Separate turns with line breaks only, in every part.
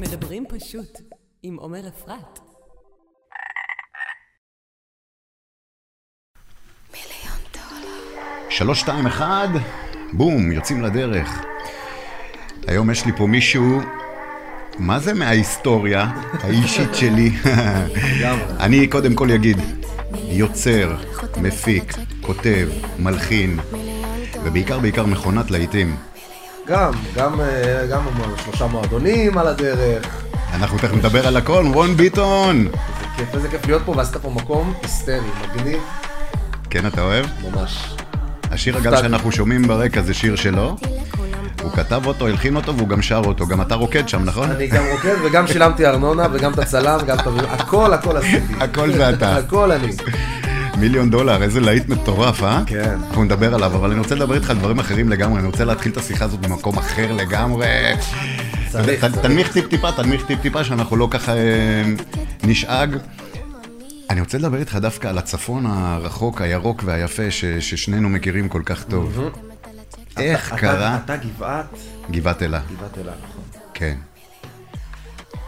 מדברים פשוט עם עומר אפרת.
שלוש, שתיים, אחד, בום, יוצאים לדרך. היום יש לי פה מישהו, מה זה מההיסטוריה האישית שלי? אני קודם כל אגיד, יוצר, מפיק, כותב, מלחין, ובעיקר בעיקר מכונת להיטים.
גם, גם, אה, גם שלושה מועדונים על הדרך.
אנחנו תכף נדבר על הכל, רון ביטון!
איזה כיף, איזה כיף להיות פה, ועשית פה מקום היסטרי, מגניב,
כן, אתה אוהב?
ממש.
השיר אגב שאנחנו שומעים ברקע זה שיר שלו. הוא כתב אותו, הלחין אותו, והוא גם שר אותו. גם אתה רוקד שם, נכון?
אני גם רוקד וגם שילמתי ארנונה וגם את הצלם וגם את ה... הכל, הכל עשיתי.
הכל זה אתה.
הכל אני.
מיליון דולר, איזה להיט מטורף, אה?
כן.
אנחנו נדבר עליו, אבל אני רוצה לדבר איתך על דברים אחרים לגמרי, אני רוצה להתחיל את השיחה הזאת במקום אחר לגמרי.
צריך,
ת-
צריך.
תנמיך טיפ-טיפה, תנמיך טיפ-טיפה, שאנחנו לא ככה אה, נשאג. אני רוצה לדבר איתך דווקא על הצפון הרחוק, הירוק והיפה, ש- ששנינו מכירים כל כך טוב. איך
אתה-
קרה
אתה גבעת,
גבעת אלה?
גבעת אלה, נכון.
כן.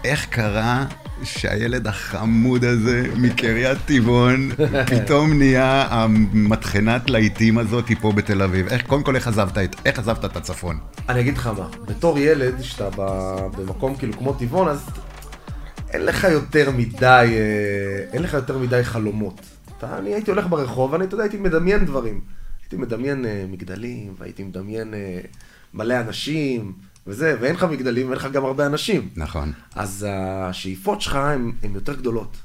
איך קרה שהילד החמוד הזה מקריית טבעון פתאום נהיה המטחנת להיטים הזאת פה בתל אביב? איך, קודם כל, איך עזבת את, איך עזבת את הצפון?
אני אגיד לך מה, בתור ילד, שאתה ב- במקום כאילו כמו טבעון, אז אין לך יותר מדי, אה, אין לך יותר מדי חלומות. אתה, אני הייתי הולך ברחוב, אני, אתה יודע, הייתי מדמיין דברים. הייתי מדמיין אה, מגדלים, והייתי מדמיין אה, מלא אנשים, וזה, ואין לך מגדלים, ואין לך גם הרבה אנשים.
נכון.
אז השאיפות שלך הן הן יותר גדולות.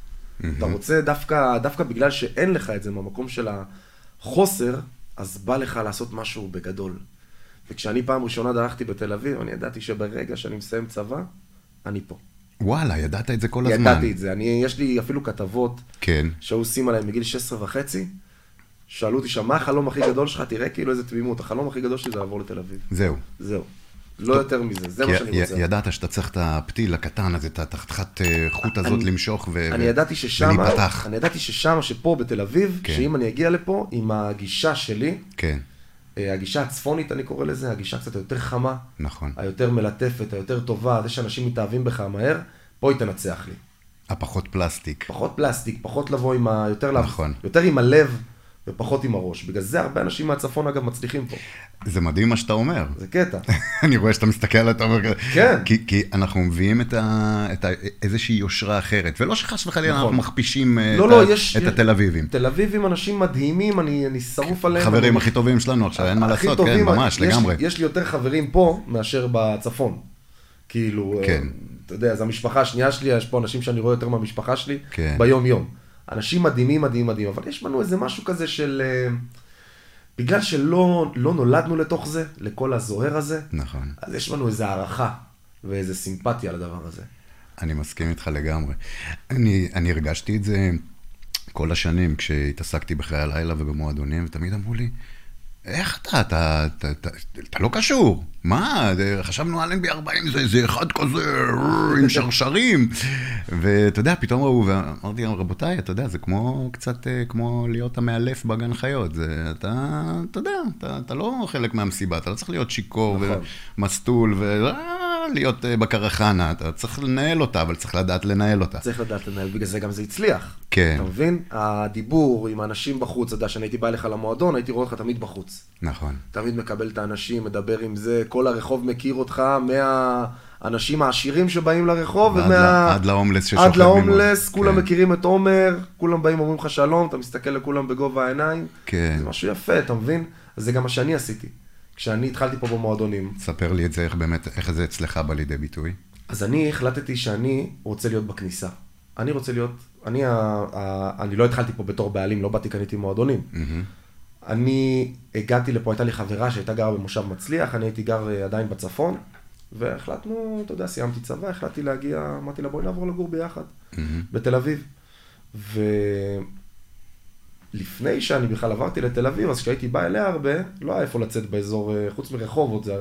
אתה רוצה דווקא, דווקא בגלל שאין לך את זה מהמקום של החוסר, אז בא לך לעשות משהו בגדול. וכשאני פעם ראשונה דרכתי בתל אביב, אני ידעתי שברגע שאני מסיים צבא, אני פה.
וואלה, ידעת את זה כל הזמן.
ידעתי את זה. אני, יש לי אפילו כתבות
כן.
שהיו עושים עליהם מגיל 16 וחצי. שאלו אותי שם, מה החלום הכי גדול שלך? תראה כאילו איזה תמימות. החלום הכי גדול שלי זה לעבור לתל אביב.
זהו.
זהו. לא יותר מזה, זה מה
כי
שאני
י-
רוצה.
ידעת שאתה צריך את הפתיל הקטן הזה, את התחתכת אה, חוט הזאת
אני-
למשוך ו...
אני
ו-
ידעתי ששם,
ולהיפתח.
אני ידעתי ששם, שפה בתל אביב,
כן.
שאם אני אגיע לפה עם הגישה שלי,
כן,
אה, הגישה הצפונית אני קורא לזה, הגישה קצת היותר חמה,
נכון.
היותר מלטפת, היותר טובה, זה שאנשים מתאהבים בך מהר, פה היא תנצח לי.
הפחות פלסטיק.
פחות פלסטיק, פחות לבוא עם ה... יותר, לב-
נכון.
יותר עם הלב ופחות עם הראש. בגלל זה הרבה אנשים מהצפון אגב מצליחים פה,
זה מדהים מה שאתה אומר.
זה קטע.
אני רואה שאתה מסתכל על אתה אומר כזה.
כן.
כי, כי אנחנו מביאים את, ה, את ה, איזושהי יושרה אחרת, ולא שחס וחלילה
נכון.
אנחנו מכפישים אה,
לא,
את,
לא,
ה-
יש...
את התל אביבים.
תל אביבים אנשים מדהימים, אני, אני שרוף עליהם.
חברים
אני-
הכי טובים שלנו עכשיו, אין מה
הכי
לעשות, כן,
טובים,
ממש,
יש,
לגמרי.
יש לי יותר חברים פה מאשר בצפון. כאילו,
כן.
כן. אתה יודע, זו המשפחה השנייה שלי, יש פה אנשים שאני רואה יותר מהמשפחה שלי
כן.
ביום-יום. אנשים מדהימים, מדהים, מדהים, אבל יש בנו איזה משהו כזה של... אה, בגלל שלא לא נולדנו לתוך זה, לכל הזוהר הזה,
נכון.
אז יש בנו איזו הערכה ואיזו סימפתיה לדבר הזה.
אני מסכים איתך לגמרי. אני, אני הרגשתי את זה כל השנים כשהתעסקתי בחיי הלילה ובמועדונים, ותמיד אמרו לי, איך אתה, אתה, אתה, אתה, אתה לא קשור, מה, זה- חשבנו על NB 40 זה איזה אחד כזה אה, עם שרשרים, ואתה יודע, פתאום ראו, ואמרתי להם, רבותיי, אתה יודע, זה כמו קצת אה, כמו להיות המאלף בגן חיות, זה, אתה, אתה יודע, אתה, אתה לא חלק מהמסיבה, אתה לא צריך להיות שיכור
נכון.
ומסטול ולהיות אה, בקרחנה, אתה צריך לנהל אותה, אבל צריך לדעת לנהל אותה.
צריך לדעת לנהל, בגלל זה גם זה הצליח.
כן.
אתה מבין? הדיבור עם האנשים בחוץ, אתה יודע, כשאני הייתי בא אליך למועדון, הייתי רואה אותך תמיד בחוץ.
נכון.
תמיד מקבל את האנשים, מדבר עם זה, כל הרחוב מכיר אותך, מהאנשים העשירים שבאים לרחוב,
ועד ל- עד להומלס ששוכב
עד להומלס,
ממול.
כולם
כן.
מכירים את עומר, כולם באים אומרים לך שלום, אתה מסתכל לכולם בגובה העיניים.
כן.
זה משהו יפה, אתה מבין? אז זה גם מה שאני עשיתי. כשאני התחלתי פה במועדונים,
ספר לי את זה, איך באמת, איך זה אצלך בא לידי ביטוי.
אז אני החלטתי שאני רוצה להיות בכניסה. אני רוצה להיות, אני, ה, ה, אני לא התחלתי פה בתור בעלים, לא באתי, קניתי מועדונים. אני הגעתי לפה, הייתה לי חברה שהייתה גרה במושב מצליח, אני הייתי גר אה, עדיין בצפון, והחלטנו, אתה יודע, סיימתי צבא, החלטתי להגיע, אמרתי לה, בואי נעבור לגור ביחד, בתל אביב. ולפני שאני בכלל עברתי לתל אביב, אז כשהייתי בא אליה הרבה, לא היה איפה לצאת באזור, אה, חוץ מרחובות, זה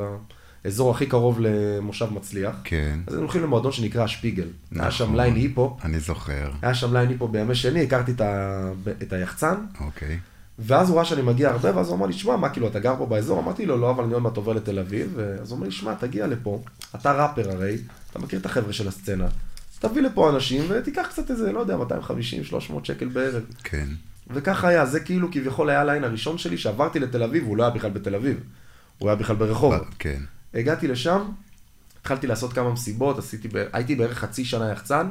האזור הכי קרוב למושב מצליח.
כן.
אז היינו הולכים למועדון שנקרא שפיגל. היה שם ליין היפו,
אני זוכר.
היה שם ליין היפו בימי שני, הכרתי את, ה... את היחצן,
אוקיי.
ואז הוא ראה שאני מגיע הרבה, ואז הוא אמר לי, שמע, מה, כאילו, אתה גר פה באזור? אמרתי לו, לא, אבל אני עוד מעט עובר לתל אביב. אז הוא אומר לי, שמע, תגיע לפה, אתה ראפר הרי, אתה מכיר את החבר'ה של הסצנה. תביא לפה אנשים ותיקח קצת איזה, לא יודע, 250-300 שקל בערב.
כן.
וככה היה, זה כאילו כביכול היה הליין הראשון שלי שעברתי לתל אביב, הוא לא היה בכלל בתל אביב, הוא היה בכלל ברחובות.
כן.
הגעתי לשם, התחלתי לעשות כמה מסיבות, עשיתי, ב- הייתי בערך חצי שנה יחצן,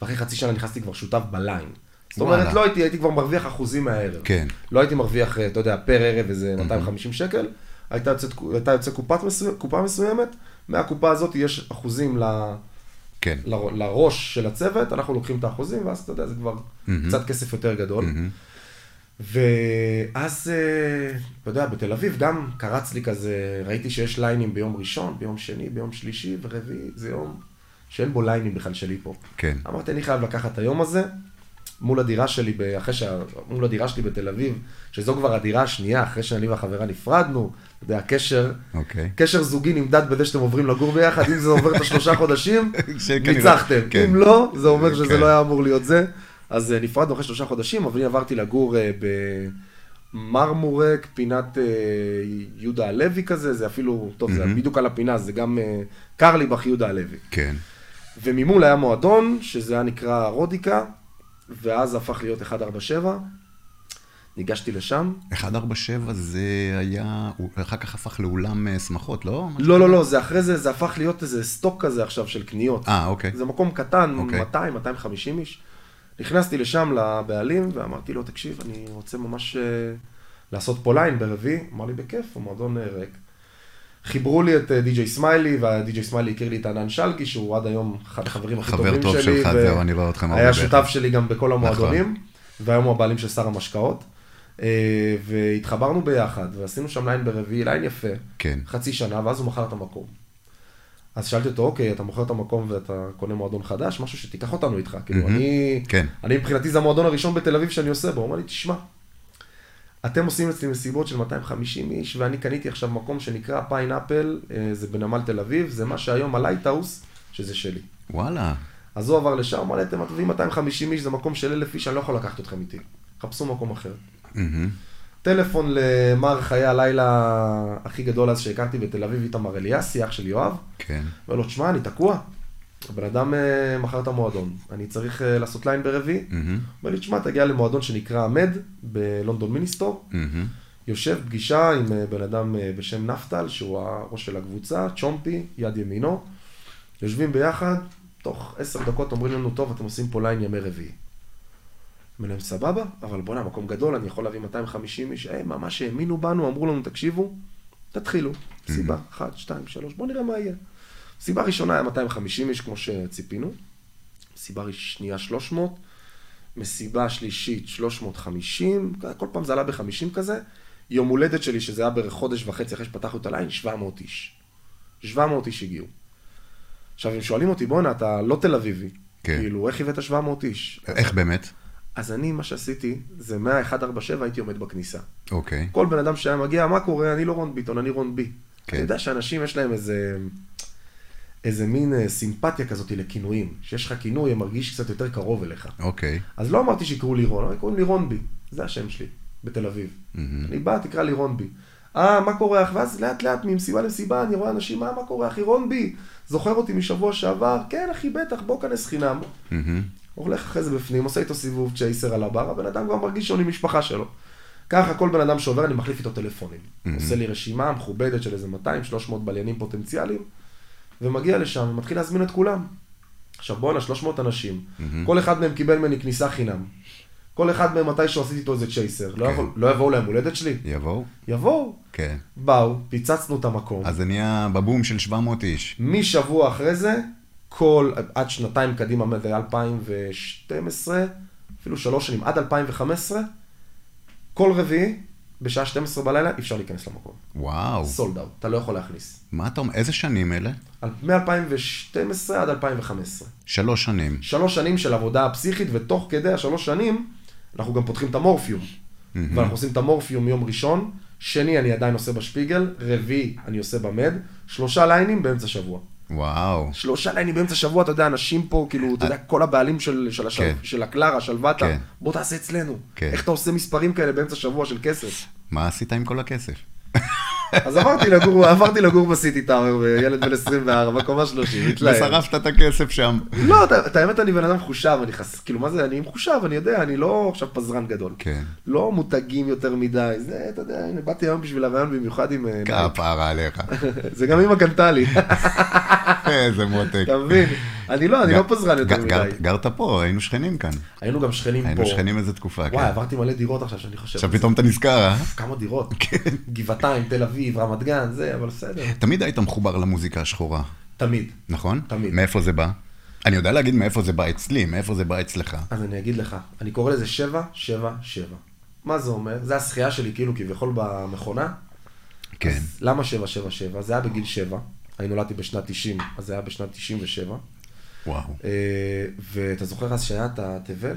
ואחרי חצי שנה נכנסתי כבר שותף בליין. זאת אומרת,
וואלה.
לא הייתי, הייתי כבר מרוויח אחוזים מהערב.
כן.
לא הייתי מרוויח, אה, אתה יודע, פר ערב איזה 250 שקל, הייתה יוצאת, הייתה יוצאת קופת מסו, קופה מסוימת, מהקופה הזאת יש אחוזים ל...
כן.
ל- לראש של הצוות, אנחנו לוקחים את האחוזים, ואז אתה יודע, זה כבר קצת כסף יותר גדול. ואז, אה, אתה יודע, בתל אביב גם קרץ לי כזה, ראיתי שיש ליינים ביום ראשון, ביום שני, ביום שלישי ורביעי, זה יום שאין בו ליינים בכלל שלי פה.
כן.
אמרתי, אני חייב לקחת את היום הזה מול הדירה שלי, ב- אחרי שה... מול הדירה שלי בתל אביב, שזו כבר הדירה השנייה, אחרי שאני והחברה נפרדנו, אתה יודע, הקשר,
אוקיי.
קשר זוגי נמדד בזה שאתם עוברים לגור ביחד, אם זה עובר את השלושה חודשים,
שכנראה,
ניצחתם.
כן.
אם לא, זה אומר שזה
כן.
לא היה אמור להיות זה. אז אה, נפרדנו אחרי שלושה חודשים, אבל אני עברתי לגור אה, במרמורק, פינת אה, יהודה הלוי כזה, זה אפילו, טוב, זה בדיוק על הפינה, זה גם אה, קרליבך יהודה הלוי.
כן.
וממול היה מועדון, שזה היה נקרא רודיקה, ואז הפך להיות 147. ניגשתי לשם.
147 זה היה, הוא אחר כך הפך לאולם אה, שמחות, לא?
לא, לא, לא, זה אחרי זה, זה הפך להיות איזה סטוק כזה עכשיו של קניות.
אה, אוקיי.
זה מקום קטן,
אוקיי.
200, 250 איש. נכנסתי לשם לבעלים ואמרתי לו, תקשיב, אני רוצה ממש אה, לעשות פה ליין ברביעי. אמר לי, בכיף, המועדון אה, ריק. חיברו לי את אה, די.ג'יי סמיילי, והדי.ג'יי סמיילי הכיר לי את ענן שלגי, שהוא עד היום אחד החברים הכי
חבר
טובים שלי.
טוב שלך,
ו-
זהו, אני רואה אתכם הרבה
היה
ביחד.
שותף שלי גם
נכון.
בכל המועדונים, והיום הוא הבעלים של שר המשקאות. אה, והתחברנו ביחד, ועשינו שם ליין ברביעי, ליין יפה.
כן.
חצי שנה, ואז הוא מכר את המקום. אז שאלתי אותו, אוקיי, אתה מוכר את המקום ואתה קונה מועדון חדש, משהו שתיקח אותנו איתך. כאילו,
מהמם.
אני,
Mm-hmm. כן.
אני מבחינתי זה המועדון הראשון בתל אביב שאני עושה בו. הוא אמר לי, תשמע, אתם עושים אצלי מסיבות של 250 איש, ואני קניתי עכשיו מקום שנקרא פיינאפל, אה, זה בנמל תל אביב, זה מה שהיום הלייטהאוס, שזה שלי.
וואלה.
אז הוא עבר לשם, אמר לי, אתם מביאים 250 איש, זה מקום של 1,000 איש, אני לא יכול לקחת אתכם איתי. חפשו מקום אחר.
מהמם.
טלפון למר חיי הלילה הכי גדול אז שהכרתי בתל אביב, איתמר אליאסי, אח של יואב.
כן.
אומר לו, תשמע, אני תקוע. הבן אדם אה, מכר את המועדון, אני צריך אה, לעשות ליין ברביעי.
מהמם.
אומר לי, תשמע, תגיע למועדון שנקרא המד בלונדון מיניסטור.
מהמם.
יושב פגישה עם אה, בן אדם אה, בשם נפתל, שהוא הראש של הקבוצה, צ'ומפי, יד ימינו. יושבים ביחד, תוך עשר דקות אומרים לנו, טוב, אתם עושים פה ליין ימי רביעי. אומר להם, סבבה, אבל בוא'נה, מקום גדול, אני יכול להביא 250 איש. "אה, הם ממש האמינו בנו, אמרו לנו, תקשיבו, תתחילו. סיבה, אחת, שתיים, שלוש, בואו נראה מה יהיה. סיבה ראשונה היה 250 איש, כמו שציפינו. מסיבה שנייה 300, מסיבה שלישית 350, כל פעם זה עלה ב-50 כזה. יום הולדת שלי, שזה היה בערך חודש וחצי אחרי שפתחנו את הליין, 700 איש. 700 איש הגיעו. עכשיו, הם שואלים אותי, בואנה, אתה לא תל אביבי.
כן.
כאילו, איך הבאת 700 איש?
איך באמת?
אז אני, מה שעשיתי, זה מה-147 הייתי עומד בכניסה.
אוקיי.
כל בן אדם שהיה מגיע, מה קורה? אני לא רון ביטון, אני רון בי.
כן.
אני יודע שאנשים יש להם איזה, איזה מין אה, סימפתיה כזאת לכינויים. שיש לך כינוי, מרגיש קצת יותר קרוב אליך.
אוקיי.
אז לא אמרתי שיקראו לי רון, אבל קוראים לי רון בי. זה השם שלי, בתל אביב. אני בא, תקרא לי רון בי. אה, מה קורה אח? ואז לאט לאט, ממסיבה למסיבה, אני רואה אנשים, אה, מה קורה אחי, רון בי. זוכר אותי משבוע שעבר? כן, אחי, בטח, בוא כנס חינם.
מהמם.
הולך אחרי זה בפנים, עושה איתו סיבוב צ'ייסר על הבר, הבן אדם כבר מרגיש שאני משפחה שלו. ככה כל בן אדם שעובר, אני מחליף איתו טלפונים. עושה לי רשימה מכובדת של איזה 200-300 בליינים פוטנציאליים, ומגיע לשם ומתחיל להזמין את כולם. עכשיו בואנה, 300 אנשים, כל אחד מהם קיבל ממני כניסה חינם. כל אחד מהם מתישהו עשיתי איתו איזה צ'ייסר. לא
כן.
יבוא- לא יבואו ליום הולדת שלי?
יבואו?
יבואו.
כן.
באו, פיצצנו את המקום.
אז זה נהיה בבום של 700 איש.
משבוע אחרי זה, כל, עד שנתיים קדימה, מ-2012, אפילו שלוש שנים, עד 2015, כל רביעי, בשעה 12 בלילה, אי אפשר להיכנס למקום.
וואו.
סולד אאוט, אתה לא יכול להכניס.
מה אתה אומר? איזה שנים אלה?
מ-2012 עד 2015.
שלוש שנים.
שלוש שנים של עבודה פסיכית, ותוך כדי השלוש שנים, אנחנו גם פותחים את המורפיום. ואנחנו עושים את המורפיום יום ראשון, שני אני עדיין עושה בשפיגל, רביעי אני עושה במד, שלושה ליינים באמצע שבוע.
וואו.
שלושה ליינים באמצע שבוע, אתה יודע, אנשים פה, כאילו, אתה יודע, כל הבעלים של, של, השל...
אה. כן.
של הקלרה, שלוותה,
כן.
בוא תעשה אצלנו.
כן.
איך אתה עושה מספרים כאלה באמצע שבוע של כסף?
מה עשית עם כל הכסף?
אז עברתי לגור, עברתי לגור בסיטי טאוור, ילד בן 24, קומה 30, התלהב.
ושרפת את הכסף שם.
לא, את- את האמת, אני בן אדם מחושב, אני חס... כאילו, מה זה, אני מחושב, אני יודע, אני לא עכשיו פזרן גדול.
כן.
לא מותגים יותר מדי, זה, אתה יודע, הנה, באתי היום בשביל הרעיון במיוחד עם... אה,
כפרה עליך.
זה גם אמא קנתה לי,
איזה מותק.
אתה מבין? אני לא, אני לא פזרן יותר
גר-
מדי.
גר- גרת פה, היינו שכנים כאן.
היינו גם שכנים פה.
היינו שכנים איזה תקופה,
וואי,
כן.
עברתי מלא דירות עכשיו שאני חושב.
עכשיו כן. פתאום אתה נזכר, אה?
כמה דירות. גבעתיים, תל אביב, רמת גן, זה, אבל בסדר.
תמיד היית מחובר למוזיקה השחורה,
תמיד.
נכון?
תמיד.
מאיפה זה בא? אני יודע להגיד מאיפה זה בא אצלי, מאיפה זה בא אצלך.
אז אני אגיד לך, אני קורא לזה 7, 7, 7. מה זה אומר? זה השחייה שלי כאילו כביכול במכונה.
כן.
אז למה 7, 7, 7? זה היה בגיל 7. אני נולדתי בשנת 90, אז זה היה בשנת 97.
וואו.
אה, ואתה זוכר אז שהיה את התבל?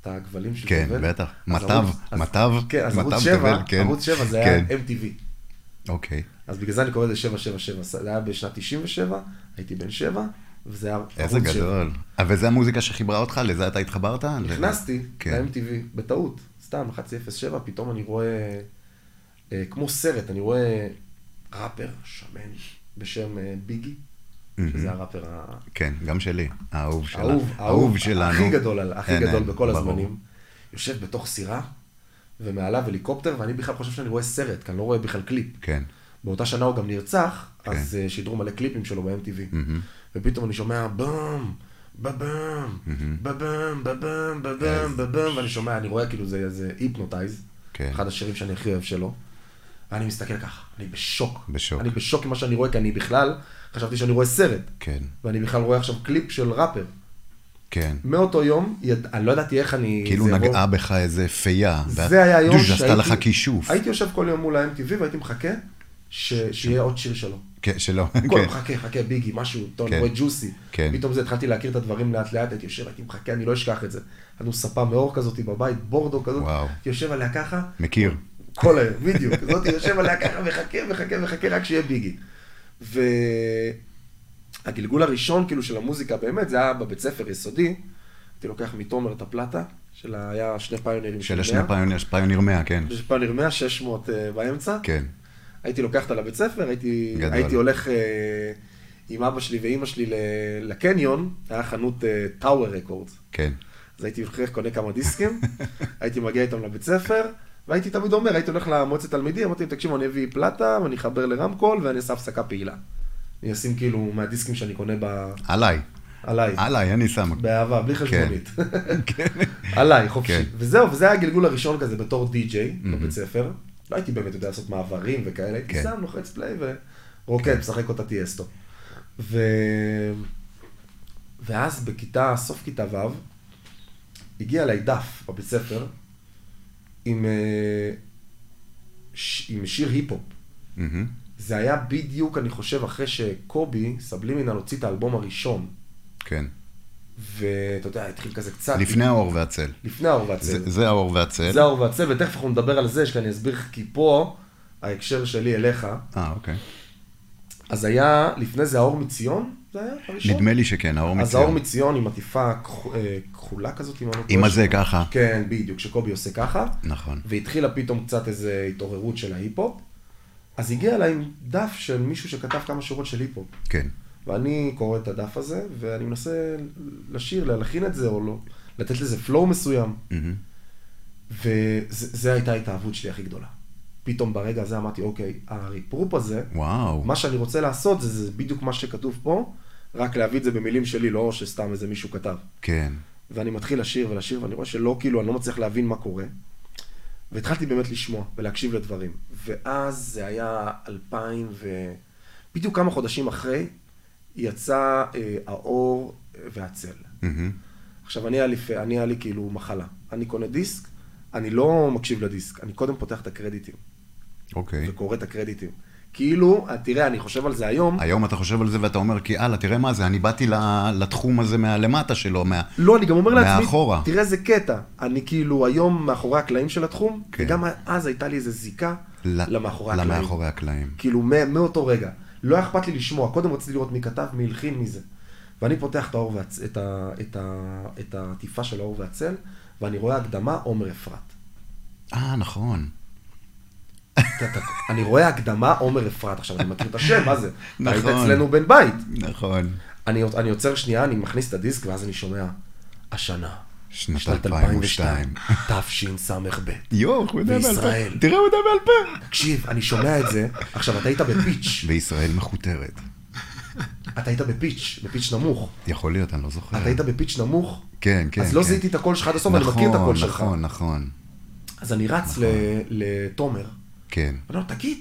את הכבלים של
כן,
תבל?
בטח.
אז
מטב,
ערוץ- אז-
מטב,
כן, אז ערוץ
מטב
7,
תבל, כן.
ערוץ 7 זה היה
כן.
MTV.
אוקיי.
אז בגלל זה אני קורא לזה 777, זה היה בשנת 97, הייתי בן 7, וזה היה
איזה
ערוץ שבע.
גדול. אה, וזה המוזיקה שחיברה אותך? לזה אתה התחברת?
נכנסתי
כן.
ל-MTV, בטעות, סתם, 107, פתאום אני רואה, אה, כמו סרט, אני רואה ראפר שמן בשם אה, ביגי, שזה הראפר ה-
כן, גם שלי. האהוב שלנו.
האהוב, האהוב,
האהוב שלנו.
הכי גדול, על- הכי
אין,
גדול
אין,
בכל
ברור.
הזמנים. יושב בתוך סירה, ומעליו הליקופטר, ואני בכלל חושב שאני רואה סרט, כי אני לא רואה בכלל קליפ.
כן.
באותה שנה הוא גם נרצח, אז אה, שידרו מלא קליפים שלו ב-MTV. ופתאום אני שומע בום, בבום, בבום, בבום, בבום, בבום, ואני שומע, אני רואה כאילו זה- זה היפנוטייז,
כן.
אחד השירים שאני הכי אוהב שלו. אני מסתכל ככה, אני בשוק.
בשוק.
אני בשוק ממה שאני רואה, כי אני בכלל, חשבתי שאני רואה סרט.
כן.
ואני בכלל רואה עכשיו קליפ של ראפר.
כן.
מאותו יום, יד... אני לא ידעתי איך אני...
כאילו
זה יבוא-
נגעה בך איזה פייה.
זה היה יום
שהייתי... עשתה לך כישוף.
הייתי יושב כל יום מול ה-MTV והייתי מחכה ש... שיהיה עוד שיר שלו.
כן, שלא.
כל
כן.
יום חכה, חכה, ביגי, משהו, אתה
כן.
רואה ג'וסי.
כן.
פתאום זה התחלתי להכיר את הדברים לאט לאט, הייתי יושב, הייתי מחכה, אני לא אשכח את זה. היה לנו ספה מאור כזאת בבית, בורדו כזאת,
וואו.
הייתי יושב עליה ככה,
מכיר.
כל היום, בדיוק. זאת יושב עליה ככה וחכה וחכה וחכה רק שיהיה ביגי. והגלגול הראשון כאילו של המוזיקה באמת, זה היה בבית ספר יסודי. הייתי לוקח מתומר את הפלטה, של ה- היה שני פיונרים
של השני פיוניר, פיוניר 100, כן.
פיוניר 100, 600 אה, באמצע.
כן.
הייתי לוקח אותה לבית ספר, הייתי,
גדול.
הייתי הולך אה, עם אבא שלי ואימא שלי ל- לקניון, היה חנות טאוור רקורדס.
כן.
אז הייתי הולך, קונה כמה דיסקים, הייתי מגיע איתם לבית ספר, והייתי תמיד אומר, הייתי הולך למועצת תלמידים, אמרתי להם, תקשיבו, אני אביא פלטה, ואני אחבר לרמקול, ואני אעשה הפסקה פעילה. אני אשים כאילו מהדיסקים שאני קונה ב...
עליי.
עליי,
עליי, אני שם.
באהבה, בלי חשבונית.
כן.
עליי, חופשי.
כן.
וזהו, וזה היה הגלגול הראשון כזה בתור די-ג'יי בבית ספר. לא הייתי באמת יודע לעשות מעברים וכאלה, הייתי
כן.
שם, לוחץ פליי ורוקד, משחק אותה טיאסטו. ו- ואז בכיתה, סוף כיתה ו', הגיע אליי דף בבית ספר עם, אה, ש- עם שיר היפ-הופ.
מהמם.
זה היה בדיוק, אני חושב, אחרי שקובי, סבלימינל, הוציא את האלבום הראשון.
כן.
ואתה יודע, התחיל כזה קצת...
לפני האור והצל.
לפני האור והצל.
זה זה האור והצל.
זה האור והצל, ותכף אנחנו נדבר על זה, שאני אסביר לך, כי פה ההקשר שלי אליך.
אה, אוקיי.
אז היה, לפני זה האור מציון, זה היה הראשון?
נדמה לי שכן, האור
אז האור
מציון.
מציון עם עטיפה כח- אה, כחולה כזאת, אם אני לא
עם
טועה.
הזה ככה.
כן, בדיוק, שקובי עושה ככה.
נכון.
והתחילה פתאום קצת איזו התעוררות של ההיפ-הופ. אז הגיע אליי עם דף של מישהו שכתב כמה שורות של היפ-הופ.
כן.
ואני קורא את הדף הזה, ואני מנסה לשיר, להלחין את זה או לא, לתת לזה flow מסוים.
מהמם.
וזו הייתה ההתאהבות שלי הכי גדולה. פתאום ברגע הזה אמרתי, אוקיי, הריפרופ הזה,
וואו.
מה שאני רוצה לעשות זה, זה בדיוק מה שכתוב פה, רק להביא את זה במילים שלי, לא שסתם איזה מישהו כתב.
כן.
ואני מתחיל לשיר ולשיר, ואני רואה שלא, כאילו, אני לא מצליח להבין מה קורה. והתחלתי באמת לשמוע ולהקשיב לדברים. ואז זה היה 2000 ו... בדיוק כמה חודשים אחרי, יצא אה, האור אה, והצל.
מהמם.
עכשיו, אני היה, לי, פ- אני היה לי כאילו מחלה. אני קונה דיסק, אני לא מקשיב לדיסק, אני קודם פותח את הקרדיטים,
אוקיי.
וקורא את הקרדיטים. כאילו, אה, תראה, אני חושב על זה היום,
היום אתה חושב על זה ואתה אומר, כי הלאה, תראה מה זה, אני באתי ל- לתחום הזה מהלמטה שלו, מה...
לא, אני גם אומר לעצמי,
מאחורה.
תראה איזה קטע. אני כאילו היום מאחורי הקלעים של התחום,
כן.
וגם אז הייתה לי איזו זיקה
ל-
למאחורי הקלעים.
למאחורי הקלעים.
כאילו, מא- מאותו רגע. לא היה אכפת לי לשמוע, קודם רציתי לראות מי כתב, מי הלחין, מי זה. ואני פותח את, האור והצ... את, ה... את, ה... את העטיפה של האור והצל, ואני רואה הקדמה עומר אפרת.
אה, נכון.
אתה- אתה- אני רואה הקדמה עומר אפרת, עכשיו אני מכיר את השם, מה זה? אתה היית
נכון.
אצלנו בן בית.
נכון.
אני, אני עוצר שנייה, אני מכניס את הדיסק, ואז אני שומע, השנה.
שנת
שנת
2002.
2002. תשס"ב.
יואו, הוא יודע בעל
בישראל.
פה. תראה, הוא יודע בעל פה.
תקשיב, אני שומע את זה, עכשיו אתה היית בפיץ',
וישראל מכותרת.
אתה היית בפיץ', בפיץ' נמוך.
יכול להיות, אני לא זוכר.
אתה היית בפיץ' נמוך,
כן, כן.
אז לא
כן.
זיהיתי את הקול שלך עד הסוף, אני מכיר את הקול שלך.
נכון, נכון, נכון.
אז אני רץ ל- לתומר,
כן.
אני אומר, תגיד,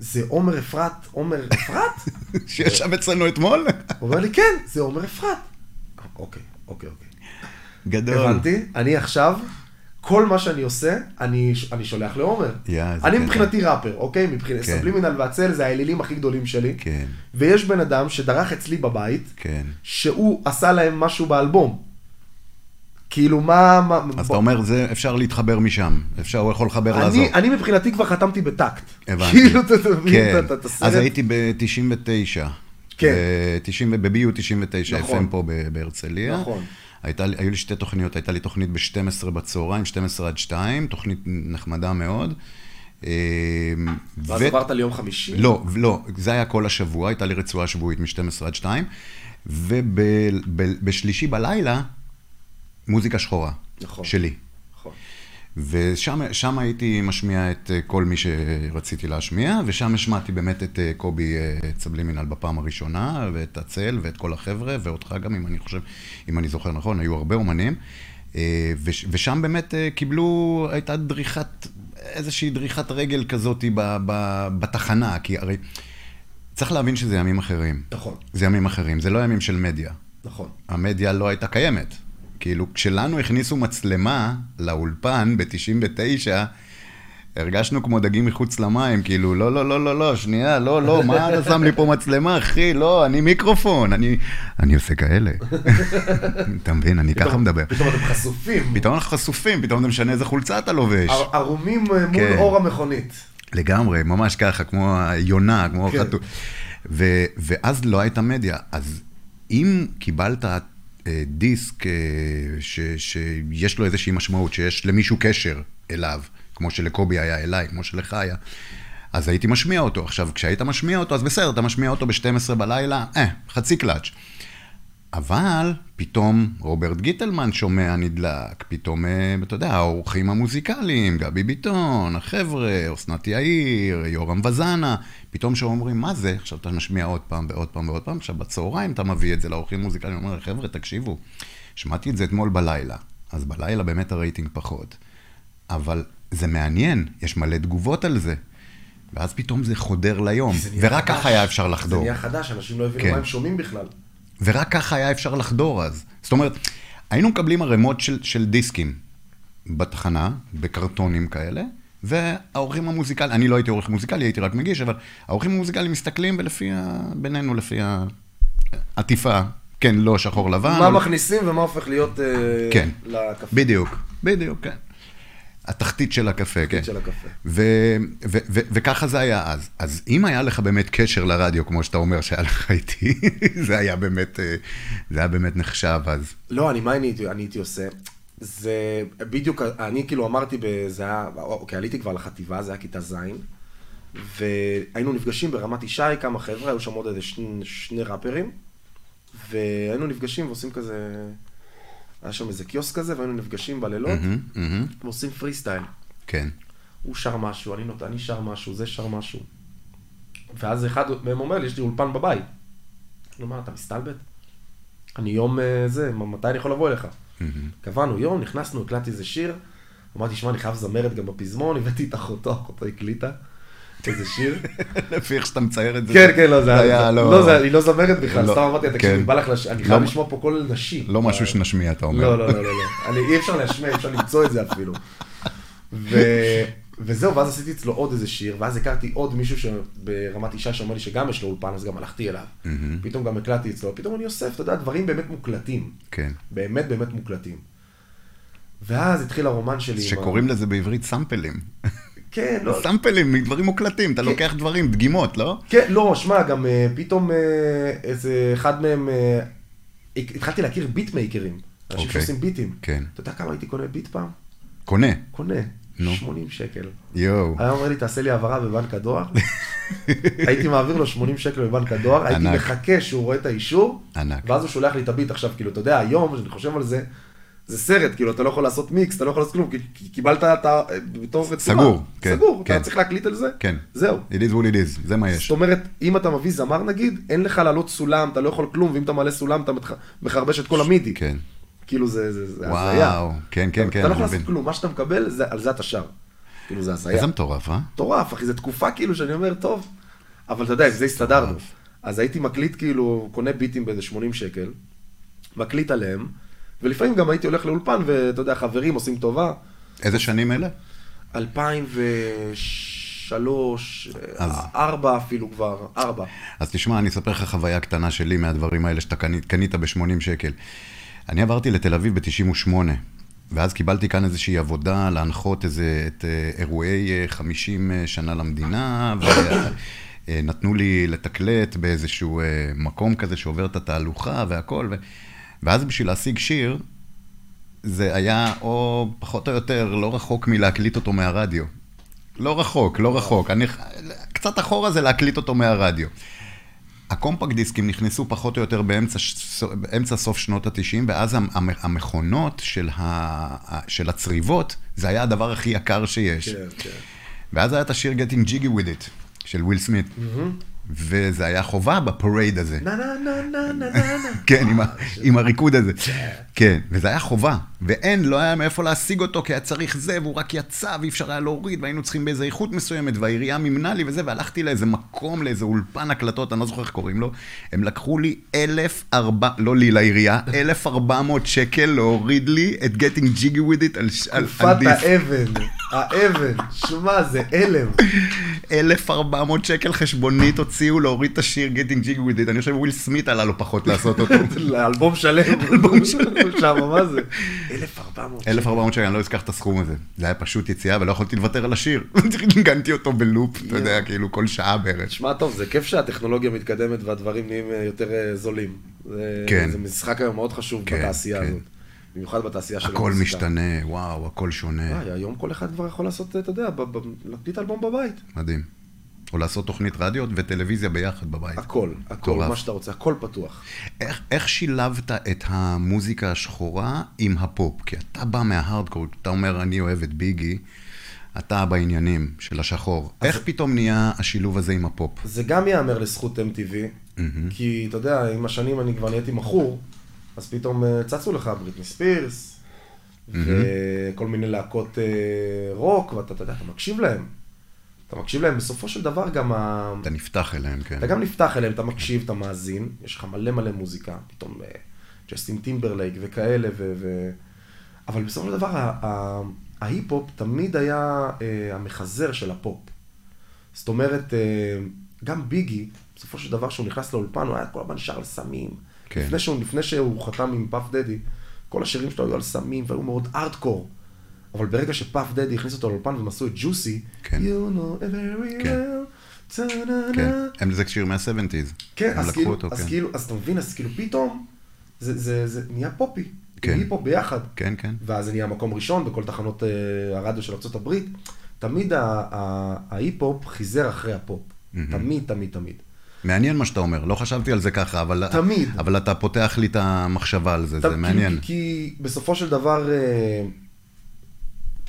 זה עומר אפרת, עומר אפרת?
שישב אצלנו אתמול?
הוא אומר לי, כן, זה עומר אפרת. אוקיי, אוקיי, אוקיי.
גדול.
הבנתי, אני עכשיו, כל מה שאני עושה, אני, אני שולח לעומר.
יא, זה
אני
קטע.
מבחינתי ראפר, אוקיי? מבחינת
כן.
סבלימינל והצל זה האלילים הכי גדולים שלי.
כן.
ויש בן אדם שדרך אצלי בבית,
כן.
שהוא עשה להם משהו באלבום. כאילו, מה... מה
אז
בוא-
אתה אומר, זה אפשר להתחבר משם. אפשר, הוא יכול לחבר לעזור.
אני, אני מבחינתי כבר חתמתי בטקט.
הבנתי.
כאילו, אתה אתה מבין
כן.
את- את- את הסרט.
אז הייתי ב-99.
כן.
ב-BU 99,
נכון.
FM פה ב- בהרצליה.
נכון.
הייתה, לי- היו לי שתי תוכניות, הייתה לי תוכנית ב-12 בצהריים, 12 עד 2, תוכנית נחמדה מאוד. אה,
ואז
ו-
עברת ליום חמישי?
לא, לא, זה היה כל השבוע, הייתה לי רצועה שבועית מ-12 עד 2, ובשלישי בלילה, מוזיקה שחורה.
נכון.
שלי.
נכון.
ושם שם הייתי משמיע את אה, כל מי שרציתי להשמיע, ושם השמעתי באמת את אה, קובי אה, צבלימינל בפעם הראשונה, ואת הצל, ואת כל החבר'ה, ואותך גם, אם אני חושב, אם אני זוכר נכון, היו הרבה אומנים. אה, וש- ושם באמת אה, קיבלו, הייתה דריכת, איזושהי דריכת רגל כזאת ב- ב- בתחנה, כי הרי צריך להבין שזה ימים אחרים.
נכון,
זה ימים אחרים, זה לא ימים של מדיה.
נכון.
המדיה לא הייתה קיימת. כאילו, כשלנו הכניסו מצלמה לאולפן ב-99, הרגשנו כמו דגים מחוץ למים, כאילו, לא, לא, לא, לא, לא, שנייה, לא, לא, מה אתה שם לי פה מצלמה, אחי, לא, אני מיקרופון, אני, אני עושה כאלה. אתה מבין, אני ככה
פתאום-
מדבר.
פתאום אתם חשופים.
פתאום אנחנו חשופים, פתאום אתה משנה איזה חולצה אתה לובש.
ער- ערומים אה, מול
כן.
אור המכונית.
לגמרי, ממש ככה, כמו היונה, כמו
כן.
כן. חתול. ו- ואז לא הייתה מדיה. אז אם קיבלת אה, דיסק אה, ש- שיש לו איזושהי משמעות, שיש למישהו קשר אליו, כמו שלקובי היה אליי, כמו שלך היה, אז הייתי משמיע אותו. עכשיו, כשהיית משמיע אותו, אז בסדר, אתה משמיע אותו ב-12 בלילה, אה, חצי קלאץ'. אבל פתאום רוברט גיטלמן שומע נדלק, פתאום, אה, אתה יודע, האורחים המוזיקליים, גבי ביטון, החבר'ה, אסנת יאיר, יורם וזנה, פתאום שאומרים, מה זה? עכשיו אתה משמיע עוד פעם ועוד פעם ועוד פעם, עכשיו בצהריים אתה מביא את זה לאורחים המוזיקליים, אומר, חבר'ה, תקשיבו, שמעתי את זה אתמול בלילה, אז בלילה באמת הרייטינג פחות, אבל זה מעניין, יש מלא תגובות על זה, ואז פתאום זה חודר ליום,
זה נהיה
ורק
חדש.
ככה היה אפשר
זה
לחדור.
נהיה חדש, אנשים לא הבינו
כן.
מה הם שומעים בכלל.
ורק ככה היה אפשר לחדור אז. זאת אומרת, היינו מקבלים ערימות של, של דיסקים בתחנה, בקרטונים כאלה, והאורחים המוזיקליים, אני לא הייתי עורך מוזיקלי, הייתי רק מגיש, אבל האורחים המוזיקליים מסתכלים ולפי ה... בינינו, לפי העטיפה, כן, לא שחור לבן.
מה
אבל-
מכניסים ומה הופך להיות אה,
כן.
לקפה.
בדיוק, בדיוק, כן. התחתית של הקפה, כן.
של הקפה.
ו- ו- ו- וככה זה היה אז. אז אם היה לך באמת קשר לרדיו, כמו שאתה אומר שהיה לך איתי, זה היה באמת, אה, זה היה באמת נחשב אז.
לא, אני, מה אני הייתי, אני הייתי עושה? זה בדיוק, אני כאילו אמרתי, ב- זה היה, אוקיי, עליתי כבר לחטיבה, זה היה כיתה ז', והיינו נפגשים ברמת ישי, כמה חבר'ה, היו שם עוד איזה שני, שני ראפרים, והיינו נפגשים ועושים כזה, היה שם איזה קיוסק כזה, והיינו נפגשים בלילות,
מהמם, מהמם.
ועושים פרי סטייל.
כן.
הוא שר משהו, אני, נות... אני שר משהו, זה שר משהו. ואז אחד מהם אומר לי, יש לי אולפן בבית. אני אומר, אתה מסתלבט? אני יום אה, זה, מ- מתי אני יכול לבוא אליך? קבענו יום, נכנסנו, הקלטתי איזה שיר, אמרתי, שמע, אני חייב זמרת גם בפזמון, הבאתי את אחותו, אחותו הקליטה איזה שיר.
לפי איך שאתה מצייר את זה.
כן, כן, לא, זה היה,
היה
לא, זה- היא לא זמרת בכלל,
לא,
סתם אמרתי, לה, תקשיב,
כן.
בא לך, לש- אני
לא
חייב
מ-
לשמוע פה קול נשי.
לא משהו שנשמיע, אתה אומר.
לא, לא, לא, לא, לא. אני, אי אפשר להשמיע, אי אפשר למצוא את זה אפילו. ו... וזהו, ואז עשיתי אצלו עוד איזה שיר, ואז הכרתי עוד מישהו ברמת אישה שאומר לי שגם יש לו אולפן, אז גם הלכתי אליו. פתאום גם הקלטתי אצלו, פתאום אני אוסף, אתה יודע, דברים באמת מוקלטים.
כן.
באמת באמת מוקלטים. ואז התחיל הרומן שלי. עם ה-
שקוראים לזה בעברית סאמפלים.
כן, לא,
סמפלים, דברים מוקלטים, אתה לוקח דברים, דגימות, לא?
כן, לא, שמע, גם אה, פתאום אה, איזה אחד מהם, אה, הת- התחלתי להכיר ביטמייקרים, אנשים
אוקיי.
שעושים ביטים.
כן.
אתה יודע כמה הייתי קונה ביט פעם?
קונה.
קונה,
נו.
80 שקל.
יואו.
היה אומר לי, תעשה לי העברה בבנק הדואר. הייתי מעביר לו 80 שקל בבנק הדואר, הייתי
ענק.
מחכה שהוא רואה את האישור,
ענק.
ואז הוא שולח לי את הביט עכשיו, כאילו, אתה יודע, היום, כשאני חושב על זה, זה סרט, כאילו, אתה לא יכול לעשות מיקס, אתה לא יכול לעשות כלום, כי כי קיבלת את ה... בתור רצועה.
סגור, כן,
סגור,
כן.
אתה צריך להקליט על זה?
כן.
זהו.
It is what it is, זה מה
זאת
יש.
אומרת, אם אתה מביא זמר נגיד, אין לך לעלות סולם, אתה לא יכול כלום, ואם אתה מעלה סולם, אתה מתח- מחרבש את כל המידי.
כן.
כאילו, זה זה- זה הזיה.
וואו, כן, כן,
אתה-
כן,
אתה
אני
לא יכול לעשות
מבין.
כלום, מה שאתה מקבל, זה- על זה אתה שר. כאילו, זה הזיה.
איזה מטורף, אה?
מטורף, אחי, זו תקופה כאילו שאני אומר, טוב, אבל אתה יודע, עם זה הסתדרנו.
מטורף.
אז הייתי מקליט כאילו, קונה ביטים באיזה 80 שקל, מקליט עליהם, ולפעמים גם הייתי הולך לאולפן, ואתה יודע, חברים עושים טובה.
איזה שנים אלה?
2003,
אז-
4 אפילו כבר, 4.
אז תשמע, אני אספר לך חוויה קטנה שלי מהדברים האלה שאתה קנית, קנית ב-80 שקל. אני עברתי לתל אביב ב-98, ואז קיבלתי כאן איזושהי עבודה להנחות איזה, את אה, אירועי אה, 50 שנה למדינה, ונתנו לי לתקלט באיזשהו אה, מקום כזה שעובר את התהלוכה והכל, ו... ואז בשביל להשיג שיר, זה היה או פחות או יותר לא רחוק מלהקליט אותו מהרדיו. לא רחוק, לא רחוק. אני... קצת אחורה זה להקליט אותו מהרדיו. הקומפקט דיסקים נכנסו פחות או יותר באמצע, ש- באמצע סוף שנות ה-90, ואז המ- המ- המכונות של, ה... של הצריבות, זה היה הדבר הכי יקר שיש.
כן, כן.
ואז היה את השיר Getting Jiggy With It, של וויל סמית. וזה היה חובה בפרייד הזה.
נה נה נה נה נה נה נה.
כן, עם, ה... עם הריקוד הזה. כן, וזה היה חובה. ואין, לא היה מאיפה להשיג אותו, כי היה צריך זה, והוא רק יצא, ואי אפשר היה להוריד, והיינו צריכים באיזה איכות מסוימת, והעירייה מימנה לי וזה, והלכתי לאיזה מקום, לאיזה אולפן הקלטות, אני לא זוכר איך קוראים לו. הם לקחו לי 1,400, לא לי, לעירייה, 1,400 שקל להוריד לי את Getting Jiggy With It על, ש- על, על
תקופת
דיסק.
האבן, האבן, שמע, זה הלם.
1,400 שקל חשבונית הוציאו להוריד את השיר Getting Jiggy With It. אני חושב וויל סמית עלה לו פחות לעשות אותו.
אלבום שלם. אלבום שלם. שמה, מה זה? 1400.
1400 שקל, אני לא אזכח את הסכום הזה. זה היה פשוט יציאה, ולא יכולתי לוותר על השיר. ניגנתי אותו בלופ, אתה יודע, כאילו כל שעה בערך.
שמע טוב, זה כיף שהטכנולוגיה מתקדמת והדברים נהיים אה, יותר אה, זולים. זה,
כן.
זה משחק היום מאוד חשוב
כן,
בתעשייה
כן.
הזאת. במיוחד בתעשייה של
הכל
המוזיקה.
משתנה, וואו, הכל שונה.
וואי, היום כל אחד כבר יכול לעשות, אה, אתה יודע, ב- ב- להקליט אלבום בבית.
מדהים. או לעשות תוכנית רדיו וטלוויזיה ביחד בבית.
הכל, הכל,
מטורף.
מה שאתה רוצה, הכל פתוח.
איך- איך שילבת את המוזיקה השחורה עם הפופ? כי אתה בא מההארדקור, אתה אומר, אני אוהב את ביגי, אתה בעניינים של השחור. איך פתאום נהיה השילוב הזה עם הפופ?
זה גם ייאמר לזכות MTV, כי אתה יודע, עם השנים אני כבר נהייתי מכור, אז פתאום אה, צצו לך בריטני ספירס, וכל מיני להקות אה, רוק, ואתה אתה יודע, אתה מקשיב להם. אתה מקשיב להם, בסופו של דבר גם ה...
אתה נפתח אליהם, כן.
אתה גם נפתח אליהם, אתה מקשיב, אתה מאזין, יש לך מלא מלא מוזיקה, פתאום אה, ג'סטין טימברלייק וכאלה, ו... ו... אבל בסופו של דבר ה- ה- ההיפ-הופ תמיד היה אה, המחזר של הפופ. זאת אומרת, אה, גם ביגי, בסופו של דבר כשהוא נכנס לאולפן, הוא היה כל הזמן שר על סמים.
כן.
לפני שהוא, לפני שהוא חתם עם פאף דדי, כל השירים שלו היו על סמים והיו מאוד ארדקור. אבל ברגע שפאף דדי הכניס אותו לאולפן והם עשו את ג'וסי,
כן.
you know it very
כן.
well, ta-na-na,
כן. הם זה שיר מה-70's.
כן,
הם
אז
לקחו
כאילו,
אותו,
אז
כן.
כאילו, אז אתה מבין, אז כאילו פתאום, זה, זה, זה נהיה פופי.
כן.
כן. היפ-הופ ביחד.
כן, כן.
ואז זה נהיה מקום ראשון בכל תחנות אה, הרדיו של ארה"ב. תמיד ה- ה- ההיפ-הופ חיזר אחרי הפופ. תמיד, תמיד, תמיד.
מעניין מה שאתה אומר, לא חשבתי על זה ככה, אבל...
תמיד.
אבל אתה פותח לי את המחשבה על זה, זה
אתה- כאילו,
מעניין.
כי, כי בסופו של דבר, אה,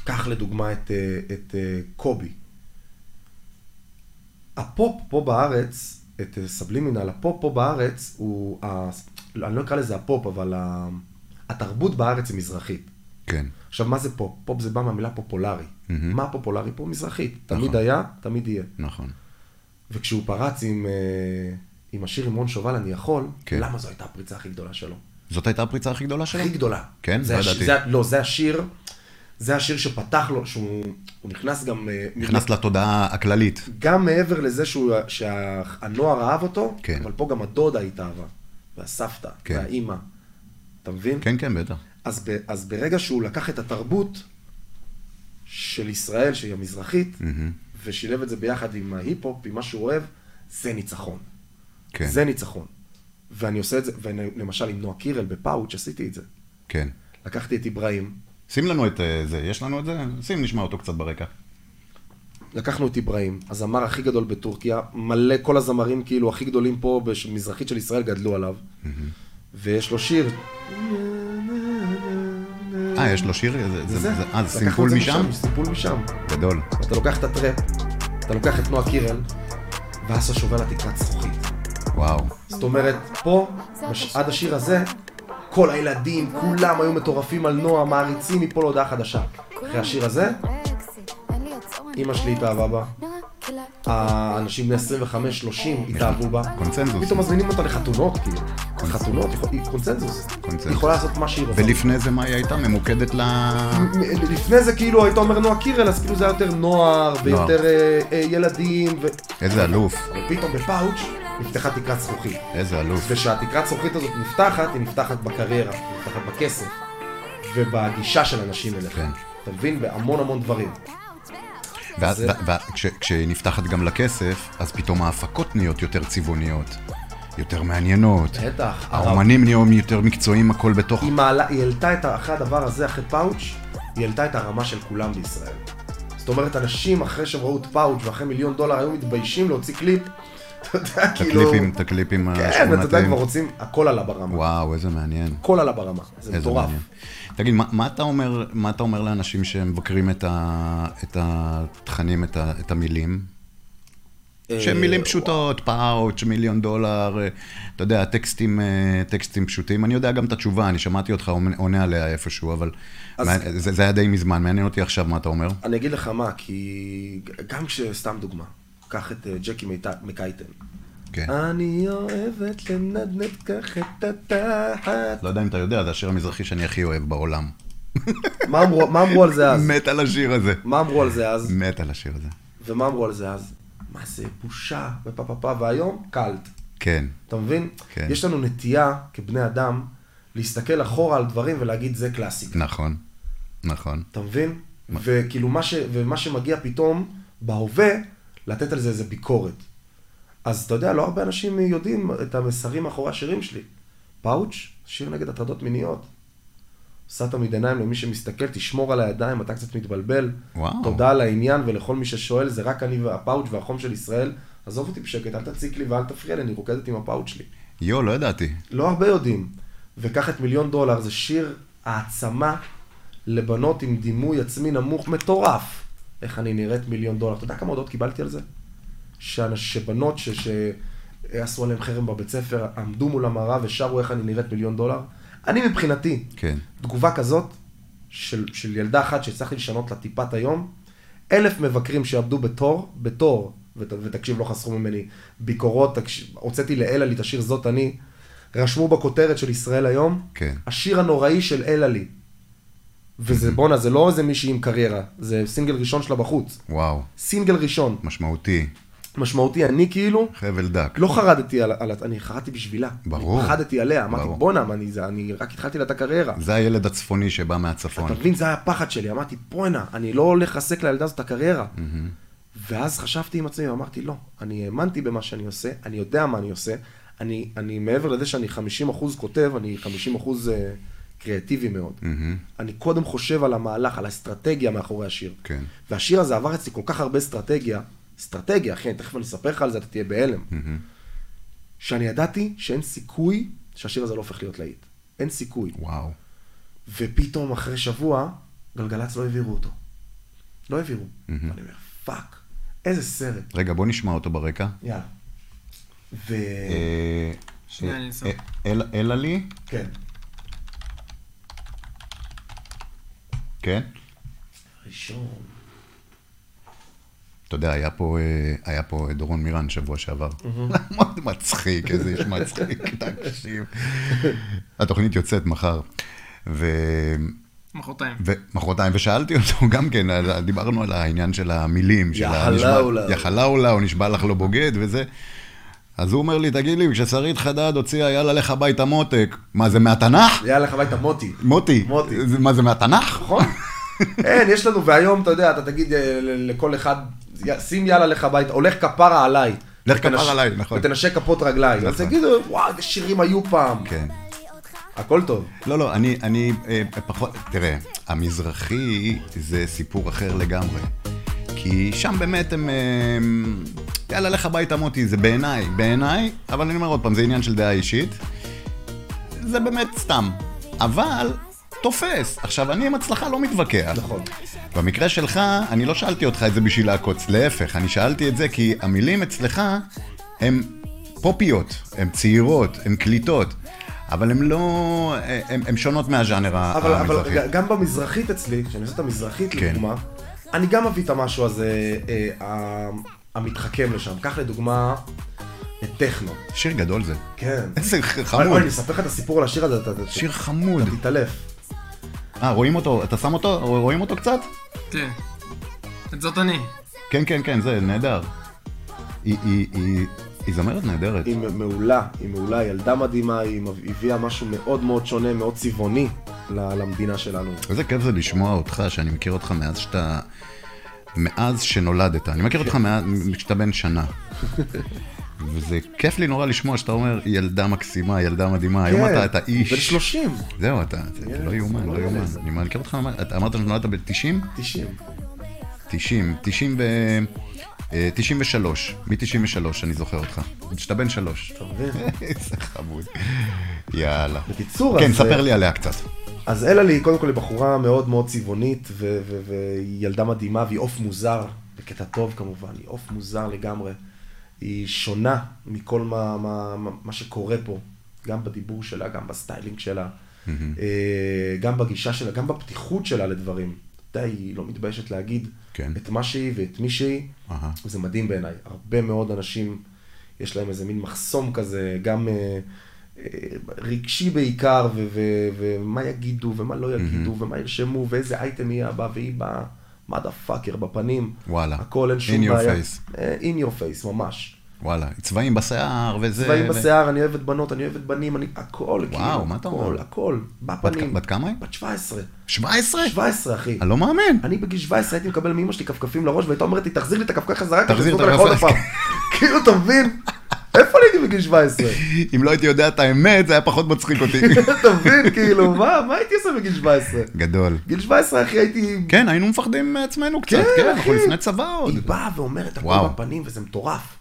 קח לדוגמה את, אה, את אה, קובי. הפופ פה בארץ, את אה, סבלימינל, הפופ פה בארץ הוא, ה... לא, אני לא אקרא לזה הפופ, אבל ה... התרבות בארץ היא מזרחית.
כן,
עכשיו, מה זה פופ? פופ זה בא מהמילה פופולרי. מה פופולרי פה? מזרחית. תמיד
נכון.
היה, תמיד יהיה.
נכון.
וכשהוא פרץ עם, אה, עם השיר עם רון שובל, אני יכול,
כן.
למה זו הייתה הפריצה הכי גדולה שלו?
זאת הייתה הפריצה הכי גדולה שלו?
הכי גדולה.
כן?
זה
לא
הש-
ידעתי.
זה, לא, זה השיר, זה השיר שפתח לו, שהוא הוא נכנס גם... אה,
נכנס לתודעה הכללית.
גם מעבר לזה שהוא, שהנוער אהב אותו,
כן.
אבל פה גם הדודה התאהבה, והסבתא,
כן.
והאימא. אתה מבין?
כן, כן, בטח.
אז, ב, אז ברגע שהוא לקח את התרבות, של ישראל, שהיא המזרחית, ושילב את זה ביחד עם ההיפ-הופ, עם מה שהוא אוהב, זה ניצחון.
כן,
זה ניצחון. ואני עושה את זה, ולמשל עם נועה קירל בפאוץ' עשיתי את זה.
כן.
לקחתי את איברהים,
שים לנו את אה, זה, יש לנו את זה? שים, נשמע אותו קצת ברקע. אה,
לקחנו את איברהים, הזמר הכי גדול בטורקיה, מלא כל הזמרים כאילו הכי גדולים פה, בש- מזרחית של ישראל, גדלו עליו. ויש לו שיר.
אה, יש לו שיר? זה- זה- זה- אה, זה
לקחנו
סימפול
את זה
משם?
זה סימפול משם.
גדול.
אתה לוקח את הטראפ, אתה לוקח את נועה קירל, ואז אתה שובר לה תקרת זכוכית.
וואו.
זאת אומרת, פה, בש... עד השיר הזה, כל הילדים, כולם היו מטורפים על נועה, מעריצים מפה להודעה חדשה. אחרי השיר הזה,
אימא שלי התאהבה בה.
לא האנשים בני 25-30 התאהבו בה.
אה. קונצנזוס.
פתאום מזמינים אותה לחתונות, כאילו. חתונות, היא- היא קונצנזוס.
קונצנזוס.
היא יכולה לעשות מה שהיא רוצה.
ולפני זה מה היא הייתה? ממוקדת ל...
מ- לפני זה כאילו היית אומר נועה קירל, אז כאילו זה היה יותר נוער, ויותר אה, אה, ילדים, ו-
איזה אלוף.
ופתאום בפאוץ' נפתחה תקרת זכוכית.
איזה אלוף.
ושהתקרת זכוכית הזאת נפתחת, היא נפתחת בקריירה, היא נפתחת בכסף, ובגישה של אנשים אליך.
כן.
אתה מבין? בהמון המון דברים.
ואז ו- ו- כש- כשהיא נפתחת גם לכסף, אז פתאום ההפקות נהיות יותר צבעוניות. יותר מעניינות.
בטח.
האומנים נהיים יותר מקצועיים, הכל בתוך...
היא מעלה, היא העלתה את, ה- אחרי הדבר הזה, אחרי פאוץ', היא העלתה את הרמה של כולם בישראל. זאת אומרת, אנשים אחרי שהם ראו את פאוץ' ואחרי מיליון דולר היו מתביישים להוציא קליפ, אתה יודע,
את
כאילו...
הקליפים, את הקליפים
כן, אתה יודע,
השכונתיים.
כבר רוצים, הכל עלה ברמה.
וואו, איזה מעניין.
הכל עלה ברמה, זה
איזה
מטורף.
מעניין. תגיד, מה, מה, אתה אומר, מה אתה אומר לאנשים שמבקרים את, ה, את התכנים, את, ה, את המילים?
אה,
שהן מילים פשוטות, פאוץ', מיליון דולר, אה, אתה יודע, טקסטים, אה, טקסטים פשוטים. אני יודע גם את התשובה, אני שמעתי אותך עונה- עונה עליה איפשהו, אבל
אז-
מעניין- זה, זה היה די מזמן, מעניין אותי עכשיו מה אתה אומר.
אני אגיד לך מה, כי גם כשסתם דוגמה, קח את אה, ג'קי מיט- מקייטן.
כן.
אה. אני אוהבת לנדנד ככה את התחת.
לא יודע אם אתה יודע, זה השיר המזרחי שאני הכי אוהב בעולם.
מה אמרו- מה אמרו על זה אז?
מת על השיר הזה.
מה אמרו על זה אז?
מת על השיר הזה.
ומה אמרו על זה אז? מה זה, בושה, ופה פה פה, והיום קלט.
כן,
אתה מבין?
כן.
יש לנו נטייה, כבני אדם, להסתכל אחורה על דברים ולהגיד זה קלאסיקה.
נכון, נכון.
אתה מבין? וכאילו מה, ש... ומה שמגיע פתאום בהווה, לתת על זה איזה ביקורת. אז אתה יודע, לא הרבה אנשים יודעים את המסרים מאחורי השירים שלי. פאוץ', שיר נגד הטרדות מיניות. עושה תמיד עיניים למי שמסתכל, תשמור על הידיים, אתה קצת מתבלבל.
וואו.
תודה על העניין ולכל מי ששואל, זה רק אני והפאוץ' והחום של ישראל. עזוב אותי בשקט, אל תציק לי ואל תפריע לי, אני רוקדת עם הפאוץ' שלי.
יו, לא ידעתי.
לא הרבה יודעים. וקח את מיליון דולר, זה שיר העצמה לבנות עם דימוי עצמי נמוך מטורף. איך אני נראית מיליון דולר. אתה יודע כמה הודעות קיבלתי על זה? שאנש, שבנות ש, שעשו עליהם חרם בבית ספר, עמדו מול המראה ושרו איך אני נראית מיליון דולר. אני מבחינתי,
כן.
תגובה כזאת של, של ילדה אחת שהצלחתי לשנות לה טיפת היום, אלף מבקרים שעמדו בתור, בתור, ות, ותקשיב, לא חסכו ממני ביקורות, תקש... הוצאתי לאלעלי את השיר זאת אני, רשמו בכותרת של ישראל היום,
כן. Mm-hmm.
השיר הנוראי של אלעלי. וזה בואנה, זה לא איזה מישהי עם קריירה, זה סינגל ראשון שלה בחוץ.
וואו,
סינגל ראשון,
משמעותי.
משמעותי, אני כאילו,
חבל דק.
לא חרדתי על, על אני חרדתי בשבילה.
ברור.
חרדתי עליה, אמרתי,
ברור.
בואנה, מה אני, זה- אני רק התחלתי לה את הקריירה.
זה הילד הצפוני שבא מהצפון.
אתה מבין, זה היה הפחד שלי, אמרתי, בואנה, אני לא הולך לסק לילדה הזאת את הקריירה. ואז חשבתי עם עצמי, אמרתי, לא, אני האמנתי במה שאני עושה, אני יודע מה אני עושה, אני, אני מעבר לזה שאני 50% כותב, אני 50% אה, קריאטיבי מאוד. אני קודם חושב על המהלך, על האסטרטגיה מאחורי השיר.
כן.
והשיר הזה עבר אצלי כל כך הרבה אסטרטגיה, אסטרטגיה, אחי, תכף אני אספר לך על זה, אתה תהיה בהלם. שאני ידעתי שאין סיכוי שהשיר הזה לא הופך להיות להיט. אין סיכוי.
וואו.
ופתאום אחרי שבוע, גלגלצ לא העבירו אותו. לא העבירו. ואני אומר, פאק, איזה סרט.
רגע, בוא נשמע אותו ברקע.
יאללה. ו...
אה,
שנייה,
אה,
אני אנסה.
אה, אל- אלה לי?
כן.
כן.
ראשון.
אתה יודע, היה פה, אה, היה פה דורון מירן שבוע שעבר. מאוד מצחיק, איזה איש מצחיק, תקשיב. התוכנית יוצאת מחר. ו...
מחרתיים.
ומחרתיים, ושאלתי אותו גם כן, על- דיברנו על העניין של המילים, של
יחלה
הנשבע-
אולה.
יחלה עולה, הוא נשבע לך לא בוגד וזה. אז הוא אומר לי, תגיד לי, כששרית חדד הוציאה יאללה לך הביתה מותק, מה זה מהתנ"ך?
יאללה, לך הביתה מוטי.
מוטי,
מוטי.
זה- מה זה מהתנ"ך?
נכון? אין, יש לנו, והיום, אתה יודע, אתה תגיד אה, ל- לכל אחד, י- שים יאללה לך הביתה, הולך כפרה עליי.
לך כפרה
ותנש-
עליי, נכון.
ותנשק כפות רגליים. אז
נכון.
תגידו, וואו, איזה שירים היו פעם.
כן.
הכל טוב.
לא, לא, אני, אני אה, פחות, תראה, המזרחי זה סיפור אחר לגמרי. כי שם באמת הם, אה, יאללה, לך הביתה מוטי, זה בעיניי, בעיניי, אבל אני אומר עוד פעם, זה עניין של דעה אישית. זה באמת סתם. אבל, תופס. עכשיו, אני עם הצלחה לא מתווכח.
נכון.
במקרה שלך, אני לא שאלתי אותך את זה בשביל לעקוץ, להפך, אני שאלתי את זה כי המילים אצלך הן פופיות, הן צעירות, הן קליטות, אבל הן לא... הן שונות מהז'אנר
אבל, אבל
המזרחי.
ג- גם במזרחית אצלי, כשאני עושה את המזרחית
כן.
לדוגמה, אני גם מביא את המשהו הזה אה, ה- המתחכם לשם. קח לדוגמה את טכנו.
שיר גדול זה.
כן.
איזה ח-
אבל- אבל
חמוד.
אני אספר לך את הסיפור על השיר הזה, אתה אתה-
שיר חמוד.
אתה תתעלף.
אה, רואים אותו? אתה שם אותו? רואים אותו קצת?
כן. את זאת אני.
כן, כן, כן, זה נהדר. היא- היא- היא- היא זמרת נהדרת.
היא מעולה, היא מעולה, היא ילדה מדהימה, היא מב- הביאה משהו מאוד מאוד שונה, מאוד צבעוני ל- למדינה שלנו.
איזה כיף זה לשמוע אותך, שאני מכיר אותך מאז שאתה... מאז שנולדת. אני מכיר אותך מאז כשאתה בן שנה. וזה כיף לי נורא לשמוע שאתה אומר, ילדה מקסימה, ילדה מדהימה, היום אתה, אתה איש.
כן, בן 30,
זהו, אתה, זה זה לא
ילד,
יאומן,
לא
לא
ילד.
יאומן. אני מכיר אותך, אתה אמרת שנולדת ב-90?
90.
90, 90 ו... אה, 93, מ-93 אני זוכר אותך. כשאתה בן שלוש.
אתה מבין?
איזה חמוד. יאללה.
בקיצור,
כן,
אז- אה,
ספר לי עליה קצת.
אז אלה לי, קודם כל, היא בחורה מאוד מאוד צבעונית, ו- ו- והיא ילדה מדהימה, והיא עוף מוזר, בקטע טוב כמובן, היא עוף מוזר לגמרי. היא שונה מכל מה, מה, מה- מה שקורה פה, גם בדיבור שלה, גם בסטיילינג שלה, אה, גם בגישה שלה, גם בפתיחות שלה לדברים. אתה יודע, היא לא מתביישת להגיד
כן.
את מה שהיא ואת מי שהיא.
אהה.
זה מדהים בעיניי. הרבה מאוד אנשים, יש להם איזה מין מחסום כזה, גם אה, אה, רגשי בעיקר, ו- ו- ומה יגידו, ומה לא יגידו, ומה ירשמו, ואיזה אייטם יהיה הבא, והיא באה, מה דה פאקר בפנים.
וואלה.
הכל אין שום
In your
בעיה.
face.
אה, In your face, ממש.
וואלה, צבעים בשיער וזה...
צבעים
ו-
בשיער, אני אוהבת בנות, אני אוהבת בנים, אני... הכל, כאילו.
מה אתה
הכל,
אומר?
הכל, בפנים.
בת כמה היא?
בת 17.
17?
17, אחי.
אני לא מאמין.
אני בגיל 17 הייתי מקבל מאמא שלי כפכפים לראש, והייתה אומרת לי, תחזיר לי את הכפכף חזרה, כי
תחזיר את
תחזיר אותה לך עוד
הכפכף.
פעם. כאילו, אתה מבין? איפה אני הייתי בגיל 17?
אם לא הייתי יודע את האמת, זה היה פחות מצחיק אותי.
אתה מבין, כאילו, מה, מה הייתי עושה בגיל 17?
גדול.
גיל 17, אחי, הייתי...
כן, היינו מפחדים מעצמנו קצת,
כן,
כן,
אחי.
אנחנו לפני צבא עוד.
היא באה ואומרת הכל
וואו.
בפנים, וזה מטורף.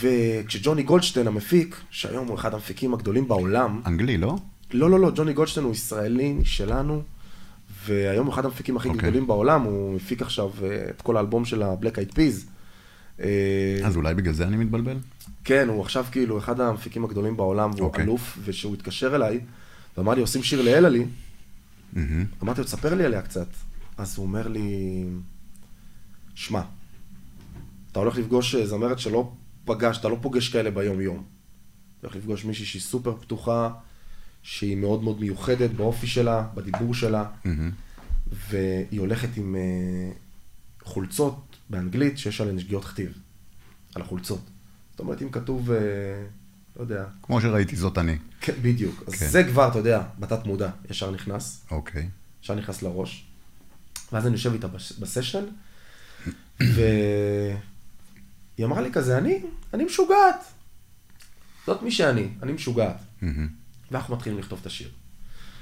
וכשג'וני גולדשטיין המפיק, שהיום הוא אחד המפיקים הגדולים בעולם,
אנגלי, לא?
לא, לא, לא, ג'וני גולדשטיין הוא ישראלי שלנו, והיום הוא אחד המפיקים הכי okay.
אוקיי.
גדולים בעולם, הוא מפיק עכשיו אה, את כל האלבום של ה-Black Eyed Peas. אה,
אז אולי בגלל זה אני מתבלבל?
כן, הוא עכשיו כאילו אחד המפיקים הגדולים בעולם, והוא okay.
אוקיי.
אלוף, ושהוא התקשר אליי, ואמר לי, עושים שיר לאלעלי, אמרתי לו, תספר לי עליה קצת. אז הוא אומר לי, שמע, אתה הולך לפגוש אה, זמרת שלא פגש, אתה לא פוגש כאלה ביום-יום. אתה הולך לפגוש מישהי שהיא סופר פתוחה, שהיא מאוד מאוד מיוחדת באופי שלה, בדיבור שלה, והיא הולכת עם אה, חולצות באנגלית שיש עליהן שגיאות כתיב, על החולצות. זאת אומרת, אם כתוב, אה, לא יודע,
כמו שראיתי, זאת אני.
כן, בדיוק. אז
כן.
זה כבר, אתה יודע, בתת מודע, ישר נכנס.
אוקיי.
ישר נכנס לראש. ואז אני יושב איתה בש- בסשן, והיא אמרה לי כזה, אני, אני משוגעת. זאת מי שאני, אני משוגעת. ואנחנו מתחילים לכתוב את השיר.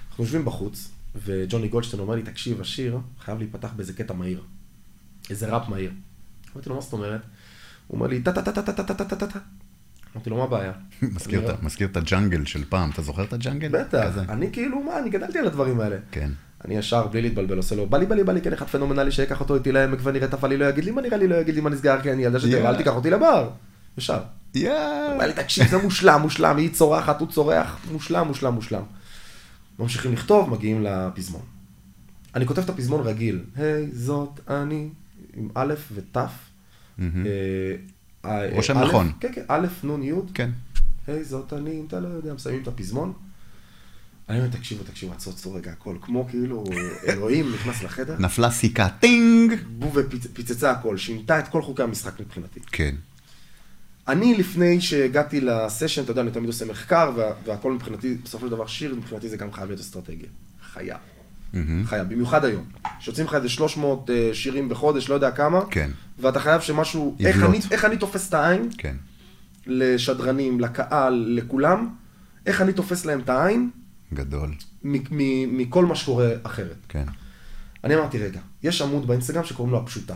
אנחנו יושבים בחוץ, וג'וני גולדשטיין אומר לי, תקשיב, השיר חייב להיפתח באיזה קטע מהיר. איזה ראפ מהיר. אמרתי לו, מה זאת אומרת? הוא אומר לי, טה טה טה טה טה טה טה טה טה טה. אמרתי לו, מה הבעיה?
מזכיר
אני-
את ה- מזכיר את הג'אנגל של פעם, אתה זוכר את הג'אנגל?
בטח,
כזה.
אני כאילו, מה, אני גדלתי על הדברים האלה.
כן.
אני ישר, בלי להתבלבל, עושה לו, בא לי, בא לי, בא לי, כן, אחד פנומנלי שיקח אותו איתי לעמק ונראה את הפעלי, לא יגיד לי מה נראה לי, לא יגיד לי מה נסגר, כן, ילדה שתראה, אל
יאללה.
תיקח אותי לבר. ישר.
יאו.
בא לי, תקשיב, זה מושלם, מושלם, היא צורחת, הוא צורח, מושלם, מושלם, מושלם. ממשיכים לכתוב, מגיעים לפזמון. אני כותב את הפזמון רגיל, היי, זאת אני, עם א' ות'. אה,
רושם
א',
נכון.
כן, כן, א', נ', י'.
כן.
היי, זאת אני, אם אתה לא יודע, מסיימים את הפזמון. אני אומר, תקשיבו, תקשיבו, עצרו רגע הכל, כמו כאילו אלוהים נכנס לחדר,
נפלה סיכה, טינג!
בו ופיצצה הכל, שינתה את כל חוקי המשחק מבחינתי.
כן.
אני, לפני שהגעתי לסשן, אתה יודע, אני תמיד עושה מחקר, וה- והכל מבחינתי, בסופו של דבר שיר, מבחינתי זה גם חייב להיות אסטרטגיה. חייב. חייב, במיוחד היום. שיוצאים לך איזה 300 אה, שירים בחודש, לא יודע כמה,
כן.
ואתה חייב שמשהו, איך
יבלוט.
אני, איך אני תופס את העין
כן.
לשדרנים, לקהל, לכולם, איך אני תופס להם את העין
גדול.
מ- מ- מכל מה שקורה אחרת.
כן.
אני אמרתי, רגע, יש עמוד באינסטגרם שקוראים לו הפשוטה.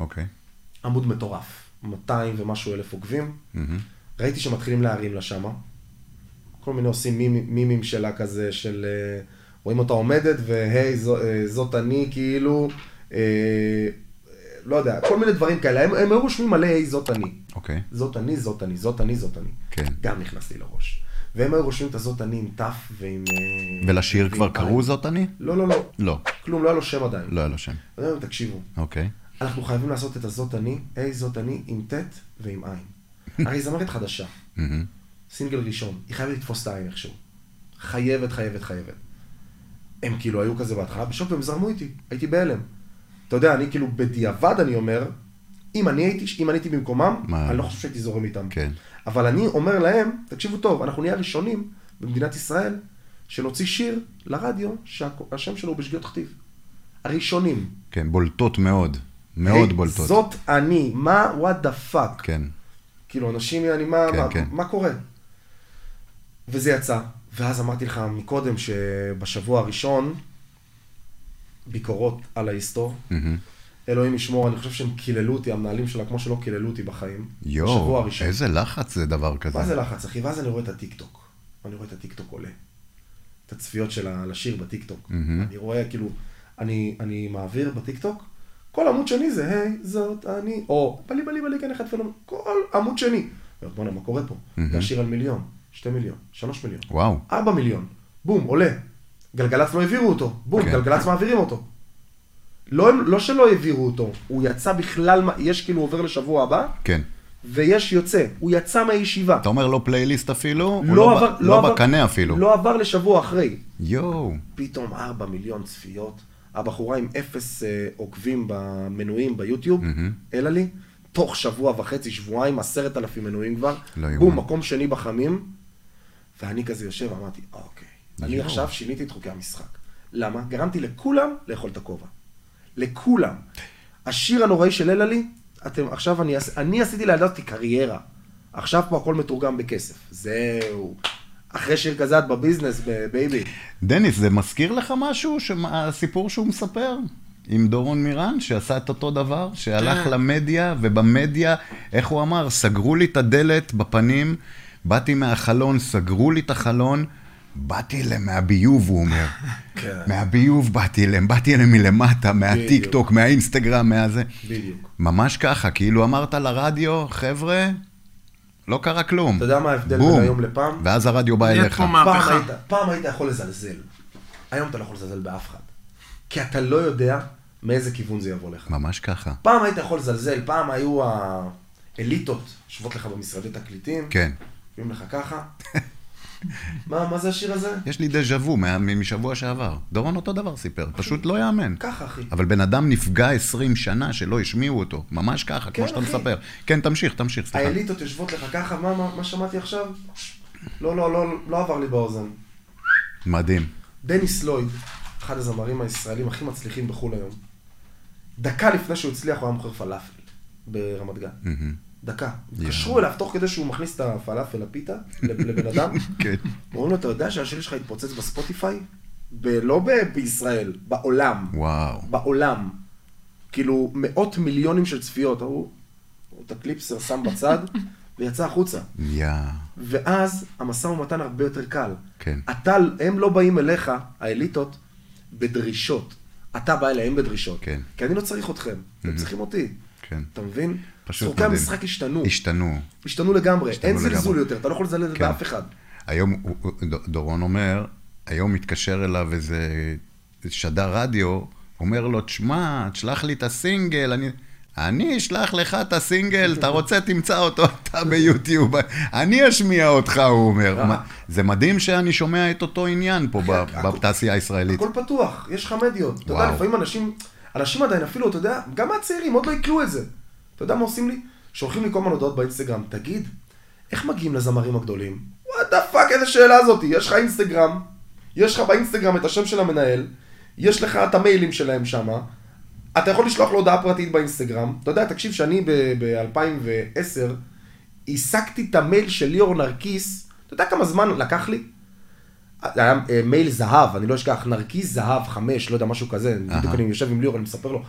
אוקיי.
עמוד מטורף, 200 ומשהו אלף עוקבים. ראיתי שמתחילים להרים לה שמה. כל מיני עושים מימ- מימים שלה כזה, של אה, רואים אותה עומדת, והי, זו- אה, זאת אני, כאילו, אה, לא יודע, כל מיני דברים כאלה. הם- הם היו רושמים מלא, היי, זאת אני.
אוקיי.
זאת אני, זאת אני, זאת אני, זאת אני.
כן.
גם נכנס לי לראש. והם היו רושמים את הזאת אני עם תף ועם... אה,
ולשיר
ועם
כבר
עין.
קראו זאת אני?
לא, לא, לא.
לא.
כלום, לא היה לו שם עדיין.
לא היה לו שם.
אני אומר, תקשיבו,
אוקיי.
אנחנו חייבים לעשות את הזאת אני, היי זאת אני, עם ט' ועם עין. הרי היא זמרת חדשה,
מהמם.
סינגל ראשון, היא חייבת לתפוס את העין איכשהו. חייבת, חייבת, חייבת. הם כאילו היו כזה בהתחלה בשוק והם זרמו איתי, הייתי בהלם. אתה יודע, אני כאילו בדיעבד אני אומר, אם אני הייתי, אם אני הייתי במקומם,
מה?
אני לא חושב שהייתי זורם איתם.
כן.
אבל אני אומר להם, תקשיבו טוב, אנחנו נהיה הראשונים במדינת ישראל שנוציא שיר לרדיו שהשם שלו הוא בשגיאות כתיב. הראשונים.
כן, בולטות מאוד. מאוד
היי,
בולטות.
אה, זאת אני, מה, what the fuck.
כן.
כאילו, אנשים, אני, מה,
כן,
מה,
כן.
מה קורה? וזה יצא. ואז אמרתי לך מקודם שבשבוע הראשון, ביקורות על ההיסטור.
מהמם.
אלוהים ישמור, אני חושב שהם קיללו אותי, המנהלים שלה, כמו שלא קיללו אותי בחיים. בשבוע
יואו,
הראשון.
איזה לחץ זה דבר כזה.
מה זה לחץ, אחי? ואז אני רואה את הטיקטוק. אני רואה את הטיקטוק עולה. את הצפיות של ה- לשיר בטיקטוק.
מהמם.
אני רואה, כאילו, אני, אני מעביר בטיקטוק, כל עמוד שני זה, היי, זאת אני, או בלי בלי בלי, כן אחד פנום, כל עמוד שני. אני אומר, בואנה, מה קורה פה? זה השיר על מיליון, שתי מיליון, שלוש מיליון,
וואו.
ארבע מיליון, בום, עולה. גלגלצ לא העבירו אותו, בום,
כן.
גלגלצ מעבירים אותו. לא, הם- לא שלא העבירו אותו, הוא יצא בכלל, מה- יש כאילו עובר לשבוע הבא,
כן.
ויש יוצא, הוא יצא מהישיבה.
אתה אומר לא פלייליסט אפילו? הוא
לא
ב-
עבר,
לא בקנה אפילו.
לא עבר לשבוע אחרי.
יואו.
פתאום 4 מיליון צפיות, הבחורה עם אפס אה, עוקבים במנויים ביוטיוב, אלא לי, תוך שבוע וחצי, שבועיים, עשרת אלפים מנויים כבר,
לא יאומן.
בום, מקום שני בחמים, ואני כזה יושב, אמרתי, אוקיי, אני
יואו.
עכשיו שיניתי את חוקי המשחק. למה? גרמתי לכולם לאכול את הכובע. לכולם. השיר הנוראי של אלה לי, אתם, עכשיו אני, אעשה- אני עשיתי לילדתי קריירה. עכשיו פה הכל מתורגם בכסף. זהו. אחרי שיר כזה את בביזנס, ב- בייבי.
דניס, זה מזכיר לך משהו, שמה- הסיפור שהוא מספר? עם דורון מירן, שעשה את אותו דבר, שהלך
כן.
למדיה, ובמדיה, איך הוא אמר? סגרו לי את הדלת בפנים, באתי מהחלון, סגרו לי את החלון, באתי אליהם מהביוב, הוא אומר.
כן.
מהביוב באתי אליהם, באתי אליהם מלמטה, מהטיק טוק, מהאינסטגרם, מהזה.
בדיוק.
ממש ככה, כאילו אמרת לרדיו, חבר'ה, לא קרה כלום.
אתה יודע מה ההבדל
בום.
בין היום לפעם?
ואז הרדיו בא
יש
אליך.
פה מה-
פעם
מהפכה.
היית, פעם היית יכול לזלזל. היום אתה לא יכול לזלזל באף אחד. כי אתה לא יודע מאיזה כיוון זה יבוא לך.
ממש ככה.
פעם היית יכול לזלזל, פעם היו האליטות יושבות לך במשרדי תקליטים.
כן.
יושבים לך ככה. מה, מה זה השיר הזה?
יש לי דז'ה וו מה- מ- משבוע שעבר. דורון אותו דבר סיפר, פשוט לא יאמן.
ככה, אחי.
אבל בן אדם נפגע 20 שנה שלא השמיעו אותו, ממש ככה, כמו
כן,
שאתה
אחי.
מספר. כן, תמשיך, תמשיך, סליחה.
האליטות יושבות לך ככה, מה, מה, מה שמעתי עכשיו? לא, לא, לא, לא עבר לי באוזן.
מדהים.
דניס לויד, אחד הזמרים הישראלים הכי מצליחים בחו"ל היום, דקה לפני שהוא הצליח הוא היה מוכר פלאפל ברמת גן. דקה. התקשרו אליו תוך כדי שהוא מכניס את הפלאפל לפיתה, לב- לבן אדם.
כן.
אומרים לו, אתה יודע שהשיר שלך התפוצץ בספוטיפיי? ב- לא ב- בישראל, בעולם.
וואו.
בעולם. כאילו, מאות מיליונים של צפיות. הוא הוא את הקליפסר שם בצד ויצא החוצה.
יא.
ואז המשא ומתן הרבה יותר קל.
כן.
אתה, הם לא באים אליך, האליטות, בדרישות. אתה בא אליהם בדרישות.
כן.
כי אני לא צריך אתכם, אתם צריכים אותי.
כן.
אתה מבין?
פשוט
צורכי
מדהים.
המשחק השתנו.
השתנו.
השתנו לגמרי.
השתנו
אין
לגמרי.
זלזול יותר, אתה לא יכול לזלזל
כן.
באף אחד.
היום, הוא- הוא- ד- דורון אומר, היום מתקשר אליו איזה שדר רדיו, אומר לו, תשמע, תשלח לי את הסינגל, אני... אני אשלח לך את הסינגל, אתה רוצה, תמצא אותו אתה ביוטיוב, אני אשמיע אותך, הוא אומר.
אה.
מה- זה מדהים שאני שומע את אותו עניין פה ב- בתעשייה הישראלית.
הכל פתוח, יש לך מדיות. אתה יודע,
וואו.
לפעמים אנשים, אנשים עדיין אפילו, אתה יודע, גם מהצעירים עוד לא עיכלו את זה. אתה יודע מה עושים לי? שולחים לי כל מיני הודעות באינסטגרם, תגיד, איך מגיעים לזמרים הגדולים? וואט דה פאק, איזה שאלה זאתי, יש לך אינסטגרם, יש לך באינסטגרם את השם של המנהל, יש לך את המיילים שלהם שמה, אתה יכול לשלוח לו הודעה פרטית באינסטגרם. אתה יודע, תקשיב, שאני ב-2010 השגתי את המייל של ליאור נרקיס, אתה יודע כמה זמן לקח לי? זה היה אה, מייל זהב, אני לא אשכח, נרקיס זהב חמש, לא יודע, משהו כזה, בדיוק אני יושב עם ליאור, אני מספר לו.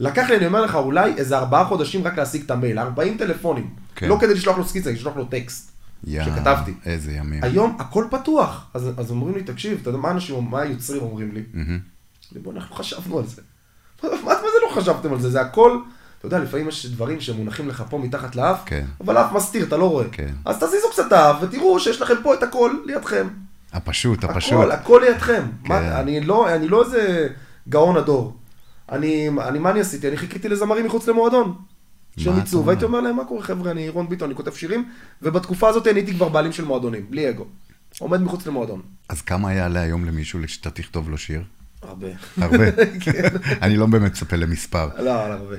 לקח לי, אני אומר לך, אולי איזה ארבעה חודשים רק להשיג את המייל, 40 טלפונים.
כן.
לא כדי לשלוח לו סקיצה, לשלוח לו טקסט,
יא,
שכתבתי.
איזה ימים.
היום הכל פתוח, אז, אז אומרים לי, תקשיב, אתה יודע מה אנשים, מה היוצרים אומרים לי? אני, בוא, אנחנו חשבנו על זה. מה מה זה לא חשבתם על זה? זה הכל, אתה יודע, לפעמים יש דברים שמונחים לך פה מתחת לאף,
כן.
אבל האף מסתיר, אתה לא רואה.
כן.
אז תזיזו קצת את האף ותראו שיש לכם פה את הכל לידכם.
הפשוט, הפשוט.
הכל, הכל לידכם.
כן.
מה, אני לא אני לא איזה גאון הדור. אני, אני, מה אני עשיתי? אני חיכיתי לזמרים מחוץ למועדון. שהם
אתה
יצאו,
אומר?
והייתי אומר להם, מה קורה חבר'ה, אני רון ביטון, אני כותב שירים, ובתקופה הזאת אני הייתי כבר בעלים של מועדונים, בלי אגו. עומד מחוץ למועדון.
אז כמה יעלה היום למישהו שאתה תכתוב לו שיר?
הרבה.
הרבה.
כן.
אני לא באמת מצפה למספר.
לא, לא, הרבה.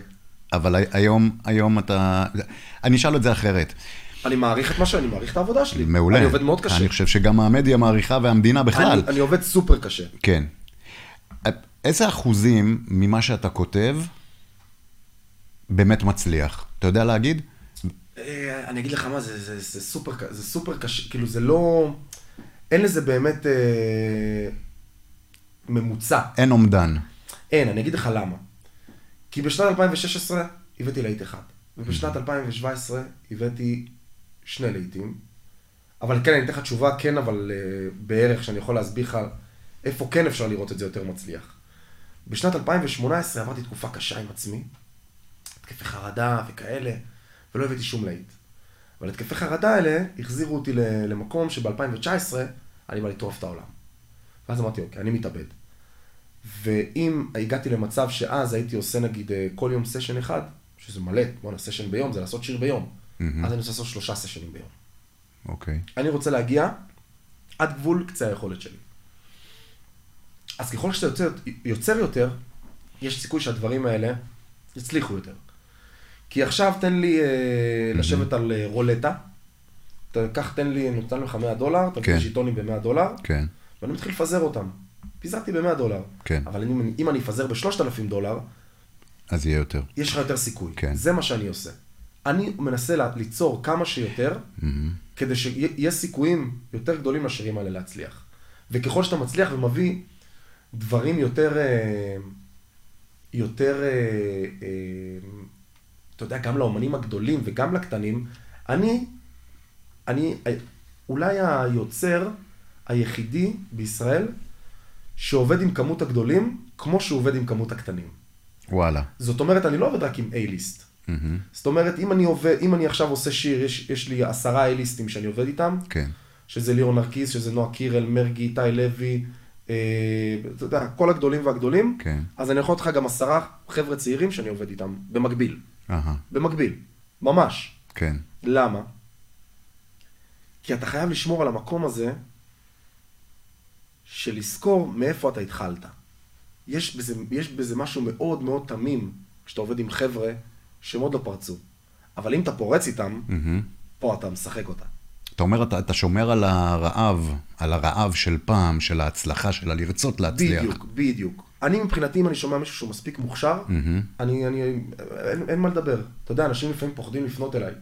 אבל הי- היום, היום אתה... אני אשאל את זה אחרת.
אני מעריך את מה שאני מעריך את העבודה שלי.
מעולה.
אני עובד מאוד קשה.
אני חושב שגם המדיה מעריכה והמדינה בכלל.
אני, אני עובד סופר קשה.
כן. איזה אחוזים ממה שאתה כותב באמת מצליח? אתה יודע להגיד?
אה, אני אגיד לך מה, זה, זה, זה, סופר, ק- זה סופר קשה, כאילו זה לא... אין לזה באמת אה, ממוצע.
אין אומדן.
אין, אני אגיד לך למה. כי בשנת 2016 הבאתי להיט אחד, ובשנת 2017 הבאתי שני להיטים. אבל כן, אני אתן לך תשובה, כן, אבל אה, בערך שאני יכול להסביר לך איפה כן אפשר לראות את זה יותר מצליח. בשנת 2018 עברתי תקופה קשה עם עצמי, התקפי חרדה וכאלה, ולא הבאתי שום להיט. אבל התקפי חרדה האלה החזירו אותי ל- למקום שב-2019 אני בא לטרוף את העולם. ואז אמרתי, אוקיי, אני מתאבד. ואם הגעתי למצב שאז הייתי עושה נגיד אה, כל יום סשן אחד, שזה מלא, בואנה, סשן ביום זה לעשות שיר ביום, אז אני רוצה לעשות שלושה סשנים ביום.
אוקיי.
אני רוצה להגיע עד גבול קצה היכולת שלי. אז ככל שאתה יוצר, יוצר יותר, יש סיכוי שהדברים האלה יצליחו יותר. כי עכשיו תן לי אה, לשבת על אה, רולטה, אתה- קח תן לי, נותן לך 100 דולר, אתה
כן.
מביא שיטונים ב-100 דולר,
כן.
ואני מתחיל לפזר אותם. פיזרתי ב-100 דולר.
כן.
אבל אם, אם אני אפזר ב-3,000 דולר,
אז יהיה יותר.
יש לך יותר סיכוי.
כן.
זה מה שאני עושה. אני מנסה לה- ליצור כמה שיותר, כדי שיש סיכויים יותר גדולים לשירים האלה להצליח. וככל שאתה מצליח ומביא דברים יותר, אה, יותר, אה, אה, אתה יודע, גם לאומנים הגדולים וגם לקטנים, אני, אני אה, אולי היוצר היחידי בישראל שעובד עם כמות הגדולים כמו שהוא עובד עם כמות הקטנים.
וואלה.
זאת אומרת, אני לא עובד רק עם A-ליסט. זאת אומרת, אם אני, עובד, אם אני עכשיו עושה שיר, יש, יש לי עשרה A-ליסטים שאני עובד איתם,
כן.
שזה ליאור נרקיס, שזה נועה קירל, מרגי, איתי לוי, אה, אתה יודע, כל הגדולים והגדולים,
כן.
אז אני יכול לתת לך גם עשרה חבר'ה צעירים שאני עובד איתם, במקביל.
אהה.
במקביל, ממש.
כן.
למה? כי אתה חייב לשמור על המקום הזה של לזכור מאיפה אתה התחלת. יש בזה, יש בזה משהו מאוד מאוד תמים כשאתה עובד עם חבר'ה שהם עוד לא פרצו. אבל אם אתה פורץ איתם,
מהמם.
פה אתה משחק אותה.
אתה אומר, אתה, אתה שומר על הרעב, על הרעב של פעם, של ההצלחה, של הלרצות להצליח.
בדיוק, בדיוק. אני מבחינתי, אם אני שומע מישהו שהוא מספיק מוכשר, אני, אני, אין, אין מה לדבר. אתה יודע, אנשים לפעמים פוחדים לפנות אליי.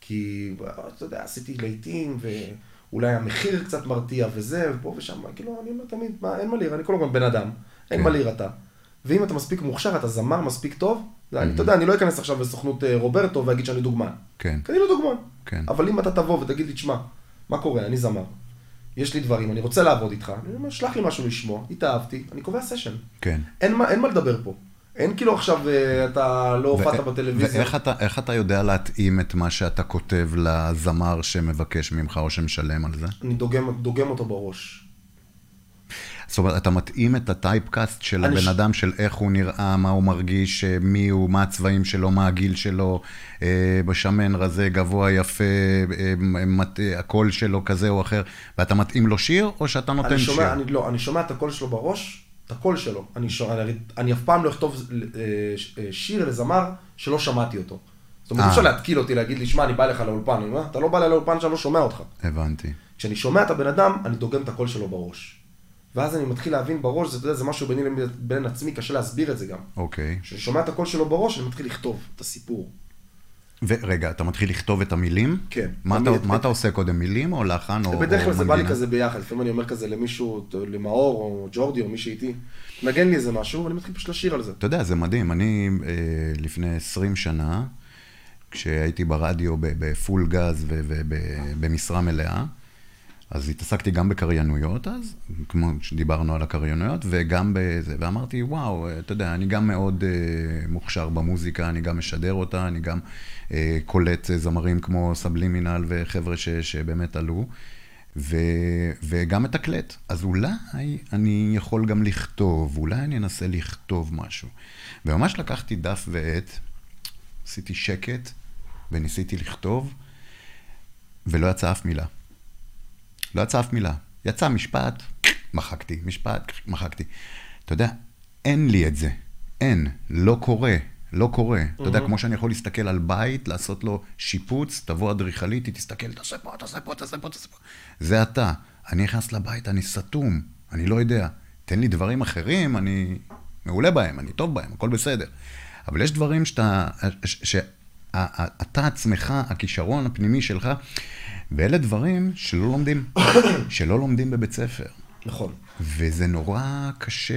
כי, אתה יודע, עשיתי להיטים, ואולי המחיר קצת מרתיע וזה, ופה ושם, כאילו, אני אומר תמיד, מה, אין מה להיר, אני כל הזמן בן אדם, אין
כן.
מה להיר אתה. ואם אתה מספיק מוכשר, אתה זמר מספיק טוב, זה, אני, אתה יודע, אני לא אכנס עכשיו לסוכנות אה, רוברטו ואגיד שאני דוגמן.
כן.
כי אני לא דוגמן.
כן.
אבל אם אתה תבוא ותגיד לי, תשמע, מה קורה, אני זמר, יש לי דברים, אני רוצה לעבוד איתך, אני אומר, שלח לי משהו לשמוע, התאהבתי, אני קובע סשן.
כן.
אין מה, אין מה לדבר פה. אין כאילו עכשיו אה, אתה לא הופעת
ו-
בטלוויזיה.
ואיך אתה, איך אתה יודע להתאים את מה שאתה כותב לזמר שמבקש ממך או שמשלם על זה?
אני דוגם, דוגם אותו בראש.
זאת אומרת, אתה מתאים את הטייפקאסט של
אני
הבן
ש-
אדם, של איך הוא נראה, מה הוא מרגיש, אה, מי הוא, מה הצבעים שלו, מה הגיל שלו, אה, בשמן, רזה, גבוה, יפה, אה, מת- אה, הקול שלו כזה או אחר, ואתה מתאים לו שיר, או שאתה נותן
אני
שיר?
שומע, אני, לא, אני שומע את הקול שלו בראש, את הקול שלו. אני, שומע, אני, הרי- אני אף פעם לא אכתוב אה, ש- אה, שיר לזמר שלא שמעתי אותו. זאת אומרת,
אה.
אי אפשר להתקיל אותי, להגיד לי, שמע, אני בא אליך לאולפן. אני אומר, אתה לא בא אליי לאולפן שאני לא שומע אותך.
הבנתי.
כשאני שומע את הבן אדם, אני דוגם את הקול שלו בראש. ואז אני מתחיל להבין בראש, זה, אתה יודע, זה משהו ביני לבין- בין עצמי, קשה להסביר את זה גם.
אוקיי.
כשאני שומע את הקול שלו בראש, אני מתחיל לכתוב את הסיפור.
ורגע, אתה מתחיל לכתוב את המילים?
כן.
מה אתה-
תמיד.
מה אתה עושה קודם, מילים או לחן או או
בדרך כלל זה בא לי
מנגינה?
כזה ביחד, לפעמים אני אומר כזה למישהו, למאור או ג'ורדי או מי שאיתי, נגן לי איזה משהו, ואני מתחיל פשוט לשיר על זה.
אתה יודע, זה מדהים. אני אה, לפני 20 שנה, כשהייתי ברדיו ב- בפול גז ובמשרה מלאה, אז התעסקתי גם בקריינויות אז, כמו שדיברנו על הקריינויות, וגם בזה, ואמרתי, וואו, אה, אתה יודע, אני גם מאוד אה, מוכשר במוזיקה, אני גם משדר אותה, אני גם אה, קולט אה, זמרים כמו סבלימינל וחבר'ה ש, שבאמת עלו, ו, וגם מתקלט. אז אולי אני יכול גם לכתוב, אולי אני אנסה לכתוב משהו. וממש לקחתי דף ועט, עשיתי שקט, וניסיתי לכתוב, ולא יצאה אף מילה. לא יצאה אף מילה. יצא משפט, מחקתי, משפט, מחקתי. אתה יודע, אין לי את זה. אין. לא קורה. לא קורה. אתה יודע, כמו שאני יכול להסתכל על בית, לעשות לו שיפוץ, תבוא אדריכלית, היא תסתכל, תעשה פה, תעשה פה, תעשה פה, תעשה פה. זה אתה. אני נכנס לבית, אני סתום, אני לא יודע. תן לי דברים אחרים, אני מעולה בהם, אני טוב בהם, הכל בסדר. אבל יש דברים שאתה, ש- שאתה עצמך, הכישרון הפנימי שלך, ואלה דברים שלא לומדים, שלא לומדים בבית ספר.
נכון.
וזה נורא קשה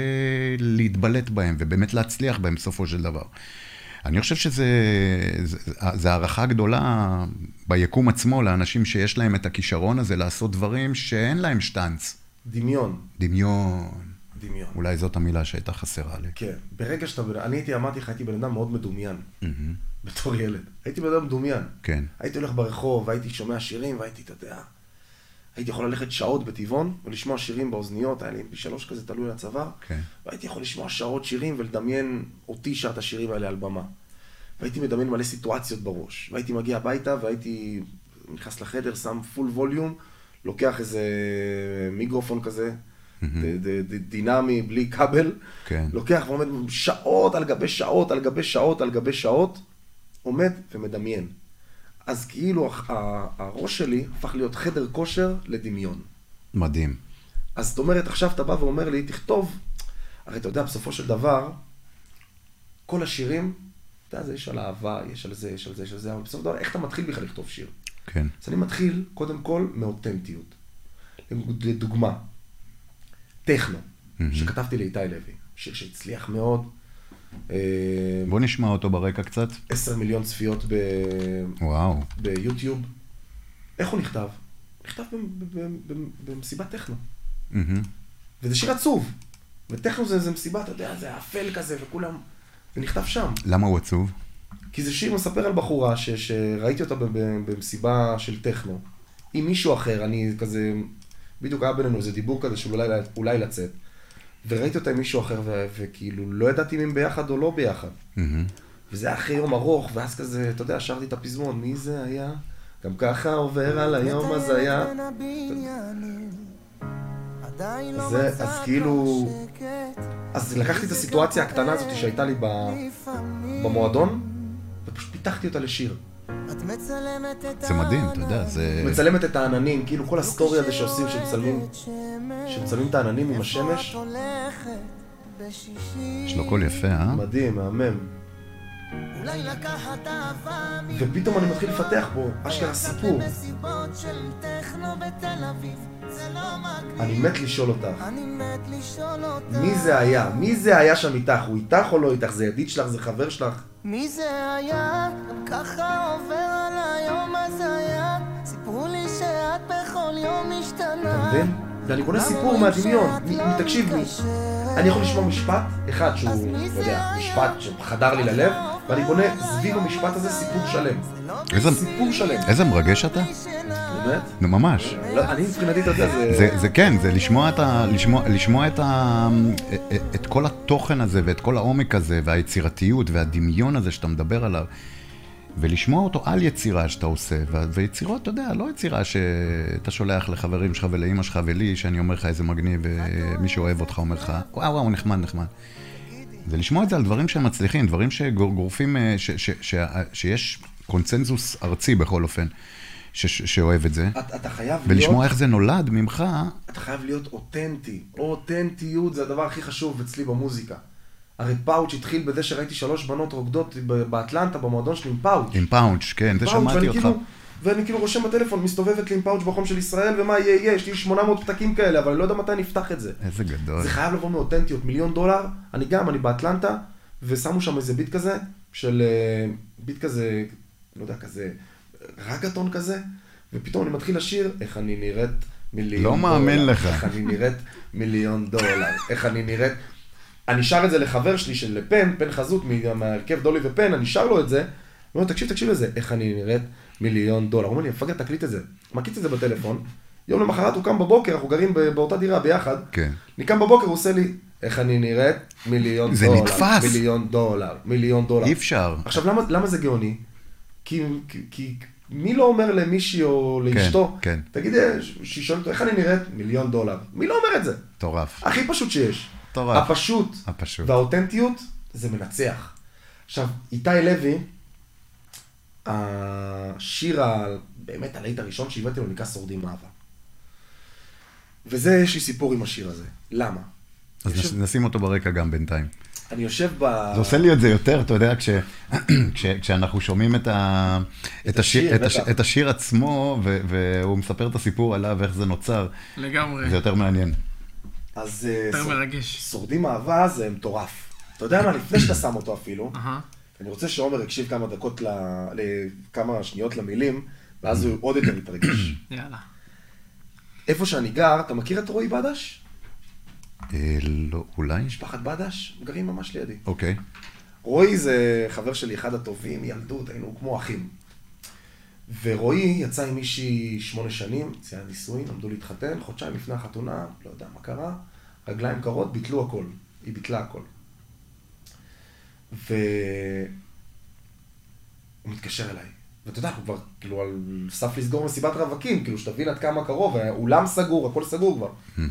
להתבלט בהם, ובאמת להצליח בהם בסופו של דבר. אני חושב שזה זה, זה הערכה גדולה ביקום עצמו לאנשים שיש להם את הכישרון הזה לעשות דברים שאין להם שטנץ.
דמיון.
דמיון.
דמיון.
אולי זאת המילה שהייתה חסרה לי.
כן. ברגע שאתה, בן- אני הייתי, אמרתי לך, הייתי בן אדם מאוד מדומיין. בתור ילד. הייתי בן אדם מדומיין.
כן.
הייתי הולך ברחוב, והייתי שומע שירים, והייתי, אתה יודע, הייתי יכול ללכת שעות בטבעון, ולשמוע שירים באוזניות, היה לי מפי שלוש כזה תלוי לצוואר,
כן.
והייתי יכול לשמוע שעות שירים ולדמיין אותי שר את השירים האלה על במה. והייתי מדמיין מלא סיטואציות בראש, והייתי מגיע הביתה, והייתי נכנס לחדר, שם פול ווליום, לוקח איזה מיקרופון כזה, ד- ד- ד- דינמי, בלי כבל,
כן.
לוקח ועומד שעות על גבי שעות על גבי שעות על גבי שעות, עומד ומדמיין. אז כאילו הח- ה- הראש שלי הפך להיות חדר כושר לדמיון.
מדהים.
אז זאת אומרת, עכשיו אתה בא ואומר לי, תכתוב. הרי אתה יודע, בסופו של דבר, כל השירים, אתה יודע, זה יש על אהבה, יש על זה, יש על זה, יש על זה, אבל בסופו של דבר, איך אתה מתחיל בכלל לכתוב שיר?
כן.
אז אני מתחיל, קודם כל, מאותנטיות. לדוגמה, טכנו, שכתבתי לאיתי לוי, שיר שהצליח מאוד, אה,
בוא נשמע אותו ברקע קצת.
10 מיליון צפיות ב-
וואו.
ביוטיוב. איך הוא נכתב? נכתב ב- ב- ב- במסיבת טכנו.
מהמם.
וזה שיר עצוב. וטכנו זה, זה מסיבה, אתה יודע, זה אפל כזה, וכולם... זה נכתב שם.
למה הוא עצוב?
כי זה שיר מספר על בחורה ש, שראיתי אותה ב- ב- במסיבה של טכנו. עם מישהו אחר, אני כזה... בדיוק היה בינינו איזה דיבור כזה של אולי, אולי לצאת. וראיתי אותה עם מישהו אחר, ו, וכאילו לא ידעתי אם הם ביחד או לא ביחד.
מהמם.
וזה היה אחרי יום ארוך, ואז כזה, אתה יודע, שרתי את הפזמון, מי זה היה? גם ככה עובר על היום אז היה.
לא
זה, אז כאילו... אז לקחתי את הסיטואציה הקטנה הזאת שהייתה לי ב- במועדון, ופשוט פיתחתי אותה לשיר.
זה מדהים, אתה יודע, זה...
מצלמת את העננים, כאילו כל הסטורי הזה שעושים, שמצלמים, שמצלמים את העננים עם השמש,
יש לו קול יפה, אה?
מדהים, מהמם. ופתאום אני מתחיל לפתח בו, אשכרה סיפור.
לא
אני מת לשאול אותך, מי זה היה? מי זה היה שם איתך? הוא איתך או לא איתך? זה ידיד שלך? זה חבר שלך?
מי זה היה? גם ככה עובר על היום אז היה סיפרו לי שאת בכל יום
אתה
משתנה
מבין? ואני קונה
לא
סיפור מהדמיון. מ- תקשיב, מ- אני יכול לשמוע משפט אחד שהוא, לא יודע, משפט שחדר לי ללב, ואני בונה סביב המשפט הזה סיפור שלם.
איזה...
סיפור שלם.
איזה מרגש אתה?
באמת?
נו, ממש.
לא, אני מבחינתי, אתה יודע, זה...
זה, זה כן, זה לשמוע את, ה, לשמוע, לשמוע את, ה, את כל התוכן הזה ואת כל העומק הזה והיצירתיות והדמיון הזה שאתה מדבר עליו, ולשמוע אותו על יצירה שאתה עושה, ו- ויצירות, אתה יודע, לא יצירה שאתה שולח לחברים שלך ולאימא שלך ולי, שאני אומר לך איזה מגניב, ומי שאוהב אותך אומר לך, וואו וואו, נחמד, נחמד. זה לשמוע את זה על דברים אה, שהם מצליחים, דברים שגורפים, ש, ש, ש, שיש קונצנזוס ארצי בכל אופן, ש- שאוהב את זה,
אתה אתה חייב להיות...
ולשמוע איך זה נולד ממך,
אתה חייב להיות אותנטי. אותנטיות זה הדבר הכי חשוב אצלי במוזיקה. הרי פאוץ' התחיל בזה שראיתי שלוש בנות רוקדות ב- באטלנטה, במועדון שלי עם פאוץ'.
עם פאונץ', כן, זה
פאוץ',
שמעתי
ואני
אותך.
כאילו- ואני כאילו רושם בטלפון, מסתובבת לי עם פאוץ' בחום של ישראל, ומה יהיה יהיה, יש לי 800 פתקים כאלה, אבל אני לא יודע מתי נפתח את זה.
איזה גדול.
זה חייב לבוא מאותנטיות, מיליון דולר, אני גם, אני באטלנטה, ושמו שם איזה ביט כזה, של אה, ביט כזה, לא יודע, כזה רגטון כזה, ופתאום אני מתחיל לשיר, איך אני נראית מיליון
לא
דולר.
מאמין לך.
איך אני נראית מיליון דולר, איך אני נראית... אני שר את זה לחבר שלי, של פן, פן חזות, מה- מהרכב דולי ופן, אני שר לו את זה, אני אומר לו, תקשיב, תקשיב לזה, איך אני נראית מיליון דולר. הוא אומר לי, מפגר, תקליט את זה. מקיץ את זה בטלפון, יום למחרת הוא קם בבוקר, אנחנו גרים ב- באותה דירה ביחד,
כן.
אני קם בבוקר, הוא עושה לי, איך אני נראית? מיליון
זה
דולר.
נתפס.
מיליון דולר, מיליון דולר.
אי אפשר.
עכשיו, למה, למה זה גאוני? כי, כי, כי מי לא אומר למישהי או לאשתו,
כן.
תגיד, שהיא שואלת אותו, איך אני נראית? מיליון דולר. מי לא אומר את זה?
מטורף.
הכי פשוט שיש.
מטורף.
הפשוט,
הפשוט.
והאותנטיות, זה מנצח. עכשיו, איתי לוי, השיר, ה... באמת הלהיט הראשון שהבאתי לו נקרא שורדים אהבה. וזה, יש לי סיפור עם השיר הזה. למה?
אז נש- נשים אותו ברקע גם בינתיים.
אני יושב ב...
זה עושה לי את זה יותר, אתה יודע, כש, כש, כשאנחנו שומעים את, ה, את, השיר,
השיר,
את, הש,
בטח.
את השיר עצמו, ו, והוא מספר את הסיפור עליו ואיך זה נוצר,
לגמרי.
זה יותר מעניין.
אז אה,
יותר
ש-
מרגש.
שורדים אהבה זה מטורף. אתה יודע מה, לפני שאתה שם אותו אפילו,
אהה.
אני רוצה שעומר יקשיב כמה דקות, ל... לכמה שניות למילים, ואז הוא עוד יותר יתרגש.
יאללה.
איפה שאני גר, אתה מכיר את רועי בדש?
אה, לא, אולי?
משפחת בדש? הם גרים ממש לידי.
אוקיי.
רועי זה חבר שלי, אחד הטובים, ילדות, היינו כמו אחים. ורועי יצא עם מישהי שמונה שנים, יציאה נישואין, עמדו להתחתן, חודשיים לפני החתונה, לא יודע מה קרה, רגליים קרות, ביטלו הכל. היא ביטלה הכל. והוא מתקשר אליי. ואתה יודע, אנחנו כבר כאילו על סף לסגור מסיבת רווקים, כאילו שתבין עד כמה קרוב, האולם סגור, הכל סגור כבר.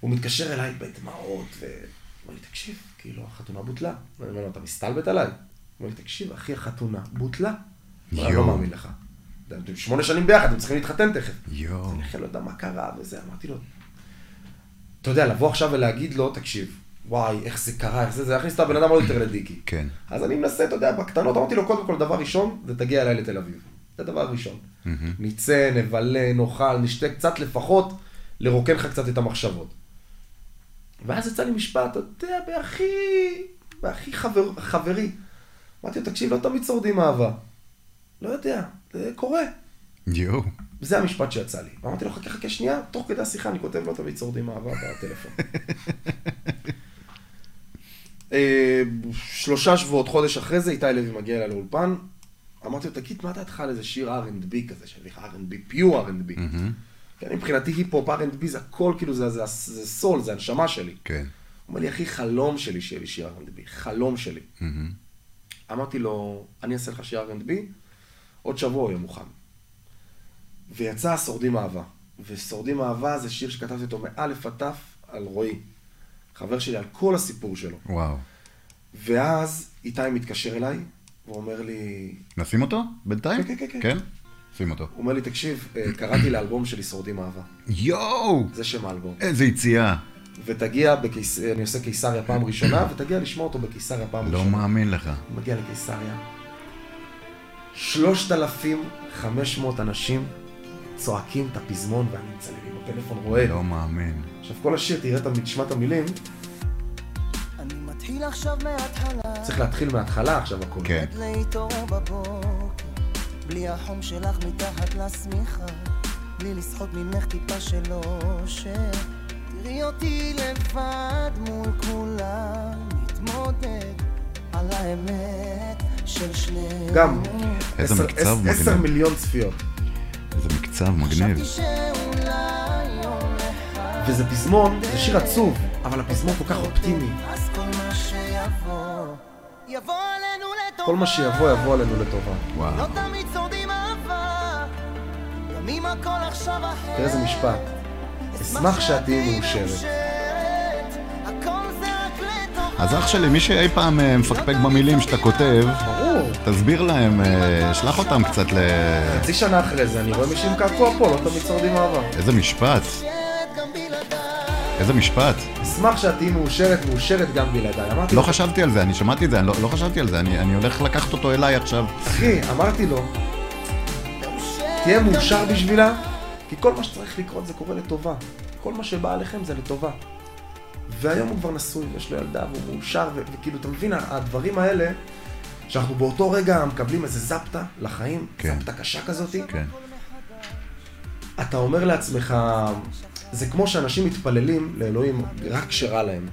הוא מתקשר אליי בדמעות, ואומר לי, תקשיב, כאילו, החתונה בוטלה. ואני אומר לו, אתה מסתלבט עליי? הוא אומר לי, תקשיב, אחי, החתונה בוטלה. אני לא
יואו.
מאמין לך. אתם שמונה שנים ביחד, אתם צריכים להתחתן תכף.
יואו.
אני בכלל לא יודע מה קרה וזה, אמרתי לו, אתה יודע, לבוא עכשיו ולהגיד לו, תקשיב, וואי, איך זה קרה, איך זה, זה יכניס את הבן אדם עוד יותר לדיקי.
כן.
אז אני מנסה, אתה יודע, בקטנות, אמרתי לו, קודם כל, דבר ראשון, זה תגיע אליי לתל אביב. זה דבר ראשון. נצא, נבלה, נאכל, נשתה קצת לפחות, לרוקן לך קצת את המחשבות. ואז יצא לי משפט, אתה יודע, בהכי, בהכי חבר, חברי. אמרתי לו, תקשיב, לא תמיד שורדים אהבה. לא יודע, זה קורה.
יואו.
זה המשפט שיצא לי. ואמרתי לו, חכה, חכה שנייה, תוך כדי השיחה אני כותב לו את המצורדים אהבה בטלפון. אה, שלושה שבועות, חודש אחרי זה, איתי לוי מגיע אליי לאולפן. אמרתי לו, תגיד, מה דעתך על איזה שיר R&B כזה, שאני לך R&B, פיור R&B. כן, מבחינתי היפ-הופ, R&B זה הכל, כאילו, זה- זה זה סול, זה הנשמה שלי.
כן.
הוא אומר לי, אחי, חלום שלי שיהיה לי שיר R&B, חלום שלי. אמרתי לו, אני אעשה לך שיר R&B, עוד שבוע הוא יהיה מוכן. ויצא שורדים אהבה. ושורדים אהבה זה שיר שכתבתי אותו מאלף עד תף על רועי. חבר שלי על כל הסיפור שלו.
וואו.
ואז איתי מתקשר אליי, ואומר לי,
נשים אותו בינתיים?
כן, כן, כן.
כן? שים אותו.
הוא אומר לי, תקשיב, אה, קראתי לאלבום שלי שורדים אהבה.
יואו!
זה שם האלבום.
איזה יציאה.
ותגיע, בקיס... אני עושה קיסריה פעם ראשונה, ותגיע לשמוע אותו בקיסריה פעם
לא
ראשונה.
מאמין לך.
מגיע לקיסריה. 3,500 אנשים צועקים את הפזמון ואני מצלם עם הפלאפון רואה.
לא מאמין.
עכשיו כל השיר, תראה, את המ- תשמע את המילים,
אני מתחיל עכשיו מההתחלה
צריך להתחיל מההתחלה עכשיו הכול.
כן.
להתעורר בבוקר בלי החום שלך מתחת לשמיכה בלי לסחוט ממך טיפה של אושר תראי אותי לבד מול כולם מתמודד על האמת של שנינו
גם.
איזה
עשר-
מקצב אה?
עש-
מגניב.
עשר מיליון צפיות.
איזה מקצב מגניב.
חשבתי שאולי יום אחד
וזה פזמון, זה שיר עצוב, אבל הפזמון כל כך אופטימי.
אז כל מה שיבוא יבוא עלינו לטובה
כל מה שיבוא, יבוא עלינו לטובה.
לא
וואו.
תמיד שורדים אהבה גם אם הכל עכשיו אחרת
תראה איזה משפט. אשמח שאת תהיי מאושרת.
הכל זה רק לטובה
אז אח שלי, מי שאי פעם אה, מפקפק במילים שאתה כותב,
ברור.
תסביר להם, אה, שלח אותם קצת ל...
חצי שנה אחרי זה אני רואה מישהו עם קעקוע פה, לא תמיד שורדים אהבה.
איזה משפט,
נשארת גם בלעדיי
איזה משפט.
אשמח שאת תהיי מאושרת, מאושרת גם בלעדיי. אמרתי
לא
לו,
חשבתי על זה, אני שמעתי את זה, אני לא, לא חשבתי על זה, אני, אני הולך לקחת אותו אליי עכשיו.
אחי, אמרתי לו, תהיה מאושר בשבילה, כי כל מה שצריך לקרות זה קורה לטובה. כל מה שבא עליכם זה לטובה. והיום הוא כבר נשוי, יש לו ילדה, והוא מאושר, ו- וכאילו, אתה מבין, הדברים האלה, שאנחנו באותו רגע מקבלים איזה זפטה לחיים,
כן.
זפטה קשה כזאת,
כן,
אתה אומר לעצמך, זה כמו שאנשים מתפללים לאלוהים רק כשרע להם.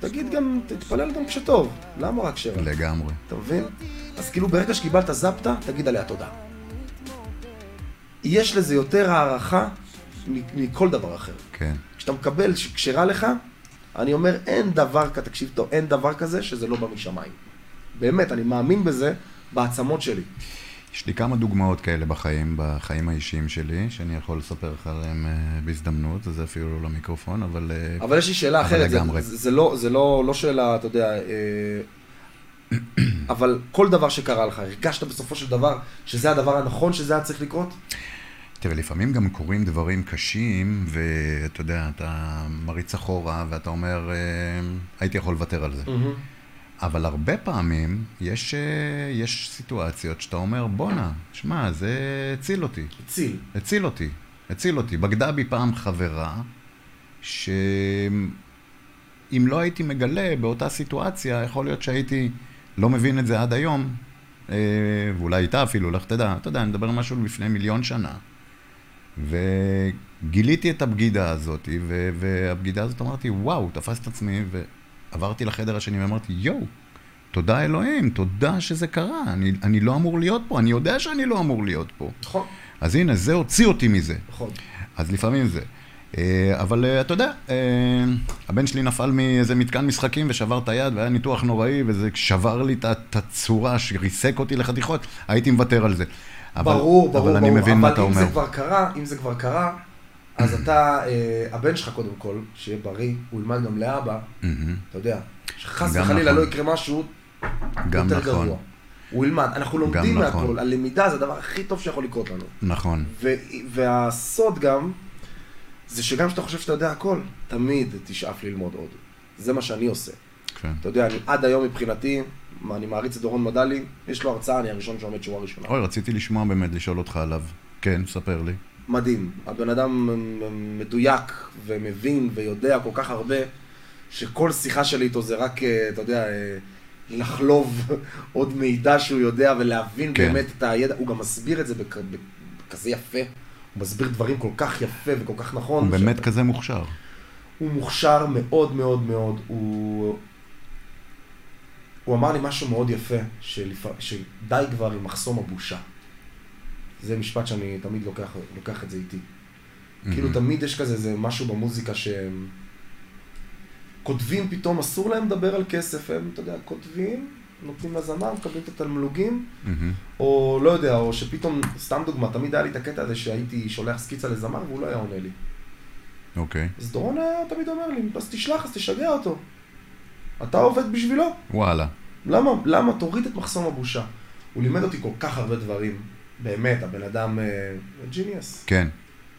תגיד גם, תתפלל גם כשטוב, למה רק כשרע?
לגמרי.
אתה מבין? אז כאילו ברגע שקיבלת זפטה, תגיד עליה תודה. יש לזה יותר הערכה מ- מכל דבר אחר.
כן,
כשאתה מקבל, ש- כשרע לך, אני אומר, אין דבר כזה, תקשיב טוב, אין דבר כזה שזה לא בא משמיים. באמת, אני מאמין בזה בעצמות שלי.
יש לי כמה דוגמאות כאלה בחיים, בחיים האישיים שלי, שאני יכול לספר לך עליהם אה, בהזדמנות, זה אפילו לא למיקרופון, אבל... אה,
אבל יש לי שאלה
אבל
אחרת, זה,
לגמרי.
זה, זה, לא, זה לא, לא שאלה, אתה יודע, אה, אבל כל דבר שקרה לך, הרגשת בסופו של דבר שזה הדבר הנכון שזה היה צריך לקרות?
תראה, לפעמים גם קורים דברים קשים, ואתה יודע, אתה מריץ אחורה, ואתה אומר, אה, הייתי יכול לוותר על זה. אבל הרבה פעמים יש, אה, יש סיטואציות שאתה אומר, בואנה, שמע, זה הציל אותי.
הציל.
הציל אותי, הציל אותי. בגדה בי פעם חברה, שאם לא הייתי מגלה באותה סיטואציה, יכול להיות שהייתי לא מבין את זה עד היום, אה, ואולי איתה אפילו, לך תדע. אתה יודע, אני מדבר על משהו לפני מיליון שנה. וגיליתי את הבגידה הזאת, ו- והבגידה הזאת אמרתי, וואו, תפס את עצמי, ועברתי לחדר השני ואמרתי, יואו, תודה אלוהים, תודה שזה קרה, אני, אני לא אמור להיות פה, אני יודע שאני לא אמור להיות פה.
נכון,
אז הנה, זה הוציא אותי מזה.
נכון.
אז לפעמים זה. אה, אבל אה, אתה יודע, אה, הבן שלי נפל מאיזה מתקן משחקים ושבר את היד והיה ניתוח נוראי וזה שבר לי את ה- את הצורה, שריסק אותי לחתיכות, הייתי מוותר על זה. אבל,
ברור, ברור,
אבל אני
ברור.
מבין מה אתה
אבל
אומר.
אם זה כבר קרה, אם זה כבר קרה, אז אתה, אה, הבן שלך קודם כל, שיהיה בריא, הוא ילמד גם לאבא,
מהמם,
אתה יודע, שחס
גם
וחלילה
נכון.
לא יקרה משהו
גם
יותר
נכון,
גרוע. הוא ילמד, אנחנו לומדים
גם נכון.
מהכל, הלמידה זה הדבר הכי טוב שיכול לקרות לנו.
נכון,
ו- והסוד גם, זה שגם כשאתה חושב שאתה יודע הכל, תמיד תשאף ללמוד עוד. זה מה שאני עושה.
כן.
אתה יודע, אני עד היום מבחינתי, מה, אני מעריץ את דורון מדלי, יש לו הרצאה, אני הראשון שעומד שורה ראשונה.
אוי, רציתי לשמוע באמת, לשאול אותך עליו. כן, ספר לי.
מדהים. הבן אדם מדויק ומבין ויודע כל כך הרבה, שכל שיחה שלי איתו זה רק, אה, אתה יודע, אה, לחלוב עוד מידע שהוא יודע ולהבין
כן.
כן. באמת את הידע. הוא גם מסביר את זה בכ... בכזה יפה. הוא מסביר דברים כל כך יפה וכל כך נכון.
הוא באמת
שאתה-
כזה מוכשר.
הוא מוכשר מאוד מאוד מאוד. הוא... הוא אמר לי משהו מאוד יפה, שלפ... שדי כבר עם מחסום הבושה. זה משפט שאני תמיד לוקח, לוקח את זה איתי. Mm-hmm. כאילו תמיד יש כזה איזה משהו במוזיקה שהם... כותבים פתאום, אסור להם לדבר על כסף, הם, אתה יודע, כותבים, נותנים לזמר, מקבלים את התלמלוגים,
מהמם,
או לא יודע, או שפתאום, סתם דוגמה, תמיד היה לי את הקטע הזה שהייתי שולח סקיצה לזמר והוא לא היה עונה לי.
אוקיי.
אז דורון היה תמיד אומר לי, אז תשלח, אז תשגע אותו. אתה עובד בשבילו,
וואלה.
למה? למה? תוריד את מחסום הבושה. הוא לימד אותי כל כך הרבה דברים. באמת, הבן אדם ג'יניאס.
כן.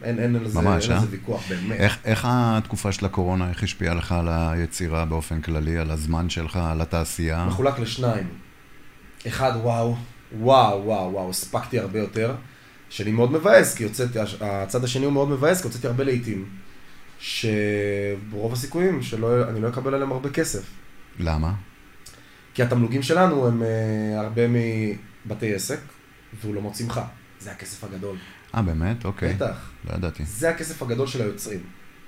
אין, אין, על זה-
ממש,
אין על
אה?
זה ויכוח, באמת.
איך, איך התקופה של הקורונה, איך השפיעה לך על היצירה באופן כללי, על הזמן שלך, על התעשייה?
מחולק לשניים. אחד, וואו, וואו, וואו, וואו, הספקתי הרבה יותר, שאני מאוד מבאס, כי הוצאתי, הצד השני הוא מאוד מבאס, כי הוצאתי הרבה לעיתים, שברוב הסיכויים שאני לא אקבל עליהם הרבה כסף.
למה?
כי התמלוגים שלנו הם אה, הרבה מבתי עסק, והוא לא מוציא ממך. זה הכסף הגדול.
אה, באמת? אוקיי.
בטח.
לא ידעתי.
זה הכסף הגדול של היוצרים.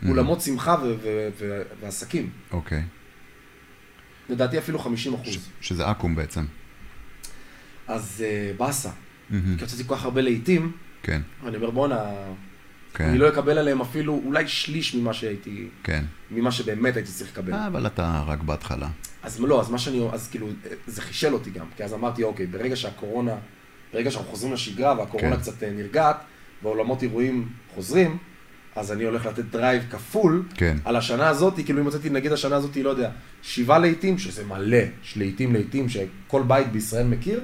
Mm.
אולמות שמחה ו- ו- ו- ועסקים.
אוקיי.
לדעתי אפילו 50
ש-
אחוז.
שזה עכו"ם בעצם.
אז אה, באסה.
מהמם.
כי הוצאתי כל כך הרבה לעיתים,
כן,
ואני אומר בואנה,
כן,
אני לא אקבל עליהם אפילו אולי שליש ממה שהייתי,
כן.
ממה שבאמת הייתי צריך לקבל.
אה, אבל אתה רק בהתחלה.
אז לא, אז מה שאני, אז כאילו, זה חישל אותי גם, כי אז אמרתי, אוקיי, ברגע שהקורונה, ברגע שאנחנו חוזרים לשגרה והקורונה
כן.
קצת אה, נרגעת, והעולמות אירועים חוזרים, אז אני הולך לתת דרייב כפול
כן.
על השנה הזאת, כאילו אם מצאתי נגיד השנה הזאת, לא יודע, שבעה להיטים, שזה מלא, יש להיטים להיטים שכל בית בישראל מכיר,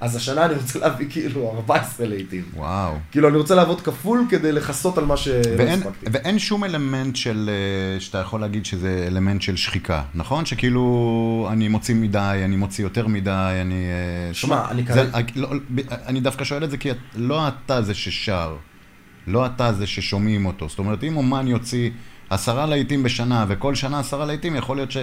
אז השנה אני רוצה להביא כאילו 14 להיטים.
וואו.
כאילו אני רוצה לעבוד כפול כדי לכסות על מה שלא
ואין,
לא הספקתי.
ואין שום אלמנט של, אה, שאתה יכול להגיד שזה אלמנט של שחיקה, נכון? שכאילו, אני מוציא מדי, אני מוציא יותר מדי, אני... אה,
שמע,
זאת אומרת,
אני
זה-
כרגע-
לא, ב- אני דווקא שואל את זה כי את- לא אתה זה ששר, לא אתה זה ששומעים אותו. זאת אומרת, אם אומן יוציא עשרה להיטים בשנה, וכל שנה עשרה להיטים, יכול להיות ש...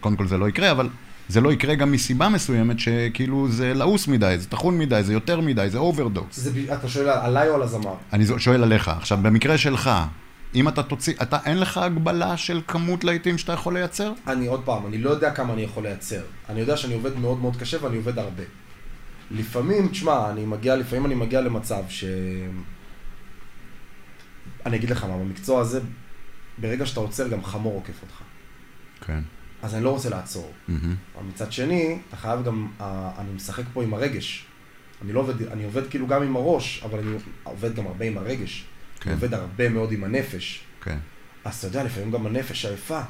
קודם כל זה לא יקרה, אבל... זה לא יקרה גם מסיבה מסוימת שכאילו זה לעוס מדי, זה טחון מדי, זה יותר מדי, זה אוברדוס.
זה ב- אתה שואל עליי או על הזמר?
אני זו- שואל עליך, עכשיו במקרה שלך, אם אתה תוציא, אתה אין לך הגבלה של כמות להיטים שאתה יכול לייצר?
אני עוד פעם, אני לא יודע כמה אני יכול לייצר. אני יודע שאני עובד מאוד מאוד קשה ואני עובד הרבה. לפעמים, תשמע, אני מגיע, לפעמים אני מגיע למצב ש... אני אגיד לך מה, במקצוע הזה, ברגע שאתה עוצר, גם חמור עוקף אותך.
כן.
אז אני לא רוצה לעצור. אבל מצד שני, אתה חייב גם, אה, אני משחק פה עם הרגש. אני לא עובד, אני עובד כאילו גם עם הראש, אבל אני עובד גם הרבה עם הרגש.
כן.
אני עובד הרבה מאוד עם הנפש.
כן.
אז אתה יודע, לפעמים גם הנפש עייפה.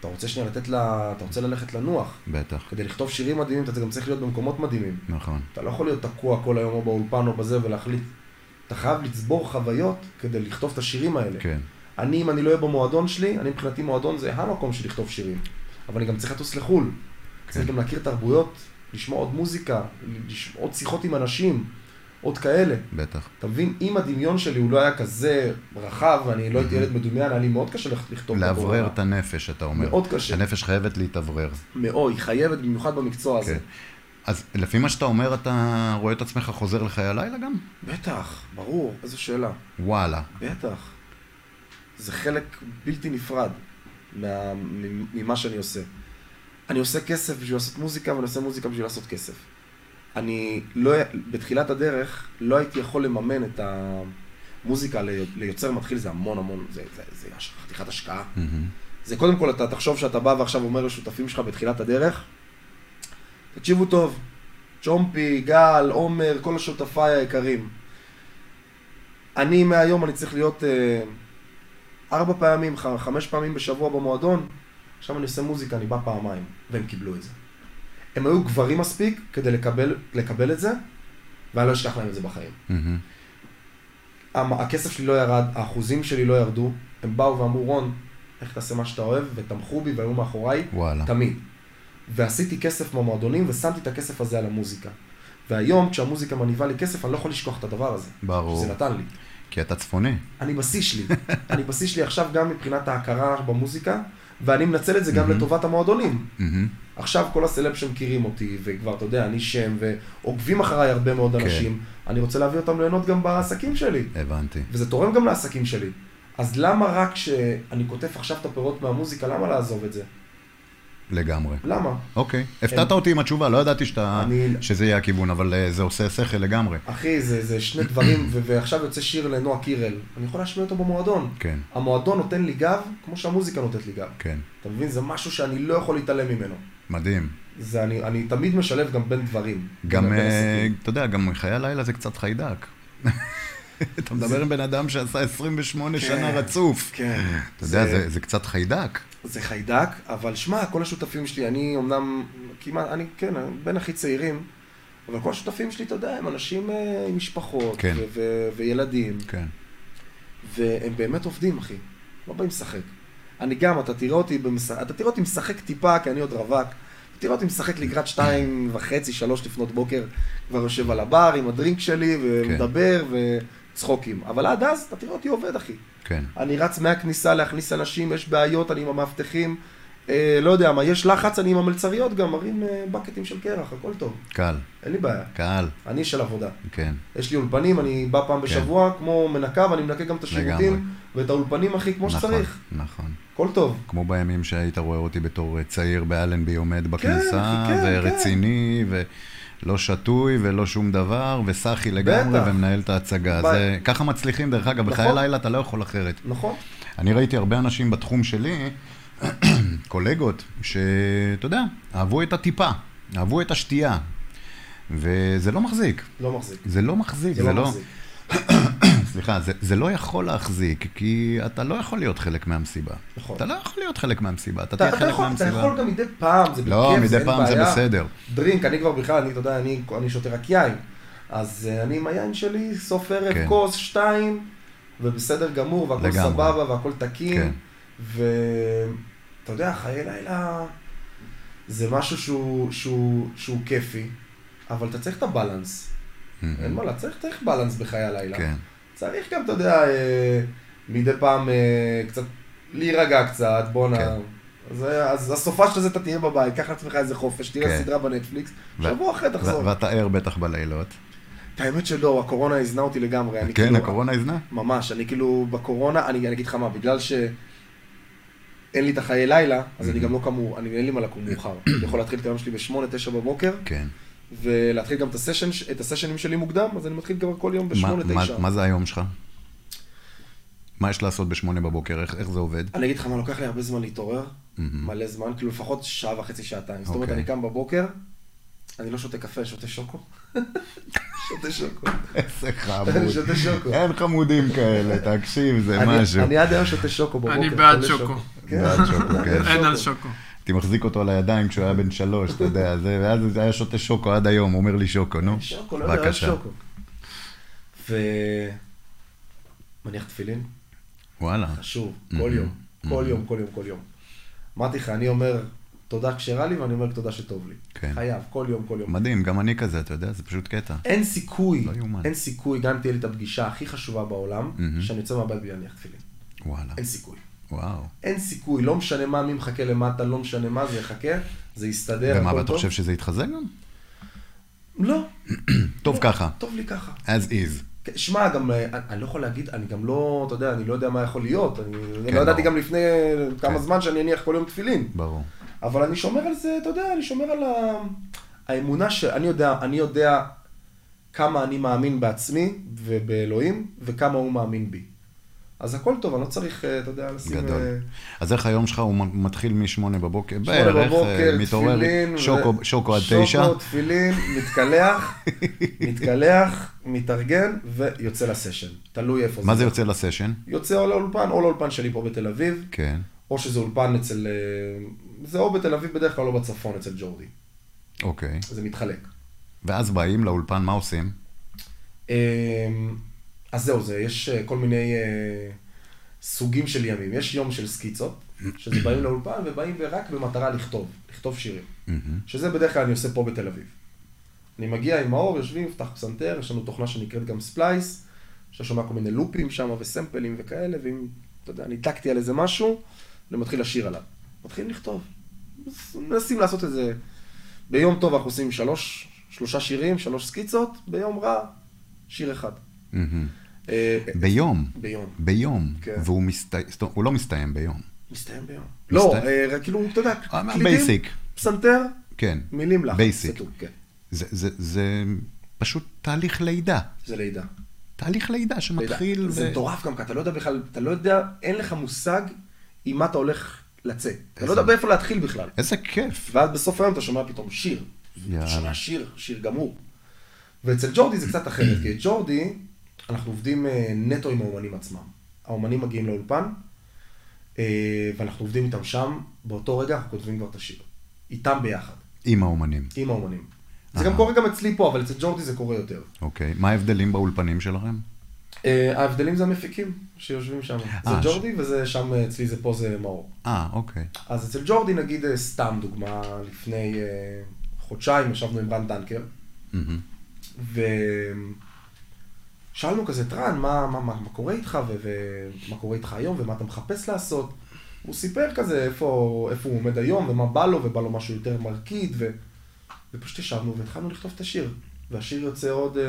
אתה רוצה שנייה לתת לה, אתה רוצה ללכת לנוח.
בטח.
כדי לכתוב שירים מדהימים, אתה גם צריך להיות במקומות מדהימים.
נכון.
אתה לא יכול להיות תקוע כל היום או באולפן או בזה ולהחליט. אתה חייב לצבור חוויות כדי לכתוב את השירים האלה.
כן.
אני, אם אני לא אהיה במועדון שלי, אני מבחינתי מועדון זה המקום של לכתוב שירים. אבל אני גם צריך לטוס לחו"ל.
כן.
צריך גם להכיר תרבויות, לשמוע עוד מוזיקה, לש- עוד שיחות עם אנשים, עוד כאלה.
בטח.
אתה מבין, אם הדמיון שלי הוא לא היה כזה רחב, ואני לא הייתי ילד מדומיין, היה לי מאוד קשה לכ- לכתוב.
לאוורר
בקורונה.
את הנפש, אתה אומר.
מאוד קשה.
הנפש חייבת להתאוורר.
מאוד, היא חייבת במיוחד במקצוע הזה.
כן. אז לפי מה שאתה אומר, אתה רואה את עצמך חוזר לחיי הלילה גם?
בטח, ברור, איזו שאלה.
וואלה.
בטח. זה חלק בלתי נפרד מה, מ- ממה שאני עושה. אני עושה כסף בשביל לעשות מוזיקה, ואני עושה מוזיקה בשביל לעשות כסף. אני לא, בתחילת הדרך לא הייתי יכול לממן את המוזיקה ל- ליוצר מתחיל, זה המון המון, זה, זה, זה הש- חתיכת השקעה.
מהמם.
זה קודם כל, אתה תחשוב שאתה בא ועכשיו אומר לשותפים שלך בתחילת הדרך, תקשיבו טוב, צ'ומפי, גל, עומר, כל השותפיי היקרים. אני מהיום, אני צריך להיות אה, ארבע פעמים, ח- חמש פעמים בשבוע במועדון, עכשיו אני עושה מוזיקה, אני בא פעמיים, והם קיבלו את זה. הם היו גברים מספיק כדי לקבל, לקבל את זה, ואני לא אשכח להם את זה בחיים.
מהמם.
המ- הכסף שלי לא ירד, האחוזים שלי לא ירדו, הם באו ואמרו, רון, איך תעשה מה שאתה אוהב, ותמכו בי והיו מאחוריי,
וואלה.
תמיד. ועשיתי כסף במועדונים, ושמתי את הכסף הזה על המוזיקה. והיום, כשהמוזיקה מניבה לי כסף, אני לא יכול לשכוח את הדבר הזה.
ברור.
שזה נתן לי.
כי אתה צפוני.
אני בשיא שלי. אני בשיא שלי עכשיו גם מבחינת ההכרה במוזיקה, ואני מנצל את זה
Mm-hmm.
גם לטובת המועדונים.
מהמם.
עכשיו כל הסלב שמכירים אותי, וכבר, אתה יודע, אני שם, ועוקבים אחריי הרבה מאוד
כן.
אנשים, אני רוצה להביא אותם ליהנות גם בעסקים שלי.
הבנתי.
וזה תורם גם לעסקים שלי. אז למה רק כשאני קוטף עכשיו את הפירות מהמוזיקה, למה לעזוב את זה?
לגמרי.
למה?
אוקיי. הפתעת אותי עם התשובה, לא ידעתי שאתה-
אני-
שזה יהיה הכיוון, אבל אה, זה עושה שכל לגמרי.
אחי, זה, זה שני דברים, ו- ועכשיו יוצא שיר לנועה קירל. אני יכול להשמיע אותו במועדון.
כן.
המועדון נותן לי גב, כמו שהמוזיקה נותנת לי גב.
כן.
אתה מבין? זה משהו שאני לא יכול להתעלם ממנו.
מדהים.
זה אני, אני תמיד משלב גם בין דברים.
גם,
בין
אה,
עסקים.
אתה יודע, גם חיי הלילה זה קצת חיידק. אתה מדבר עם בן אדם שעשה 28 שנה רצוף.
כן.
אתה יודע, זה- זה קצת חיידק.
זה חיידק, אבל שמע, כל השותפים שלי, אני אמנם כמעט, אני כן, אני בין הכי צעירים, אבל כל השותפים שלי, אתה יודע, הם אנשים אה, עם משפחות,
כן.
ו- ו- וילדים,
כן.
והם באמת עובדים, אחי. לא באים לשחק. אני גם, אתה תראה אותי, במש... אתה תראה אותי משחק טיפה, כי אני עוד רווק. אתה תראה אותי משחק
כן.
לקראת שתיים וחצי, שלוש לפנות בוקר, כבר יושב על הבר עם הדרינק שלי,
כן.
ומדבר, וצחוקים. אבל עד אז, אתה תראה אותי עובד, אחי.
כן.
אני רץ מהכניסה להכניס אנשים, יש בעיות, אני עם המאבטחים, אה, לא יודע מה, יש לחץ, אני עם המלצריות גם, מרים אה, בקטים של קרח, הכל טוב,
קהל.
אין לי בעיה.
קהל.
אני של עבודה.
כן.
יש לי אולפנים, אני בא פעם בשבוע כמו מנקה, ואני מנקה גם את
לגמרי.
השירותים ואת האולפנים, אחי, כמו
נכון,
שצריך.
נכון.
הכל טוב.
כמו בימים שהיית רואה אותי בתור אה, צעיר באלנבי עומד בכניסה,
אחי, כן,
ורציני, ולא שתוי, ולא שום דבר, וסחי לגמרי,
בטח.
ומנהל את ההצגה.
ביי.
זה- ככה מצליחים, דרך אגב, בחיי
נכון.
הלילה אתה לא יכול אחרת.
נכון?
אני ראיתי הרבה אנשים בתחום שלי, קולגות, שאתה יודע, אהבו את הטיפה, אהבו את השתייה, וזה לא מחזיק.
לא מחזיק.
זה לא מחזיק,
זה לא מחזיק.
סליחה, זה, זה לא יכול להחזיק, כי אתה לא יכול להיות חלק מהמסיבה.
נכון.
אתה לא יכול להיות חלק מהמסיבה, אתה,
אתה,
תהיה
אתה,
חלק
יכול, אתה
מהמסיבה.
יכול גם מדי פעם, זה בכיף,
לא, מדי
זה אין
פעם זה
בעיה.
בסדר.
דרינק, אני כבר בכלל, אני, אתה יודע, אני, אני שותה רק יין. אז אה, אני עם היין שלי, סוף ערב,
כן.
כוס, שתיים, ובסדר גמור, והכל
לגמרי.
סבבה, והכל תקין.
כן.
ואתה יודע, חיי לילה זה משהו שהוא, שהוא, שהוא כיפי, אבל אתה צריך את הבלנס. אין מה, לה- צריך, צריך בלנס בחיי הלילה.
כן.
צריך גם, אתה יודע, אה, מדי פעם אה, קצת להירגע קצת, בואנה.
כן.
זה- אז הסופה של זה אתה תהיה בבית, קח לעצמך איזה חופש, תראה
כן.
סדרה בנטפליקס,
ו-
שבוע אחרי
ו-
תחזור.
ואתה ער בטח בלילות.
את האמת שלא, הקורונה הזנה אותי לגמרי. אני
כן,
כאילו-
הקורונה הזנה?
ממש, אני כאילו בקורונה, אני אני אגיד לך מה, בגלל שאין לי את החיי לילה, אז
Mhm.
אני גם לא כאמור, אני אין לי מה לקום מאוחר. אני יכול להתחיל את היום שלי בשמונה, תשע בבוקר,
כן.
ולהתחיל גם את הסשן- את הסשנים שלי מוקדם, אז אני מתחיל כבר כל יום בשמונה,
מה-
תשע.
מה- מה זה היום שלך? מה יש לעשות בשמונה בבוקר? איך- איך זה עובד?
אני אגיד לך מה, לוקח לי הרבה זמן להתעורר,
מהמם.
מלא זמן, כאילו לפחות שעה וחצי, שעתיים. זאת אומרת,
אוקיי.
אני קם בבוקר, אני לא שותה קפה, שותה שוקו. שותה שוקו.
איזה חמוד.
שותה שוקו.
אין חמודים כאלה, תקשיב, אוקיי. אה, זה
אני-
משהו.
אני עד היום שותה שוקו בבוקר.
אני בעד
חולה
שוקו.
כן.
בעד שוקו, כן.
אין על שוקו.
הייתי מחזיק אותו על הידיים כשהוא היה בן שלוש, אתה יודע, זה, ואז זה היה שותה שוקו עד היום, הוא אומר לי שוקו, נו.
שוקו, לא יודע, אוהב שוקו. ו... מניח תפילין,
וואלה,
חשוב, כל
מהמם.
יום, כל יום, כל יום, כל יום. אמרתי לך, אני אומר תודה כשרע לי, ואני אומר תודה שטוב לי.
כן.
חייב, כל יום, כל יום.
מדהים, גם אני כזה, אתה יודע, זה פשוט קטע.
אין סיכוי,
לא יאומן.
אין סיכוי, גם אם תהיה לי את הפגישה הכי חשובה בעולם, שאני יוצא מהבית בלי להניח תפילין.
וואלה,
אין סיכוי.
וואו.
אין סיכוי, לא משנה מה, מי מחכה למטה, לא משנה מה, זה יחכה, זה יסתדר,
ומה,
הכל
ואתה
טוב.
חושב שזה יתחזק גם?
לא,
טוב ככה,
טוב לי ככה.
as is.
כן, שמע, גם, אה, אני- אני לא יכול להגיד, אני גם לא, אתה יודע, אני לא יודע מה יכול להיות. אני
כן,
לא ידעתי
ברור. כן.
גם לפני כמה זמן שאני אניח כל יום תפילין.
ברור.
אבל אני שומר על זה, אתה יודע, אני שומר על ה... האמונה ש... אני יודע, אני יודע כמה אני מאמין בעצמי ובאלוהים, וכמה הוא מאמין בי. אז הכל טוב, אני לא צריך, אה, אתה יודע, לשים...
גדול.
אה,
אז איך היום שלך הוא מ- מתחיל משמונה בבוקר?
שמונה
בערך, אה,
בבוקר,
מתעורר,
תפילין, ו-
שוקו- שוקו עד תשע?
שוקו, תפילין, מתקלח, מתקלח, מתארגן ויוצא לסשן. תלוי איפה
מה זה יוצא לסשן?
יוצא או לאולפן, או לאולפן שלי פה בתל אביב,
כן.
או שזה אולפן אצל... אה, זה או בתל אביב בדרך כלל או בצפון אצל ג'ורדי.
אוקיי.
זה מתחלק.
ואז באים לאולפן, מה עושים?
אמ, אז זהו, זה, יש אה, כל מיני אה, סוגים של ימים. יש יום של סקיצות, שזה באים לאולפן ובאים רק במטרה לכתוב, לכתוב שירים. שזה בדרך כלל אני עושה פה בתל אביב. אני מגיע עם מאור, יושבים, מפתח פסנתר, יש לנו תוכנה שנקראת גם ספלייס, שאתה שומע כל מיני לופים שם וסמפלים וכאלה, ואם, אתה יודע, ניתקתי על איזה משהו, אני מתחיל לשיר עליו. מתחילים לכתוב. מנסים לעשות איזה... ביום טוב אנחנו עושים שלוש, שלושה שירים, שלוש סקיצות, ביום רע, שיר אחד. אה, אה,
ביום.
ביום.
ביום.
כן.
והוא מסתיים, זאת אומרת, הוא לא מסתיים ביום.
מסתיים ביום. לא,
מסתיים.
אה, רק כאילו, אתה יודע,
אה, מה,
קלידים,
basic.
פסנתר,
כן.
מילים לך.
Basic.
כן.
זה, זה, זה פשוט תהליך לידה.
זה לידה.
תהליך לידה שמתחיל...
מתחיל... זה מטורף גם, כי אתה לא יודע בכלל, אתה לא יודע, אין לך מושג עם מה אתה הולך לצאת. אתה לא יודע
איזה-
באיפה להתחיל בכלל.
איזה כיף.
ואז בסוף היום אתה שומע פתאום שיר.
יאללה.
אתה שומע שיר, שיר גמור. ואצל ג'ורדי זה קצת אחרת, כי את ג'ורדי, אנחנו עובדים אה, נטו עם האומנים עצמם. האומנים מגיעים לאולפן, אה, ואנחנו עובדים איתם שם, באותו רגע אנחנו כותבים כבר את השיר. איתם ביחד,
עם האומנים.
עם האומנים. זה
אה.
גם קורה גם אצלי פה, אבל אצל ג'ורדי זה קורה יותר.
אוקיי. מה ההבדלים באולפנים שלכם?
אה, ההבדלים זה המפיקים שיושבים שם. זה
אה,
ג'ורדי וזה שם אה, אצלי, זה פה זה מאור.
אה, אוקיי.
אז אצל ג'ורדי נגיד אה, סתם דוגמה, לפני אה, חודשיים ישבנו עם רן דנקר,
מהמם.
ושאלנו כזה את רן, מה, מה, מה, מה קורה איתך, ומה קורה איתך היום, ומה אתה מחפש לעשות. הוא סיפר כזה איפה, איפה הוא עומד היום, ומה בא לו, ובא לו משהו יותר מרקיד, ו... ופשוט ישבנו והתחלנו לכתוב את השיר. והשיר יוצא עוד אה,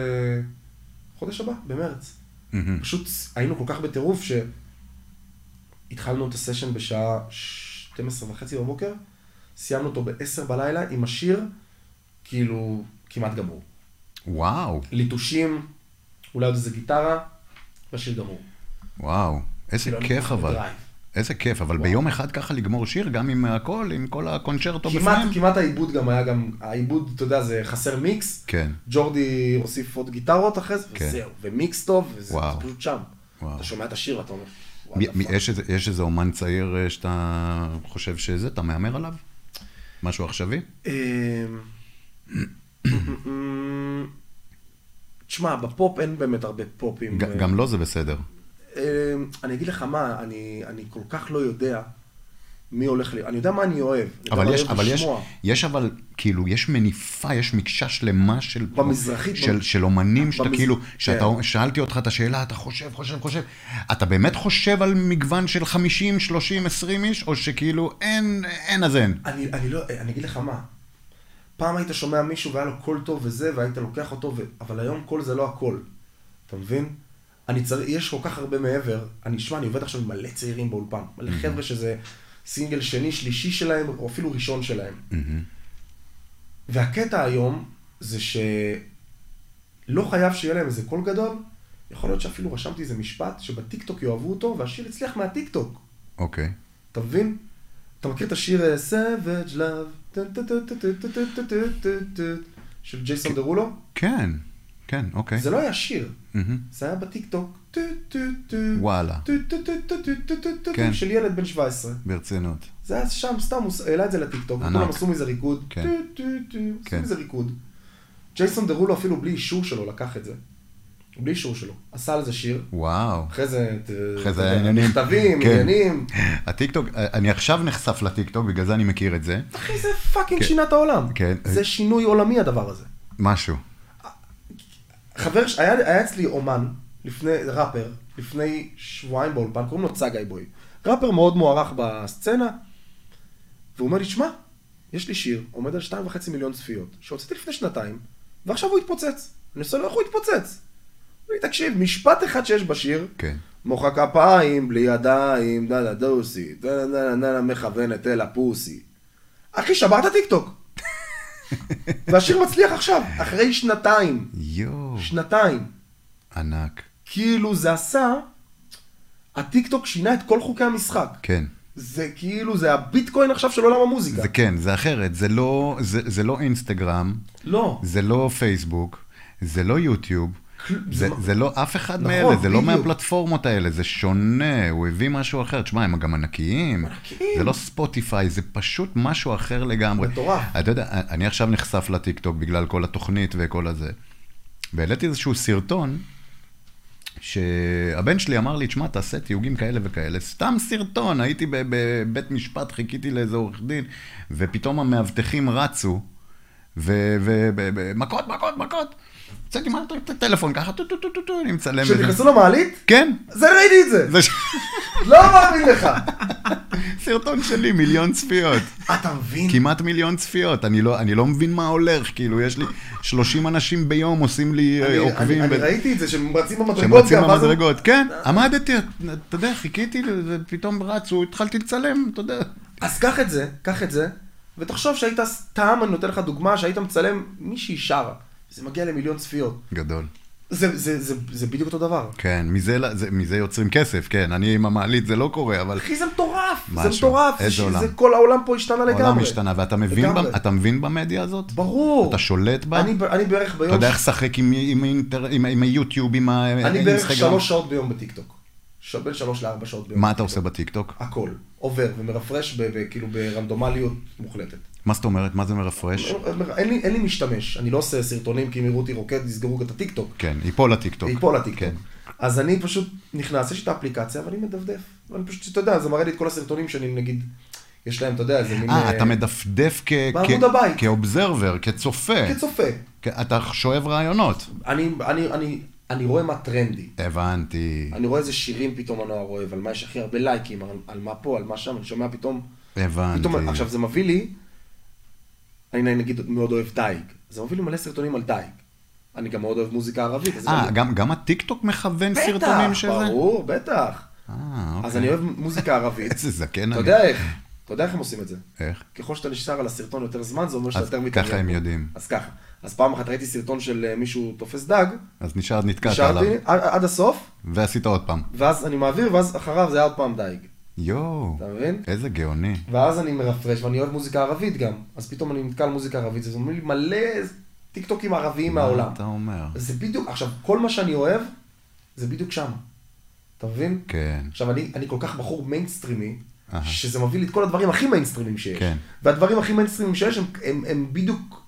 חודש הבא, במרץ.
מהמם.
פשוט היינו כל כך בטירוף שהתחלנו את הסשן בשעה 12 וחצי בבוקר, סיימנו אותו ב-10 בלילה עם השיר, כאילו, כמעט גמור.
וואו,
ליטושים, אולי עוד איזה גיטרה, והשיר גמור.
וואו. איזה
כאילו, אני
כיף
ככה
אבל.
בדרייב.
איזה כיף, אבל ביום אחד ככה לגמור שיר, גם עם הכל, עם כל הקונצ'רטו
כמעט,
בפנים.
כמעט העיבוד גם היה גם, העיבוד, אתה יודע, זה חסר מיקס.
כן.
ג'ורדי הוסיף עוד גיטרות אחרי זה,
כן.
וזהו. ומיקס טוב, וזה
וואו.
זה פשוט שם.
וואו.
אתה שומע את השיר ואתה אומר,
מי-
"וואלה,
מי-
פאק".
יש איזה- יש איזה אומן צעיר אה, שאתה חושב שזה, אתה מהמר עליו? משהו עכשווי?
אמ, תשמע, בפופ אין באמת הרבה פופים.
ג- גם לא זה בסדר.
אמ, אני אגיד לך מה, אני אני כל כך לא יודע מי הולך ל... אני יודע מה אני אוהב. אני יודע מה
אבל
אני
יש,
אוהב
אבל יש,
לשמוע.
יש אבל, כאילו, יש מניפה, יש מקשה שלמה של...
במזרחית,
של,
במ-
של אומנים שאתה
במז-
כאילו,
כן.
שאתה, שאלתי אותך את השאלה, אתה חושב, חושב, חושב, אתה באמת חושב על מגוון של 50, 30, 20 איש, או שכאילו אין, אין אז אין?
אני, אני לא, אני אגיד לך מה. פעם היית שומע מישהו והיה לו קול טוב וזה, והיית לוקח אותו, ו... אבל היום קול זה לא הכל. אתה מבין? אני צריך, יש כל כך הרבה מעבר. אני, שמע, אני עובד עכשיו עם מלא צעירים באולפן. מלא חבר'ה שזה סינגל שני, שלישי שלהם, או אפילו ראשון שלהם. והקטע היום זה שלא חייב שיהיה להם איזה קול גדול. יכול להיות שאפילו רשמתי איזה משפט, שבטיקטוק יאהבו אותו, והשיר הצליח מהטיקטוק.
אוקיי.
אתה מבין? אתה מכיר את השיר אה, Savage Love טה, טה, טה, טה, טה, טה, טה, טה, טה, טה, של ג'ייסון דרולו?
כן, כן, אוקיי.
זה לא היה שיר,
מהמם.
זה היה בטיקטוק. טו, טו, טו,
וואלה.
טו, טו, טו, טו, טו, טו, טו, טו,
כן.
של ילד בן 17.
ברצינות.
זה היה שם, סתם, הוא העלה את זה לטיקטוק,
ענק.
כולם עשו מזה ריקוד.
כן.
טו, טו, טו,
כן.
עשו מזה ריקוד. ג'ייסון דרולו אפילו בלי אישור שלו לקח את זה. בלי אישור שלו. עשה על זה שיר.
וואו.
אחרי זה, ת-
אחרי
אתה
זה
יודע,
העניינים.
מכתבים,
כן.
עניינים.
הטיקטוק, אני עכשיו נחשף לטיקטוק, בגלל זה אני מכיר את זה.
אחי, זה פאקינג
כן.
שינה את העולם.
כן.
זה שינוי עולמי הדבר הזה.
משהו.
חבר, ש- היה, היה אצלי אומן, לפני, ראפר, לפני שבועיים באולפן, קוראים לו צגאי בוי. ראפר מאוד מוערך בסצנה, והוא אומר לי, שמע, יש לי שיר, עומד על שתיים וחצי מיליון צפיות, שהוצאתי לפני שנתיים, ועכשיו הוא התפוצץ. אני עושה לו איך הוא התפוצץ. הוא אומר לי, תקשיב, משפט אחד שיש בשיר,
כן.
מוחא כפיים, בלי ידיים, דה דה דוסי, דה דה דה דה דה מכוונת אל הפוסי. אחי, שברת טיקטוק. והשיר מצליח עכשיו, אחרי שנתיים.
יואו.
שנתיים.
ענק.
כאילו זה עשה, הטיקטוק שינה את כל חוקי המשחק.
כן.
זה כאילו, זה הביטקוין עכשיו של עולם המוזיקה.
זה כן, זה אחרת. זה לא, זה, זה לא אינסטגרם,
לא.
זה לא פייסבוק, זה לא יוטיוב.
כל-
זה,
זה מה-
זה לא אף אחד
נכון,
מאלה, זה לא
בדיוק.
מהפלטפורמות האלה, זה שונה, הוא הביא משהו אחר. תשמע, הם גם ענקיים.
ענקיים.
זה לא ספוטיפיי, זה פשוט משהו אחר לגמרי.
מטורף.
אתה יודע, אני עכשיו נחשף לטיקטוק בגלל כל התוכנית וכל הזה. והעליתי איזשהו סרטון, שהבן שלי אמר לי, תשמע, תעשה תיוגים כאלה וכאלה. סתם סרטון, הייתי ב- בבית משפט, חיכיתי לאיזה עורך דין, ופתאום המאבטחים רצו, ומכות, מכות, מכות. הוצאתי מה- את הטלפון ככה, טו טו טו טו טו, אני מצלם. וזה.
כשנכנסו למעלית?
כן.
זה ראיתי את זה.
זה ש-
לא מאמין לך.
סרטון שלי, מיליון צפיות.
אתה מבין?
כמעט מיליון צפיות, אני לא, אני לא מבין מה הולך, כאילו, יש לי 30 אנשים ביום עושים לי
אני-
אה, עוקבים.
אני- אני
ו-
ראיתי את זה, שהם רצים
שהם
במדרגות.
רצים
גם, ואז הם-
במדרגות, כן, עמדתי, אתה יודע, חיכיתי, ופתאום רצו, התחלתי לצלם, אתה יודע.
אז קח את זה, קח את זה, ותחשוב שהיית סתם, אני נותן לך דוגמה, שהיית מצלם מישהי שרה. זה מגיע למיליון צפיות.
גדול.
זה- זה- זה זה בדיוק אותו דבר.
כן, מזה, ל- זה- מזה יוצרים כסף, כן, אני עם המעלית, זה לא קורה, אבל
אחי, זה מטורף. זה
משהו.
מטורף.
איזה
זה-
עולם.
זה כל העולם פה השתנה לגמרי.
העולם השתנה, ואתה מבין,
לגמרי.
ב- אתה מבין במדיה הזאת?
ברור.
אתה שולט בה?
אני, אני בערך ביום...
אתה יודע איך לשחק עם, עם, אינטר- עם, עם היוטיוב, עם האינסטגרם?
אני בערך שלוש שעות ביום בטיקטוק. ש- בין שלוש לארבע שעות ביום.
מה אתה עושה בטיקטוק?
הכל. עובר ומרפרש ב, ב, כאילו ברנדומליות מוחלטת.
מה זאת אומרת? מה זה מרפרש?
אין לי, אין לי משתמש. אני לא עושה סרטונים כי אם יראו אותי רוקד יסגרו את הטיקטוק.
כן, ייפול לטיקטוק.
ייפול הטיקטוק.
כן.
אז אני פשוט נכנס, יש לי את האפליקציה ואני מדפדף. ואני פשוט, אתה יודע, זה מראה לי את כל הסרטונים שאני נגיד, יש להם, אתה יודע, איזה מין...
אה, אתה מדפדף כ...
בעמוד
כ-
הבית.
כאובזרבר, כצופה.
כצופה.
כ- אתה שואב רעיונות.
אני, אני, אני, אני רואה מה טרנדי.
הבנתי,
אני רואה איזה שירים פתאום הנוער אוהב, על מה יש הכי הרבה לייקים, על, על מה פה, על מה שם, אני שומע פתאום...
הבנתי.
פתאום, עכשיו זה מביא לי, אני נגיד מאוד אוהב דייג, זה מביא לי מלא סרטונים על דייג. אני גם מאוד אוהב מוזיקה ערבית. אז זה
אה,
מביא-
גם, גם הטיקטוק מכוון
בטח,
סרטונים של זה?
ברור, בטח.
אה, אוקיי.
אז אני אוהב מוזיקה ערבית.
איזה זקן אני.
אתה יודע איך, אתה יודע איך הם עושים את זה.
איך?
ככל שאתה נשאר על הסרטון יותר זמן, זה אומר שאתה
אז
יותר
ככה
מתעניין.
הם
בו.
יודעים.
אז ככה. אז פעם אחת ראיתי סרטון של אה, מישהו תופס דג,
אז נשאר, נתקעת עליו.
נשארתי עד- עד הסוף,
ועשית עוד פעם.
ואז אני מעביר, ואז אחריו זה היה עוד פעם דייג.
יואו,
אתה מבין?
איזה גאוני.
ואז אני מרפרש, ואני אוהב מוזיקה ערבית גם. אז פתאום אני נתקע על מוזיקה ערבית, אז אומרים לי מלא טיקטוקים ערביים מהעולם.
מה אתה אומר?
זה בדיוק, עכשיו, כל מה שאני אוהב, זה בדיוק שם. אתה מבין?
כן.
עכשיו, אני, אני כל כך בחור מיינסטרימי,
אהה.
שזה מביא לי את כל הדברים הכי מיינסטרימים שיש.
כן.
והדברים הכי מיינסטרימים שיש, הם, הם, הם בדיוק,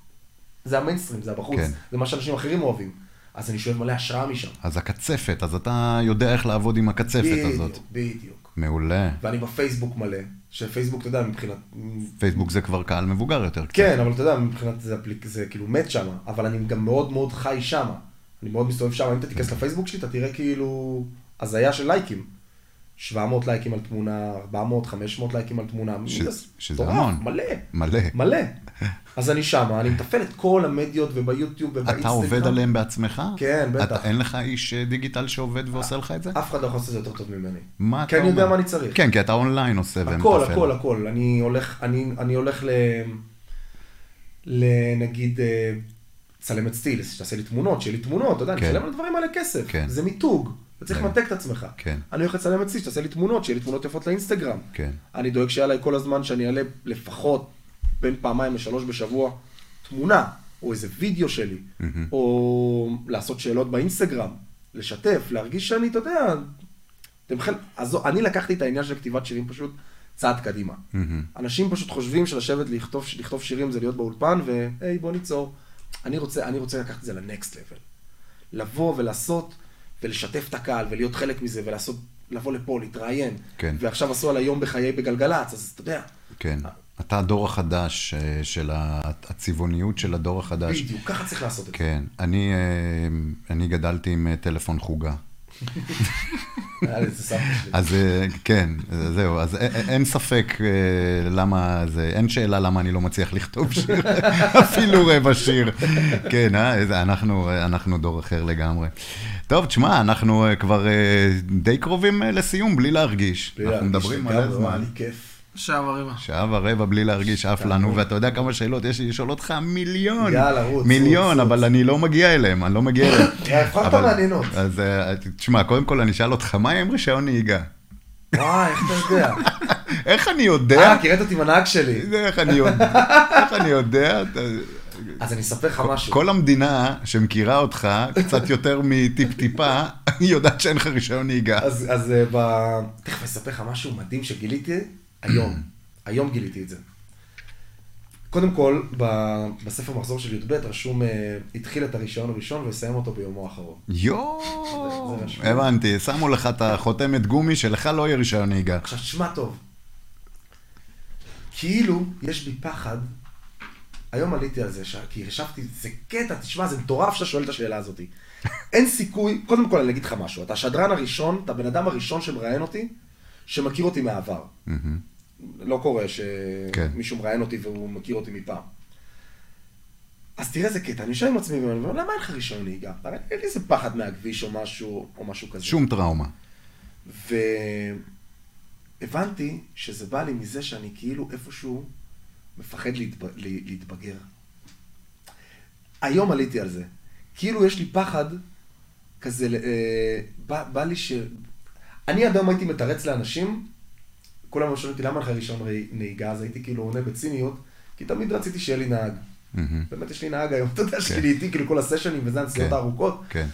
זה המיינסטרים, זה הבחוץ,
כן.
זה מה שאנשים אחרים אוהבים. אז אני שואב מלא השראה משם.
אז הקצפת, אז אתה יודע איך לעבוד עם הקצפת הזאת.
בדיוק, בדיוק.
מעולה.
ואני בפייסבוק מלא, שפייסבוק, אתה יודע, מבחינת...
כן. פייסבוק זה כבר קהל מבוגר יותר קצת.
כן, אבל אתה יודע, מבחינת זה, הפליק- זה כאילו מת שם, אבל אני גם מאוד מאוד חי שם. אני מאוד מסתובב שם, אם אתה תיכנס לפייסבוק שלי, אתה תראה כאילו הזיה של לייקים. 700 לייקים על תמונה, 400, 500 לייקים על תמונה. מי
ש-
זה?
שזה
מטורף,
המון.
מלא.
מלא.
מלא. אז אני שמה, אני מתפעל את כל המדיות וביוטיוב ובאינסטגרם.
אתה עובד עליהם בעצמך?
כן, בטח.
אתה- אין לך איש אה, דיגיטל שעובד ועושה לך את זה?
אף אחד לא יכול לעשות את זה יותר טוב ממני.
מה אתה
כי
אומר?
אני יודע מה אני צריך.
כן, כי אתה אונליין עושה
הכל, הכל, הכל. אני הולך, אני, אני הולך ל... לנגיד אה, צלמת סטילס, שתעשה לי תמונות, שיהיה לי תמונות, אתה יודע,
כן.
אני משלם על הדברים האלה כסף.
כן.
זה מיתוג, אתה צריך
כן.
לנתק את עצמך.
כן.
אני הולך לצלמת סטילס, שתעשה לי תמונות, שיהיה לי תמונות יפות לאינסטגרם.
כן.
אני דואג שיהיה עליי כל הזמן שאני אעלה לפחות בין פעמיים לשלוש בשבוע תמונה, או איזה וידאו שלי, או לעשות שאלות באינסטגרם, לשתף, להרגיש שאני, אתה יודע, אתם חלק, אז אני לקחתי את העניין של כתיבת שירים פשוט צעד קדימה. אנשים פשוט חושבים שלשבת לכתוב, לכתוב שירים זה להיות באולפן והי בוא ניצור. אני רוצה, אני רוצה לקחת את זה לנקסט לבל. לבוא ולעשות ולשתף את הקהל ולהיות חלק מזה ולעשות, לבוא לפה, להתראיין.
כן.
ועכשיו עשו על היום בחיי בגלגלצ, אז אתה יודע,
כן. אתה הדור החדש אה, של ה- הצבעוניות של הדור החדש.
בדיוק, ככה צריך לעשות את זה.
כן. אני, אה, אני גדלתי עם אה, טלפון חוגה.
יאללה, זה סבתא שלי.
כן. אז אה, כן, אה, זהו, אז א- א- אין ספק אה, למה זה, אין שאלה למה אני לא מצליח לכתוב שיר, אפילו רבע שיר. כן, אה, איזה- אנחנו, אה, אנחנו דור אחר לגמרי. טוב, תשמע, אנחנו אה, כבר אה, די קרובים אה, לסיום, בלי להרגיש.
בלי
אנחנו
להרגיש
מדברים
לגמרי,
מלא זמן.
לי כיף.
שעה ורבע.
שעה ורבע בלי להרגיש עף לנו, ואתה יודע כמה שאלות יש לי לשאול אותך? מיליון.
יאללה, רוץ,
מיליון,
רוץ, רוץ.
אבל אני לא מגיע אליהם, אני לא מגיע אליהם.
יאללה, הבחרת
אבל-
מעניינות.
אז אה, תשמע, קודם כל אני אשאל אותך, מה עם רישיון נהיגה?
וואי, איך אתה יודע?
איך אני יודע?
אה, כי ראית אותי עם הנהג שלי.
זה איך אני יודע? איך אני יודע? אתה-
אז אני אספר לך משהו.
כל המדינה שמכירה אותך קצת יותר מטיפ-טיפה, היא יודעת שאין לך רישיון נהיגה.
אז, אז אה, ב... תכף אספר לך משהו מדהים שגיליתי היום. היום גיליתי את זה. קודם כל, ב... בספר מחזור של י"ב רשום, אה, התחיל את הרישיון הראשון ויסיים אותו ביומו האחרון.
יואו,
זה רשום.
הבנתי, שמו לך את החותמת גומי שלך לא יהיה רישיון נהיגה.
עכשיו, תשמע טוב. כאילו, יש בי פחד. היום עליתי על זה, ש... כי חשבתי, זה קטע, תשמע, זה מטורף שאתה שואל את השאלה הזאת. אין סיכוי, קודם כל אני אגיד לך משהו, אתה השדרן הראשון, אתה הבן אדם הראשון שמראיין אותי, שמכיר אותי מהעבר. לא קורה
Mm-hmm. כן.
שמישהו מראיין אותי והוא מכיר אותי מפעם. אז תראה איזה קטע, אני יושב עם עצמי ואני אומר, למה אין לך רישיון נהיגה? הרי אין לי איזה פחד מהכביש או משהו, או משהו כזה.
שום טראומה.
והבנתי שזה בא לי מזה שאני כאילו איפשהו מפחד להתב... ל- להתבגר. היום עליתי על זה. כאילו יש לי פחד כזה, ל- אה, בא, בא לי ש... אני עד היום הייתי מתרץ לאנשים, כולם היו שואלים אותי למה אין לך רישיון רי- נהיגה, אז הייתי כאילו עונה בציניות, כי תמיד רציתי שיהיה לי נהג. באמת יש לי נהג היום, אתה יודע, שלי איתי כאילו כל הסשנים וזה הנסיעות
כן.
הארוכות.
כן.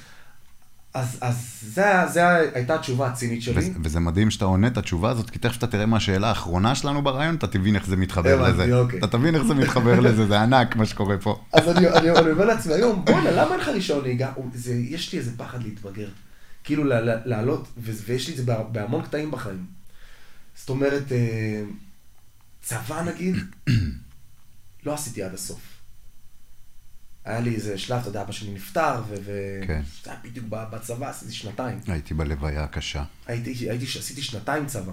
אז, אז זה, ה- זה ה- הייתה התשובה הצינית שלי.
ו- וזה מדהים שאתה עונה את התשובה הזאת, כי תכף אתה תראה מה השאלה האחרונה שלנו ברעיון, אתה תבין איך זה מתחבר
הבנתי,
לזה.
אוקיי.
אתה תבין איך זה מתחבר לזה, זה ענק מה שקורה פה.
אז אני, אני, אני אומר לעצמי היום, בואנה, למה אין לך רישיון נהיגה? הוא- זה- יש לי איזה פחד להתבגר. כאילו לה- לה- לעלות, ו- ויש לי את זה בה- בהמון קטעים בחיים. זאת אומרת, אה, צבא נגיד, לא עשיתי עד הסוף. היה לי איזה שלב, אתה יודע, אבא שלי נפטר, ו... ו-
כן.
זה היה בדיוק ב- בצבא, עשיתי שנתיים.
הייתי בלוויה הקשה.
הייתי, הייתי, עשיתי שנתיים צבא.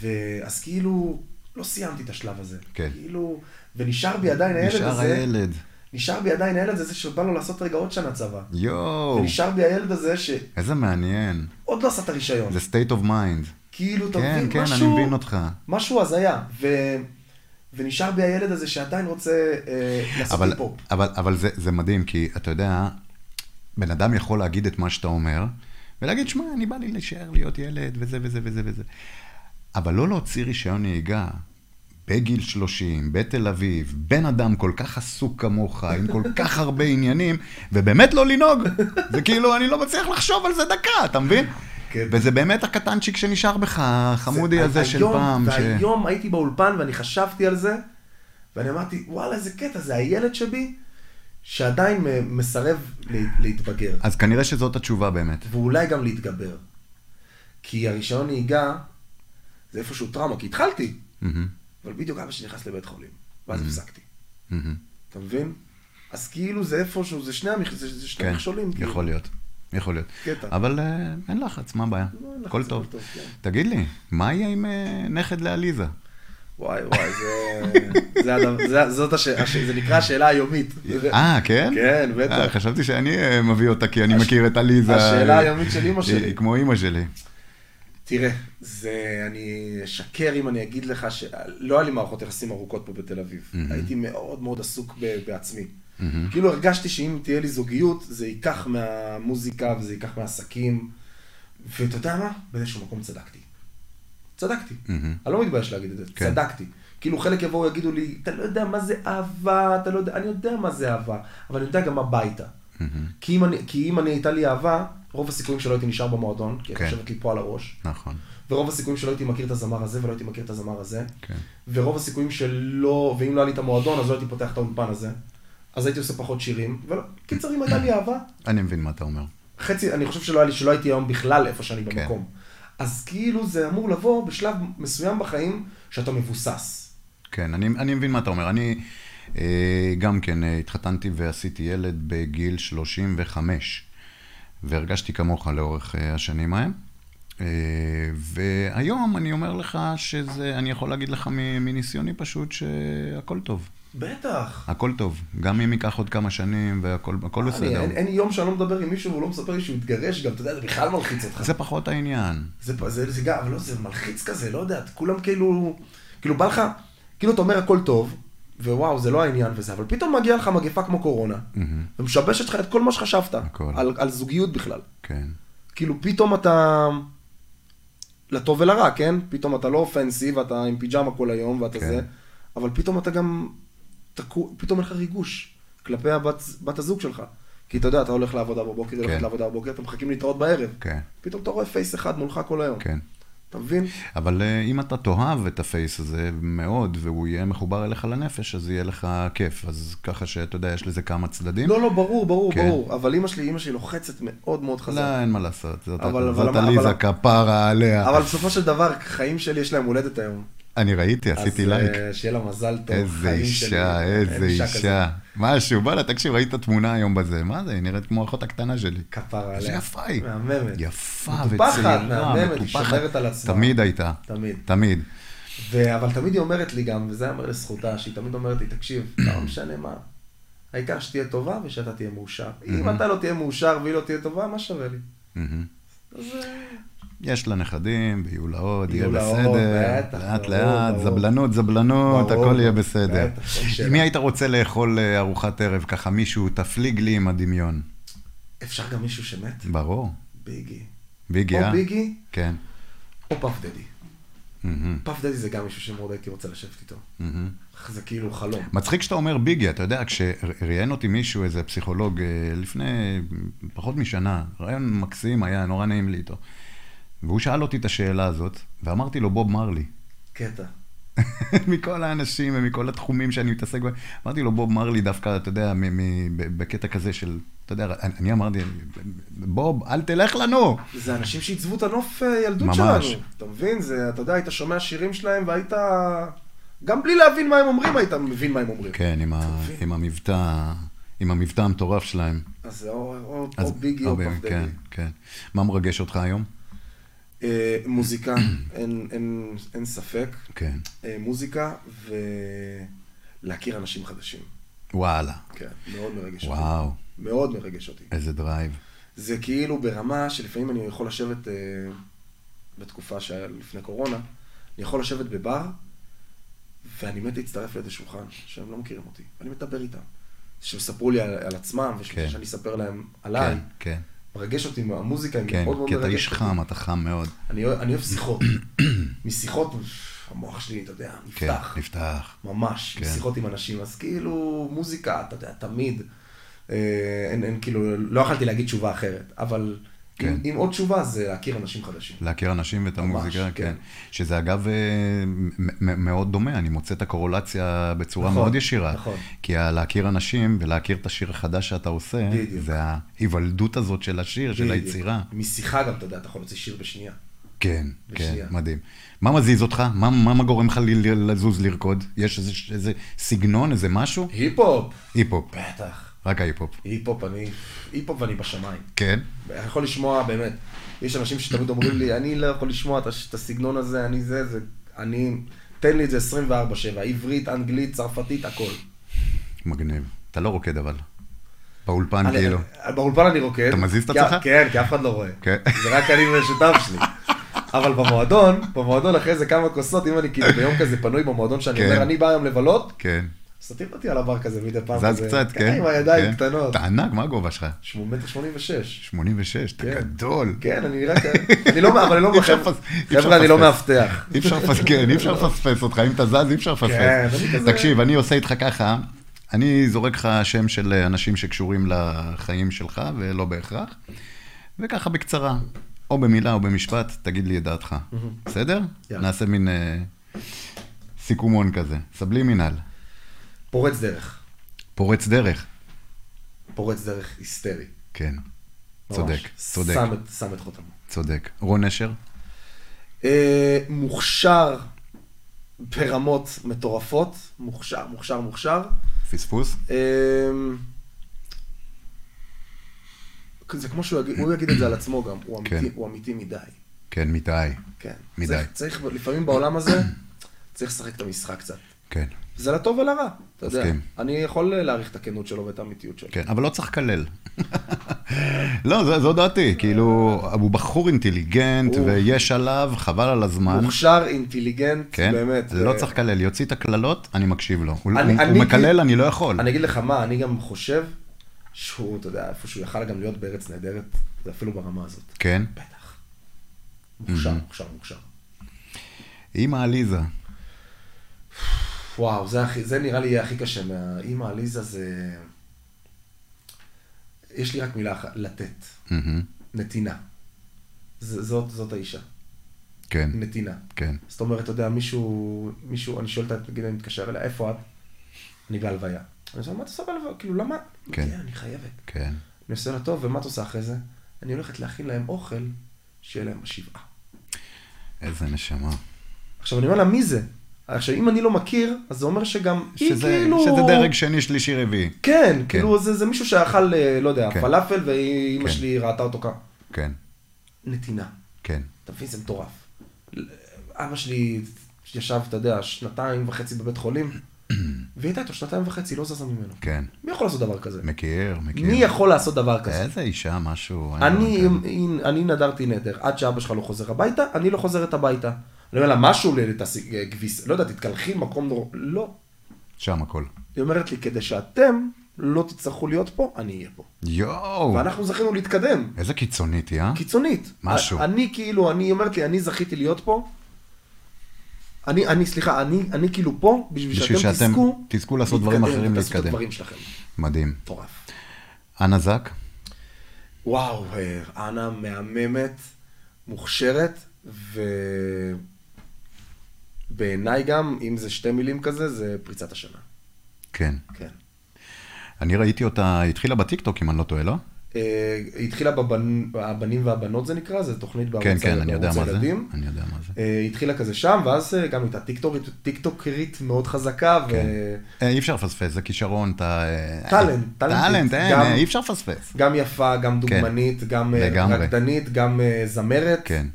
ואז כאילו, לא סיימתי את השלב הזה.
כן.
כאילו, ונשאר בי עדיין הילד הזה.
נשאר הילד.
נשאר בי עדיין הילד הזה שבא לו לעשות רגע עוד שנה צבא.
יואו,
ונשאר בי הילד הזה שעוד
איזה מעניין.
לא עשה את הרישיון.
זה state of mind.
כאילו, אתה
כן,
מבין,
כן,
משהו...
אני מבין אותך.
משהו הזיה. ו... ונשאר בי הילד הזה שעדיין רוצה אה, לעשות
אבל,
היפ-הופ.
אבל, אבל זה, זה מדהים, כי אתה יודע, בן אדם יכול להגיד את מה שאתה אומר, ולהגיד, שמע, אני בא לי להישאר להיות ילד, וזה וזה וזה וזה. אבל לא להוציא רישיון נהיגה בגיל 30, בתל אביב, בן אדם כל כך עסוק כמוך, עם כל כך הרבה עניינים, ובאמת לא לנהוג. זה כאילו, אני לא מצליח לחשוב על זה דקה, אתה מבין?
כן.
וזה באמת הקטנצ'יק שנשאר בך, החמודי
זה-
הזה של
היום-
פעם. ש-
והיום הייתי באולפן ואני חשבתי על זה, ואני אמרתי, וואלה, איזה קטע, זה הילד שבי שעדיין מ- מסרב לה- להתבגר,
אז כנראה שזאת התשובה באמת.
ואולי גם להתגבר. כי הרישיון נהיגה זה איפשהו טראומה, כי התחלתי,
מהמם,
אבל בדיוק אבא שלי נכנס לבית חולים, ואז
Mhm.
הפסקתי,
מהמם.
אתה מבין? אז כאילו זה איפשהו, זה שני המכ- זה- זה שני
כן,
מכשולים. כאילו.
יכול להיות. יכול להיות.
קטע.
אבל אה, אין לחץ, מה הבעיה?
לא, אין לחץ,
הכל
הכל
טוב.
טוב, כן.
תגיד לי, מה יהיה עם אה, נכד לעליזה?
וואי וואי, זה... זה הדבר- זה- זאת הש... הש- זה נקרא השאלה היומית.
אה, כן?
כן, בטח.
אה, חשבתי שאני אה, מביא אותה, כי אני מכיר את עליזה.
השאלה
אה,
היומית של אמא שלי.
היא כמו אימא שלי.
תראה, זה, אני אשקר אם אני אגיד לך שלא היה לי מערכות יחסים ארוכות פה בתל אביב. Mm-hmm. הייתי מאוד מאוד עסוק ב, בעצמי. Mm-hmm. כאילו הרגשתי שאם תהיה לי זוגיות, זה ייקח מהמוזיקה וזה ייקח מהעסקים. ואתה יודע מה? באיזשהו מקום צדקתי. צדקתי. Mm-hmm. אני לא מתבייש להגיד את זה,
כן.
כן. צדקתי. כאילו חלק יבואו יגידו לי, אתה לא יודע מה זה אהבה, אתה לא יודע, אני יודע מה זה אהבה, אבל אני יודע גם מה ביתה. כי אם, אני, כי אם אני הייתה לי אהבה, רוב הסיכויים שלא הייתי נשאר במועדון, כי
כן.
כן. יושבת לי פה על הראש.
נכון.
ורוב הסיכויים שלא הייתי מכיר את הזמר הזה ולא הייתי מכיר את הזמר הזה.
כן.
ורוב הסיכויים שלא, ואם לא היה לי את המועדון, אז לא הייתי פותח את האולפן הזה. אז הייתי עושה פחות שירים, ולא, קיצר, אם הייתה לי אהבה,
אני מבין מה אתה אומר.
חצי, אני חושב שלא, היה לי, שלא הייתי היום בכלל איפה שאני
כן.
במקום. אז כאילו זה אמור לבוא בשלב מסוים בחיים שאתה מבוסס.
כן, אני, אני מבין מה אתה אומר. אני אה, גם כן אה, התחתנתי ועשיתי ילד בגיל 35, והרגשתי כמוך לאורך אה, השנים ההם. אה, והיום אני אומר לך שזה, אני יכול להגיד לך מ- מניסיוני פשוט שהכל טוב.
בטח.
הכל טוב. גם אם ייקח עוד כמה שנים והכל הכל
אני,
אה, בסדר.
אין, אין יום שאני לא מדבר עם מישהו והוא לא מספר לי שהוא התגרש גם, אתה יודע, זה בכלל מלחיץ אותך.
זה פחות העניין.
זה, זה, זה גם, אבל לא, זה מלחיץ כזה, לא יודע, כולם כאילו, כאילו בא לך, כאילו אתה אומר הכל טוב, ווואו, זה לא העניין וזה, אבל פתאום מגיעה לך מגפה כמו קורונה, ומשבשת לך את כל מה שחשבת,
הכל.
על, על זוגיות בכלל.
כן.
כאילו פתאום אתה, לטוב ולרע, כן? פתאום אתה לא פנסי ואתה עם פיג'מה כל היום ואתה
כן.
זה, אבל פתאום אתה גם, תקו, פתאום אין לך ריגוש כלפי הבת, בת הזוג שלך. כי אתה יודע, אתה הולך לעבודה בבוקר, היא הולכת לעבודה בבוקר, אתם מחכים להתראות בערב.
כן.
פתאום אתה רואה פייס אחד מולך כל היום.
כן.
אתה מבין?
אבל אה, אם אתה תאהב את הפייס הזה מאוד, והוא יהיה מחובר אליך לנפש, אז יהיה לך כיף. אז ככה שאתה יודע, יש לזה כמה צדדים.
לא, לא, ברור, ברור,
כן.
ברור. אבל אימא שלי, אימא שלי לוחצת מאוד מאוד חזק.
לא, אין מה לעשות. זאת
אבל- אבל-
זאת
אבל-
עליזה
אבל-
כפרה עליה.
אבל בסופו של דבר, חיים שלי, יש להם הולדת היום.
אני ראיתי, עשיתי
אז,
לייק.
אה, שיהיה לה מזל טוב,
איזה
חיים שלי.
אישה, איזה
אין כזאת.
אישה. משהו, בוא'נה, תקשיב, ראית תמונה היום בזה. מה זה, היא נראית כמו האחות הקטנה שלי.
כפרה
איזה
עליה.
יפה היא.
מהממת.
יפה
מטופחת,
וצעירה,
מהממת, היא
מטופחת.
שומרת על עצמה.
תמיד הייתה.
תמיד.
תמיד.
ו- אבל תמיד היא אומרת לי גם, וזה אומר לזכותה, שהיא תמיד אומרת לי, תקשיב, לא משנה מה. העיקר שתהיה טובה ושאתה תהיה מאושר. אם אתה לא תהיה מאושר והיא לא תהיה טובה, מה שווה לי?
מהמם.
אז, אה,
יש לה נכדים, ויהיו לה עוד, יהיה
יהיו לה עוד,
בסדר,
בטח,
לאט
ברור,
לאט,
ברור.
זבלנות, זבלנות,
ברור,
הכל יהיה
ברור,
בסדר.
בטח, אין שאלה.
עם מי היית רוצה לאכול אה, ארוחת ערב ככה, מישהו, תפליג לי עם הדמיון.
אפשר גם מישהו שמת?
ברור.
ביגי.
ביגי,
או
אה?
ביגי,
כן.
או פאף דדי.
מהמם,
פאף דדי זה גם מישהו שמאוד הייתי רוצה לשבת איתו.
מהמם.
זה כאילו חלום.
מצחיק שאתה אומר ביגי, אתה יודע, כשראיין אותי מישהו, איזה פסיכולוג, אה, לפני פחות משנה, רעיון מקסים היה, נורא נעים לי איתו. והוא שאל אותי את השאלה הזאת, ואמרתי לו, בוב מרלי.
קטע.
מכל האנשים ומכל התחומים שאני מתעסק בהם. אמרתי לו, בוב מרלי דווקא, אתה יודע, מ- מ- ב- בקטע כזה של, אתה יודע, אני, אני אמרתי, בוב, אל תלך לנו.
זה אנשים שעיצבו את הנוף אה, ילדות
ממש.
שלנו. אתה מבין? זה, אתה יודע, היית שומע שירים שלהם והיית... גם בלי להבין מה הם אומרים, היית מבין מה הם אומרים.
כן, עם, ה, עם המבטא, עם המבטא המטורף שלהם.
אז זה או, או,
אז-
או ביגי או
הרבה-
פאף דדי.
כן, כן. מה מרגש אותך היום?
אה, מוזיקה, אין, אין, אין ספק.
כן.
אה, מוזיקה ולהכיר אנשים חדשים.
וואלה.
כן, מאוד מרגש אותי.
וואו,
מאוד מרגש אותי.
איזה דרייב.
זה כאילו ברמה שלפעמים אני יכול לשבת, אה, בתקופה שהיה לפני קורונה, אני יכול לשבת בבר, ואני מת להצטרף לאיזה שולחן, שהם לא מכירים אותי, ואני מדבר איתם. שהם ספרו לי על, על עצמם, וש-
כן.
ושאני אספר להם עליי,
כן, כן.
מרגש אותי מהמוזיקה, היא
כן,
מאוד מאוד
כי אתה
מרגשת
איש
אותי.
חם, אתה חם מאוד.
אני אוהב אני אוהב שיחות. משיחות, המוח שלי, אתה יודע,
כן,
נפתח.
נפתח.
ממש,
כן.
כן. שיחות עם אנשים, אז כאילו מוזיקה, אתה יודע, תמיד. אה, אין, אין כאילו, לא יכלתי להגיד תשובה אחרת, אבל
כן.
כן. עם, עם עוד תשובה זה להכיר אנשים חדשים.
להכיר אנשים ואת
ממש,
המוזיקה, כן.
כן.
שזה אגב אה, מ- מ- מאוד דומה, אני מוצא את הקורולציה בצורה
נכון,
מאוד ישירה.
נכון.
כי ה- להכיר אנשים ולהכיר את השיר החדש שאתה עושה,
בדיוק.
זה ההיוולדות הזאת של השיר, של
בדיוק.
היצירה.
משיחה גם, אתה יודע, אתה יכול להוציא שיר בשנייה.
כן, כן,
בשנייה.
מדהים. מה מזיז אותך? מה- מה מה גורם לך ל- ל- לזוז לרקוד? יש איזה- איזה סגנון, איזה משהו?
היפ-הופ!
היפ-הופ,
בטח.
רק ההיפ-הופ.
היפ-הופ, אני... היפ-הופ אני בשמיים.
כן?
אני יכול לשמוע, באמת. יש אנשים שתמיד אומרים לי, אני לא יכול לשמוע את הש- את הסגנון הזה, אני זה, זה... אני... תן לי את זה 24-7, עברית, אנגלית, צרפתית, הכל.
מגניב. אתה לא רוקד אבל. באולפן
אני-
כאילו.
באולפן אני רוקד.
אתה מזיז את
כי-
עצמך?
כן, כי אף אחד לא רואה.
כן.
זה רק אני והשותף שלי. אבל במועדון, במועדון אחרי זה כמה כוסות, אם אני כאילו ביום כזה פנוי במועדון שאני
כן.
אומר, אני בא היום לבלות,
כן.
סתיר אותי על הבר כזה מדי פעם.
זז
כזה.
קצת, כן?
עם הידיים
כן.
קטנות.
אתה ענק, מה הגובה שלך?
1.86 מטר.
86, אתה
כן.
גדול.
כן, אני רק... אני לא, אבל אני
אי
לא...
אפשר לפס- אי אפשר
חבר'ה, אני לא
לפספס.
מאבטח.
אי אפשר לפספס, כן, אי אפשר לפספס אותך, אם אתה זז אי אפשר
כן,
לפספס.
אני כזה-
תקשיב, אני עושה איתך ככה, אני זורק לך שם של אנשים שקשורים לחיים שלך, ולא בהכרח, וככה בקצרה, או במילה או במשפט, תגיד לי את דעתך, בסדר?
יאללה.
נעשה מין אה, סיכומון כזה, סבלימינל,
פורץ דרך.
פורץ דרך.
פורץ דרך היסטרי.
כן,
ממש.
צודק, צודק,
שם את- שם את חותמו.
צודק. רון נשר?
אה, מוכשר ברמות מטורפות, מוכשר, מוכשר, מוכשר.
פספוס?
אה, זה כמו שהוא יגיד, הוא יגיד את זה על עצמו גם, הוא אמיתי,
כן.
הוא אמיתי מדי.
כן, מיטאי.
כן.
מדי.
צריך, צריך, לפעמים בעולם הזה, צריך לשחק את המשחק קצת.
כן,
זה לטוב ולרע, אתה יודע.
מסכים.
אני יכול להעריך את הכנות שלו ואת האמיתיות שלו.
כן, אבל לא צריך לקלל. לא, זו- זו דעתי, כאילו, הוא בחור אינטליגנט
הוא-
ויש עליו, חבל על הזמן.
מוכשר, אינטליגנט,
כן,
באמת. אה,
לא
ו-
צריך לקלל, יוציא את הקללות, אני מקשיב לו. הוא
אני-
הוא- הוא
אני-
מקלל, אני לא יכול.
אני אגיד לך מה, אני גם חושב שהוא, אתה יודע, איפה שהוא יכל גם להיות בארץ נהדרת, זה אפילו ברמה הזאת.
כן,
בטח. מוכשר, מוכשר, מוכשר.
אימא עליזה,
וואו, זה, הכי, זה נראה לי יהיה הכי קשה מה... אימא עליזה זה... יש לי רק מילה אחת, לתת.
מהמם,
נתינה. ז, זאת, זאת האישה,
כן,
נתינה.
כן,
זאת אומרת, אתה יודע, מישהו, מישהו, אני שואל את ה... נגיד, אני מתקשר אליה, איפה את? אני בהלוויה. אני אומר, מה את עושה בהלוויה? כאילו, למה?
כן.
כן, אני חייבת.
כן.
אני עושה לה טוב, ומה את עושה אחרי זה? אני הולכת להכין להם אוכל, שיהיה להם בשבעה.
איזה נשמה.
עכשיו, אני אומר לה, מי זה? עכשיו, אם אני לא מכיר, אז זה אומר שגם היא
שזה-
כאילו...
שזה דרג שני, שלישי, רביעי.
כן,
כן.
כאילו, זה, זה מישהו שאכל, אה, לא יודע,
כן.
פלאפל, ואימא
כן.
שלי ראתה אותו ככה.
כן,
נתינה.
כן,
אתה מבין? זה מטורף. אבא שלי ישב, אתה יודע, שנתיים וחצי בבית חולים, והיא הייתה איתו שנתיים וחצי, לא זזה ממנו.
כן.
מי יכול לעשות דבר כזה?
מכיר, מכיר.
מי יכול לעשות דבר כזה?
איזה אישה, משהו. אין
אני,
לו-
אם- אם- אני נדרתי נדר, עד שאבא שלך לא חוזר הביתה, אני לא חוזרת הביתה. אני אומר לה, משהו ל- תעשי, אה, כביס, לא יודע, תתקלחי במקום נורא, לא.
שם הכל.
היא אומרת לי, כדי שאתם לא תצטרכו להיות פה, אני אהיה פה.
יואו,
ואנחנו זכינו להתקדם,
איזה קיצונית היא, אה?
קיצונית.
משהו.
א- אני כאילו, אני, היא אומרת לי, אני זכיתי להיות פה. אני, אני, סליחה, אני, אני כאילו פה, בשביל
בשביל
שאתם
שאתם
תזכו,
תזכו לעשות דברים
להתקדם,
אחרים,
ותעשו את
להתקדם.
הדברים שלכם.
מדהים.
מטורף.
אנה זק?
וואו, אה, אנה מהממת, מוכשרת, ובעיניי גם, אם זה שתי מילים כזה, זה פריצת השנה.
כן.
כן.
אני ראיתי אותה, היא התחילה בטיקטוק, אם אני לא טועה, לא?
אה, היא התחילה בבנ- הבנים והבנות זה נקרא, זו תוכנית בערוץ
כן, כן,
ה-
אני יודע
בערוץ
מה זה.
הילדים.
אני יודע מה זה.
אה, היא התחילה כזה שם, ואז אה, גם הייתה טיקטוקרית, טיקטוקרית מאוד חזקה,
כן. אה, אי אפשר לפספס, זה כישרון, אתה... אה,
טאלנט, טאלנטית,
טאלנט, אין,
גם-
אה, אי אפשר לפספס.
וגם יפה, גם דוגמנית, גם אה,
כן. לגמרי.
רקדנית, גם אה, זמרת,
כן.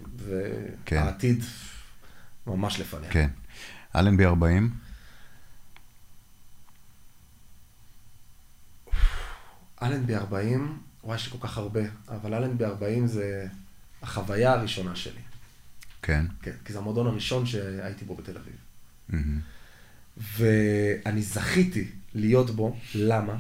כן.
והעתיד ממש לפניה.
כן. אלנבי 40?
אלנבי 40, וואי, יש לי כל כך הרבה, אבל אלנבי 40 זה החוויה הראשונה שלי.
כן.
כן, כי זה המועדון הראשון שהייתי בו בתל אביב.
מהמם.
ואני זכיתי להיות בו, למה?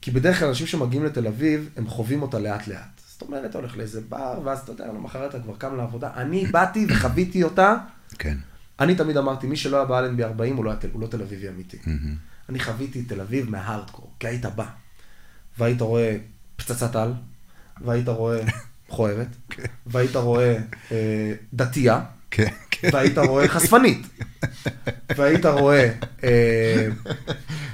כי בדרך כלל אנשים שמגיעים לתל אביב, הם חווים אותה לאט לאט. זאת אומרת, אתה הולך לאיזה בר, ואז אתה יודע, למחרת אתה כבר קם לעבודה. אני באתי וחוויתי אותה.
כן.
אני תמיד אמרתי, מי שלא היה באלנבי 40, הוא לא, היה תל- הוא לא תל אביבי אמיתי. אני חוויתי תל אביב מההארדקור, כי היית בא, והיית רואה פצצת על, והיית רואה מכוערת, והיית רואה אה, דתייה,
כן, כן.
והיית רואה חשפנית, והיית רואה... אה,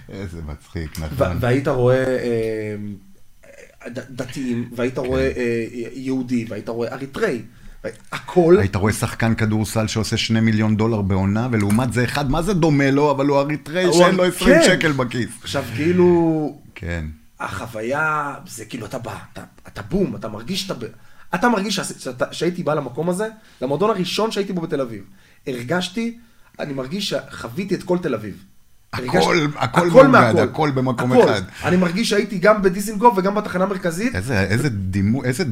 איזה מצחיק,
ו-
נכון.
והיית רואה אה, ד- דתיים, והיית רואה
כן.
אה, יהודי, והיית רואה אריתראי, והי- הכל,
היית רואה שחקן כדורסל שעושה שני מיליון דולר בעונה, ולעומת זה אחד, מה זה דומה לו, אבל הוא אריתראי
הוא-
שאין לו 20
כן.
שקל בכיס.
עכשיו כאילו,
כן.
החוויה, זה כאילו אתה בא, אתה, אתה בום, אתה מרגיש שאתה, ב- אתה מרגיש שעשי- שאתה, שהייתי בא למקום הזה, למועדון הראשון שהייתי בו בתל אביב. הרגשתי, אני מרגיש שחוויתי את כל תל אביב.
הכל-
הרגשתי-
הכל מאוגד, הכל במקום
הכל.
אחד.
אני מרגיש שהייתי גם בדיזינגוף וגם בתחנה המרכזית.
איזה- איזה דימו- איזה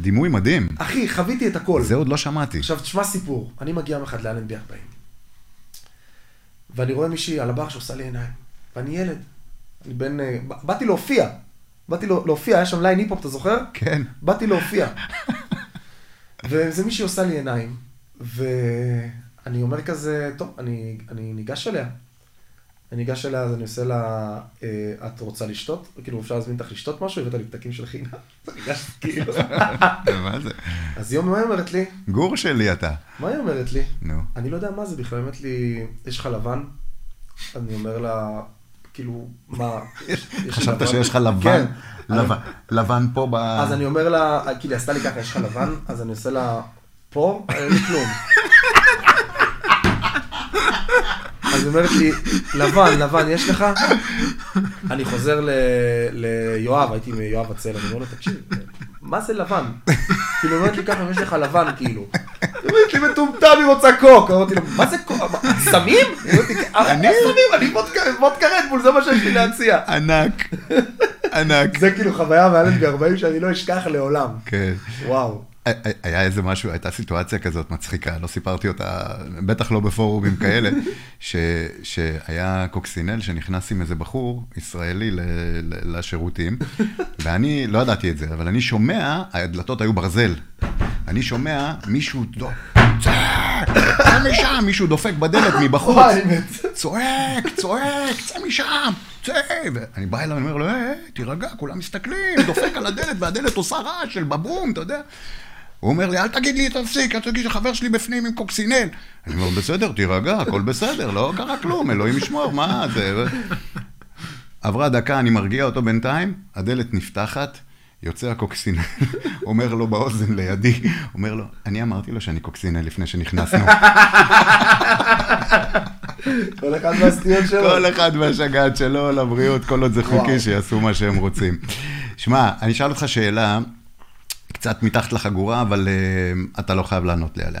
דימוי מדהים.
אחי, חוויתי את הכל.
זה עוד לא שמעתי.
עכשיו, תשמע סיפור. אני מגיע יום אחד לאלנבי 40, ואני רואה מישהי על הבר שעושה לי עיניים, ואני ילד. אני בן... אה, ב- באתי להופיע. באתי לא- להופיע, היה שם ליין היפ-הופ, אתה זוכר?
כן.
באתי להופיע. וזה מישהי עושה לי עיניים, ואני אומר כזה, טוב, אני, אני ניגש אליה. אני ניגש אליה, אז אני עושה לה, אה, את רוצה לשתות? כאילו, אפשר להזמין אותך לשתות משהו? הבאת לי פתקים של חינם. אז אני ניגש, כאילו.
מה זה?
אז יום, מה היא אומרת לי?
גור שלי אתה.
מה היא אומרת לי?
נו.
אני לא יודע מה זה בכלל, היא אומרת לי, יש לך לבן? אני אומר לה, כאילו, מה, יש, יש לי
חשבת
לבן?"
שיש לך לבן,
כן.
לבן- לבן פה ב...
אז אני אומר לה, כאילו, היא עשתה לי ככה, יש לך לבן? אז אני עושה לה, פה? אין לי כלום. אז היא אומרת לי, לבן, לבן, יש לך? אני חוזר ל- ליואב, הייתי עם יואב הצל, אני אומר לו, תקשיב, מה זה לבן? כאילו, היא אומרת לי ככה, יש לך לבן, כאילו. היא אומרת לי, מטומטם, היא רוצה קוק. אמרתי לו, מה זה קוק? מה, סמים? היא אומרת לי, אני סמים, אני וודקה וודקה רדבול, זה מה שיש לי להציע.
ענק, ענק.
זה כאילו חוויה מהילד ב-40 שאני לא אשכח לעולם.
כן.
וואו.
היה איזה משהו, הייתה סיטואציה כזאת מצחיקה, לא סיפרתי אותה, בטח לא בפורומים כאלה, ש, שהיה קוקסינל שנכנס עם איזה בחור ישראלי ל, ל, לשירותים, ואני לא ידעתי את זה, אבל אני שומע, הדלתות היו ברזל, אני שומע מישהו דו... צעק, צא משם, מישהו דופק בדלת מבחוץ,
וואי, באמת.
צועק, צועק, צא משם, צא. ואני בא אליו, אני אומר לו, "אה, אה, תירגע, כולם מסתכלים, דופק על הדלת, והדלת עושה רעש של בבום, אתה יודע. הוא אומר לי, אל תגיד לי, תפסיק, אל תגיד שחבר שלי בפנים עם קוקסינל. אני אומר, בסדר, תירגע, הכל בסדר, לא קרה כלום, אלוהים ישמור, מה זה... עברה דקה, אני מרגיע אותו בינתיים, הדלת נפתחת, יוצא הקוקסינל, אומר לו באוזן לידי, אומר לו, אני אמרתי לו שאני קוקסינל לפני שנכנסנו.
כל אחד מהסטיות שלו.
כל אחד והשגעת שלו לבריאות, כל עוד זה חוקי,
וואו.
שיעשו מה שהם רוצים. שמע, אני אשאל אותך שאלה, קצת מתחת לחגורה, אבל uh, אתה לא חייב לענות לי עליה.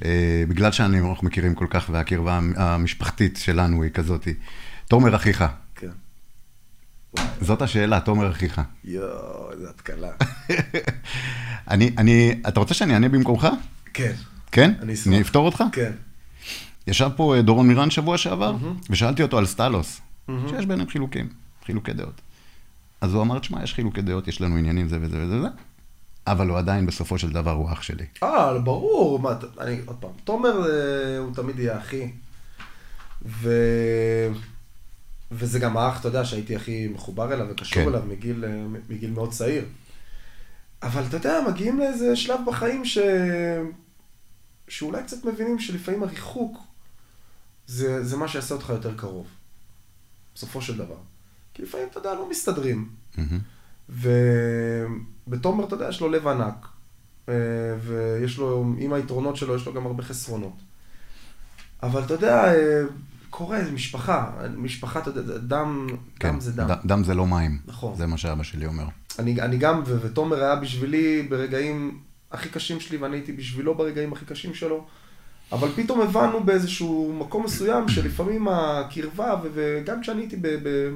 Uh, בגלל שאני- אנחנו מכירים כל כך, והקרבה המ- המשפחתית שלנו היא כזאתי. תומר אחיך,
כן.
זאת השאלה, תומר אחיך.
יואו, איזה התקלה.
אני, אני, אתה רוצה שאני אענה במקומך?
כן.
כן?
אני אשמח.
אני אפתור אותך?
כן.
ישב פה אה, דורון מירן שבוע שעבר, ושאלתי אותו על סטלוס, שיש ביניהם חילוקים, חילוקי דעות. אז הוא אמר, תשמע, יש חילוקי דעות, יש לנו עניינים זה וזה וזה וזה, אבל הוא עדיין בסופו של דבר הוא אח שלי.
אה, ברור. מה, ת- אני, עוד פעם, תומר אה, הוא תמיד יהיה אחי. ו... וזה גם האח, אתה יודע, שהייתי הכי מחובר אליו וקשור
כן.
אליו מגיל, אה, מ- מגיל מאוד צעיר. אבל אתה יודע, מגיעים לאיזה שלב בחיים ש... שאולי קצת מבינים שלפעמים הריחוק זה, זה מה שיעשה אותך יותר קרוב. בסופו של דבר. כי לפעמים, אתה יודע, לא מסתדרים.
מהמם.
ובתומר, אתה יודע, יש לו לב ענק. אה, ויש לו, עם היתרונות שלו, יש לו גם הרבה חסרונות. אבל אתה יודע, אה, קורה, זה משפחה. משפחה, אתה יודע, זה דם, דם זה דם.
כן, ד- דם זה לא מים.
נכון.
זה מה שאבא שלי אומר.
אני, אני גם, ו- ותומר היה בשבילי ברגעים הכי קשים שלי, ואני הייתי בשבילו ברגעים הכי קשים שלו. אבל פתאום הבנו באיזשהו מקום מסוים שלפעמים הקרבה, ו- וגם כשאני הייתי ב- ב-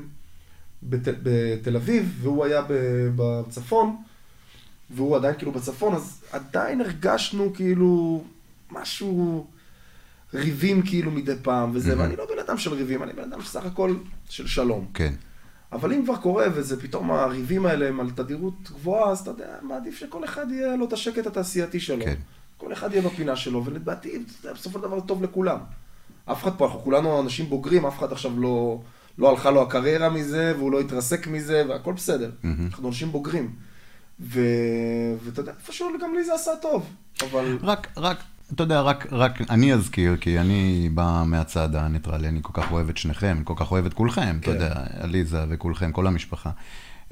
בת- בתל אביב, והוא היה ב- בצפון, והוא עדיין כאילו בצפון, אז עדיין הרגשנו כאילו משהו, ריבים כאילו מדי פעם וזה, ואני לא בן אדם של ריבים, אני בן אדם שסך הכל של שלום.
כן.
אבל אם כבר קורה וזה פתאום הריבים האלה הם על תדירות גבוהה, אז אתה יודע, מעדיף שכל אחד יהיה לו את השקט התעשייתי שלו.
כן.
כל אחד יהיה בפינה שלו, ולדעתי, אתה יודע, בסופו של דבר זה טוב לכולם. אף אחד פה, אנחנו כולנו אנשים בוגרים, אף אחד עכשיו לא, לא הלכה לו הקריירה מזה, והוא לא התרסק מזה, והכל בסדר. אנחנו אנשים בוגרים. ו... ואתה יודע, איפשהו גם לי זה עשה טוב, אבל...
רק, רק, אתה יודע, רק, רק אני אזכיר, כי אני בא מהצד הניטרלי, אני כל כך אוהב את שניכם, אני כל כך אוהב את כולכם, אתה
כן.
יודע, עליזה וכולכם, כל המשפחה.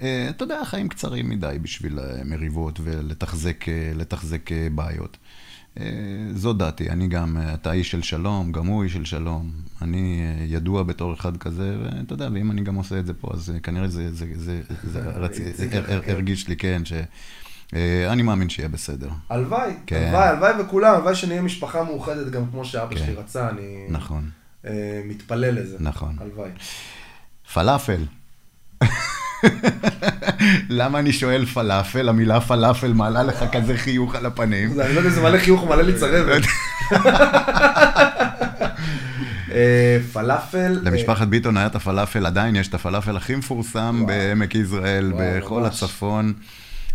אה, אתה יודע, החיים קצרים מדי בשביל אה, מריבות ולתחזק אה, לתחזק, אה, בעיות. אה, זו דעתי, אני גם, אה, אתה איש של שלום, גם הוא איש של שלום. אני אה, ידוע בתור אחד כזה, ואתה יודע, ואם אני גם עושה את זה פה, אז אה, כנראה זה, זה, זה, זה, רצ...
הציק
הר-
לך,
הר-
כן.
הרגיש לי, כן, ש... אה, אני מאמין שיהיה בסדר.
הלוואי,
כן.
הלוואי, הלוואי וכולם, הלוואי שנהיה משפחה מאוחדת גם כמו שאבא
כן.
שלי רצה, אני
נכון.
אה, מתפלל לזה.
נכון.
הלוואי.
פלאפל. למה אני שואל פלאפל? המילה פלאפל מעלה לך כזה חיוך על הפנים.
זה- אני לא יודע, זה מלא חיוך, מלא לי צרבת. אה, פלאפל. אה,
למשפחת ביטון היה את הפלאפל, עדיין יש את הפלאפל הכי מפורסם
וואו.
בעמק יזרעאל,
וואו,
בכל
ממש.
הצפון.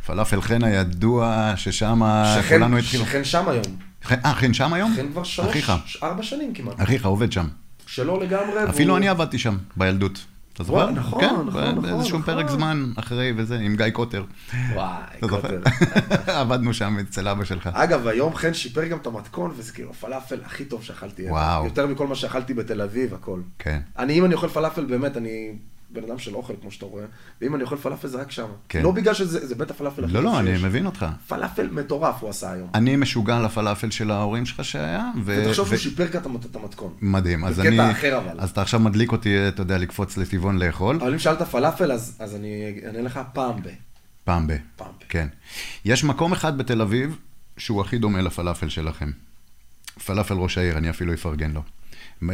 פלאפל חן הידוע, ששם
שכן-
כולנו התחילו...
שכן שם היום.
חן- אה, חן שם היום?
שכן כבר שלוש,
אחיך,
ארבע שנים כמעט.
אחיך עובד שם.
שלא לגמרי.
אפילו
והוא-
אני עבדתי שם, בילדות. אתה זוכר?
וואי, אה, נכון,
כן,
נכון, נכון,
באיזשהו
נכון.
פרק זמן אחרי וזה, עם גיא קוטר.
וואי,
אתה לא זוכר?
קוטר.
עבדנו שם אצל אבא שלך.
אגב, היום חן שיפר גם את המתכון, וזה כאילו הפלאפל הכי טוב שאכלתי.
וואו.
יותר מכל מה שאכלתי בתל אביב, הכל.
כן.
אני, אם אני אוכל פלאפל, באמת, אני בן אדם של אוכל, כמו שאתה רואה, ואם אני אוכל פלאפל זה רק שם.
כן.
לא בגלל שזה, זה בית הפלאפל הכי
לא,
טוב
לא, אני
שיש.
מבין אותך.
פלאפל מטורף הוא עשה היום.
אני משוגע לפלאפל של ההורים שלך שהיה, ו...
ותחשוב שהוא
ו-
שיפר כאן את המת- את המתכון.
מדהים, אז
בקטע
אני...
אחר אבל.
אז אתה עכשיו מדליק אותי, אתה יודע, לקפוץ לטבעון לאכול,
אבל אם שאלת פלאפל, אז אז אני אענה לך פעם ב...
פעם ב...
פעם ב.
כן. יש מקום אחד בתל אביב שהוא הכי דומה לפלאפל שלכם. פלאפל ראש העיר, אני אפילו אפרגן לו.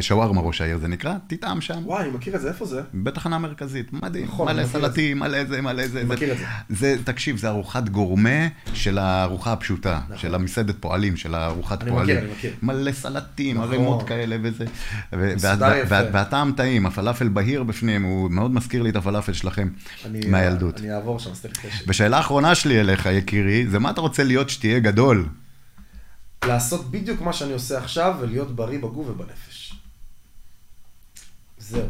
שווארמה ראש העיר זה נקרא, תטעם שם.
וואי, אני מכיר את זה, איפה זה?
בתחנה המרכזית, מדהים,
נכון,
מלא
אני מכיר את
סלטים, מלא זה, מלא זה.
מכיר את זה.
זה, תקשיב, זה ארוחת גורמה של הארוחה הפשוטה, של המסעדת פועלים, של הארוחת
נכון. אני
פועלים.
מכיר, אני מכיר.
מלא סלטים,
נכון.
ערימות כאלה וזה. ו-
מסודר
וה-
יפה.
וה- והטעם טעים, הפלאפל בהיר בפנים, הוא מאוד מזכיר לי את הפלאפל שלכם
אני-
מהילדות.
אני אעבור שם, אז תן לי קשר.
ושאלה אחרונה שלי אליך, יקירי, זה מה אתה רוצה להיות שתהיה גדול?
לעשות בדיוק מה שאני עושה עכשיו, ולהיות בריא בגוף ובנפש. זהו.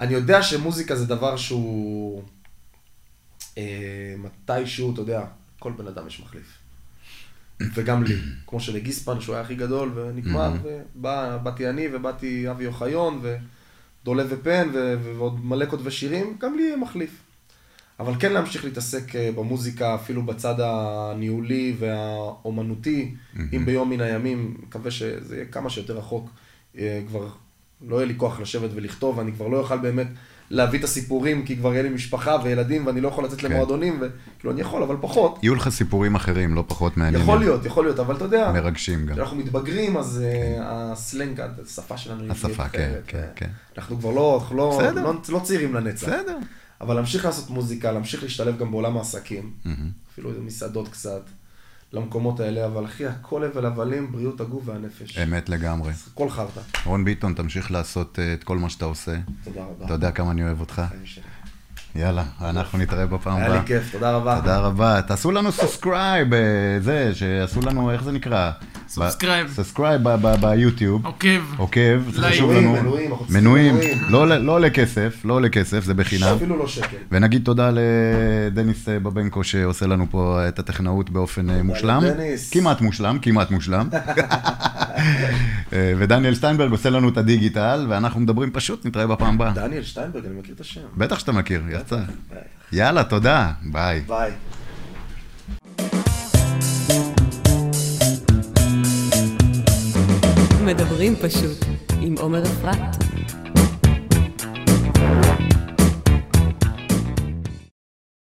אני יודע שמוזיקה זה דבר שהוא... אה, מתישהו, אתה יודע, כל בן אדם יש מחליף. וגם לי, כמו שלגיספן, שהוא היה הכי גדול, ונגמר, ובאתי אני, ובאתי אבי אוחיון, ודולב ופן, ו- ו- ועוד מלא כותבי שירים, גם לי יהיה מחליף. אבל כן להמשיך להתעסק אה, במוזיקה, אפילו בצד הניהולי והאומנותי, אם ביום מן הימים, מקווה שזה יהיה כמה שיותר רחוק, אה, כבר לא יהיה לי כוח לשבת ולכתוב, ואני כבר לא אוכל באמת להביא את הסיפורים, כי כבר יהיה לי משפחה וילדים, ואני לא יכול לצאת למועדונים, וכאילו אני יכול, אבל פחות.
יהיו לך סיפורים אחרים, לא פחות מעניינים.
יכול להיות, יכול להיות, אבל אתה יודע,
מרגשים גם.
כשאנחנו מתבגרים, אז אה, הסלנג, השפה שלנו היא
השפה,
נהיית
כן,
אחרת,
כן,
אה,
כן.
אנחנו כבר לא, אנחנו לא,
בסדר.
לא, לא צעירים לנצח.
בסדר.
אבל להמשיך לעשות מוזיקה, להמשיך להשתלב גם בעולם העסקים,
Mm-hmm.
אפילו איזה מסעדות קצת, למקומות האלה, אבל אחי, הכל הבל הבלים, בריאות הגוף והנפש.
אמת לגמרי.
הכל חרטא.
רון ביטון, תמשיך לעשות אה, את כל מה שאתה עושה.
תודה רבה.
אתה יודע כמה אני אוהב אותך.
חיים שלי.
יאללה, אנחנו נתראה בפעם הבאה.
היה לי כיף, תודה רבה.
תודה רבה. תעשו לנו סאסקרייב, זה, שעשו לנו, איך זה נקרא?
Subscribe.
סאסקרייב ביוטיוב.
עוקב.
עוקב, זה חשוב
לייק.
לנו.
מנויים, מנויים, אנחנו צריכים
מנויים.
מנויים.
לא עולה- לא עולה כסף, לא עולה כסף, זה בחינם.
אפילו לא שקל.
ונגיד תודה לדניס אה, בבנקו שעושה לנו פה אה, את הטכנאות באופן אה, מושלם.
לדניס.
כמעט מושלם, כמעט מושלם. אה, ודניאל שטיינברג עושה לנו את הדיגיטל, ואנחנו מדברים פשוט, נתראה בפעם הבאה.
דניאל שטיינברג, אני מכיר את השם.
בטח שאתה מכיר, יצא. יאללה, תודה, ביי.
ביי.
מדברים פשוט עם עומר אפרת.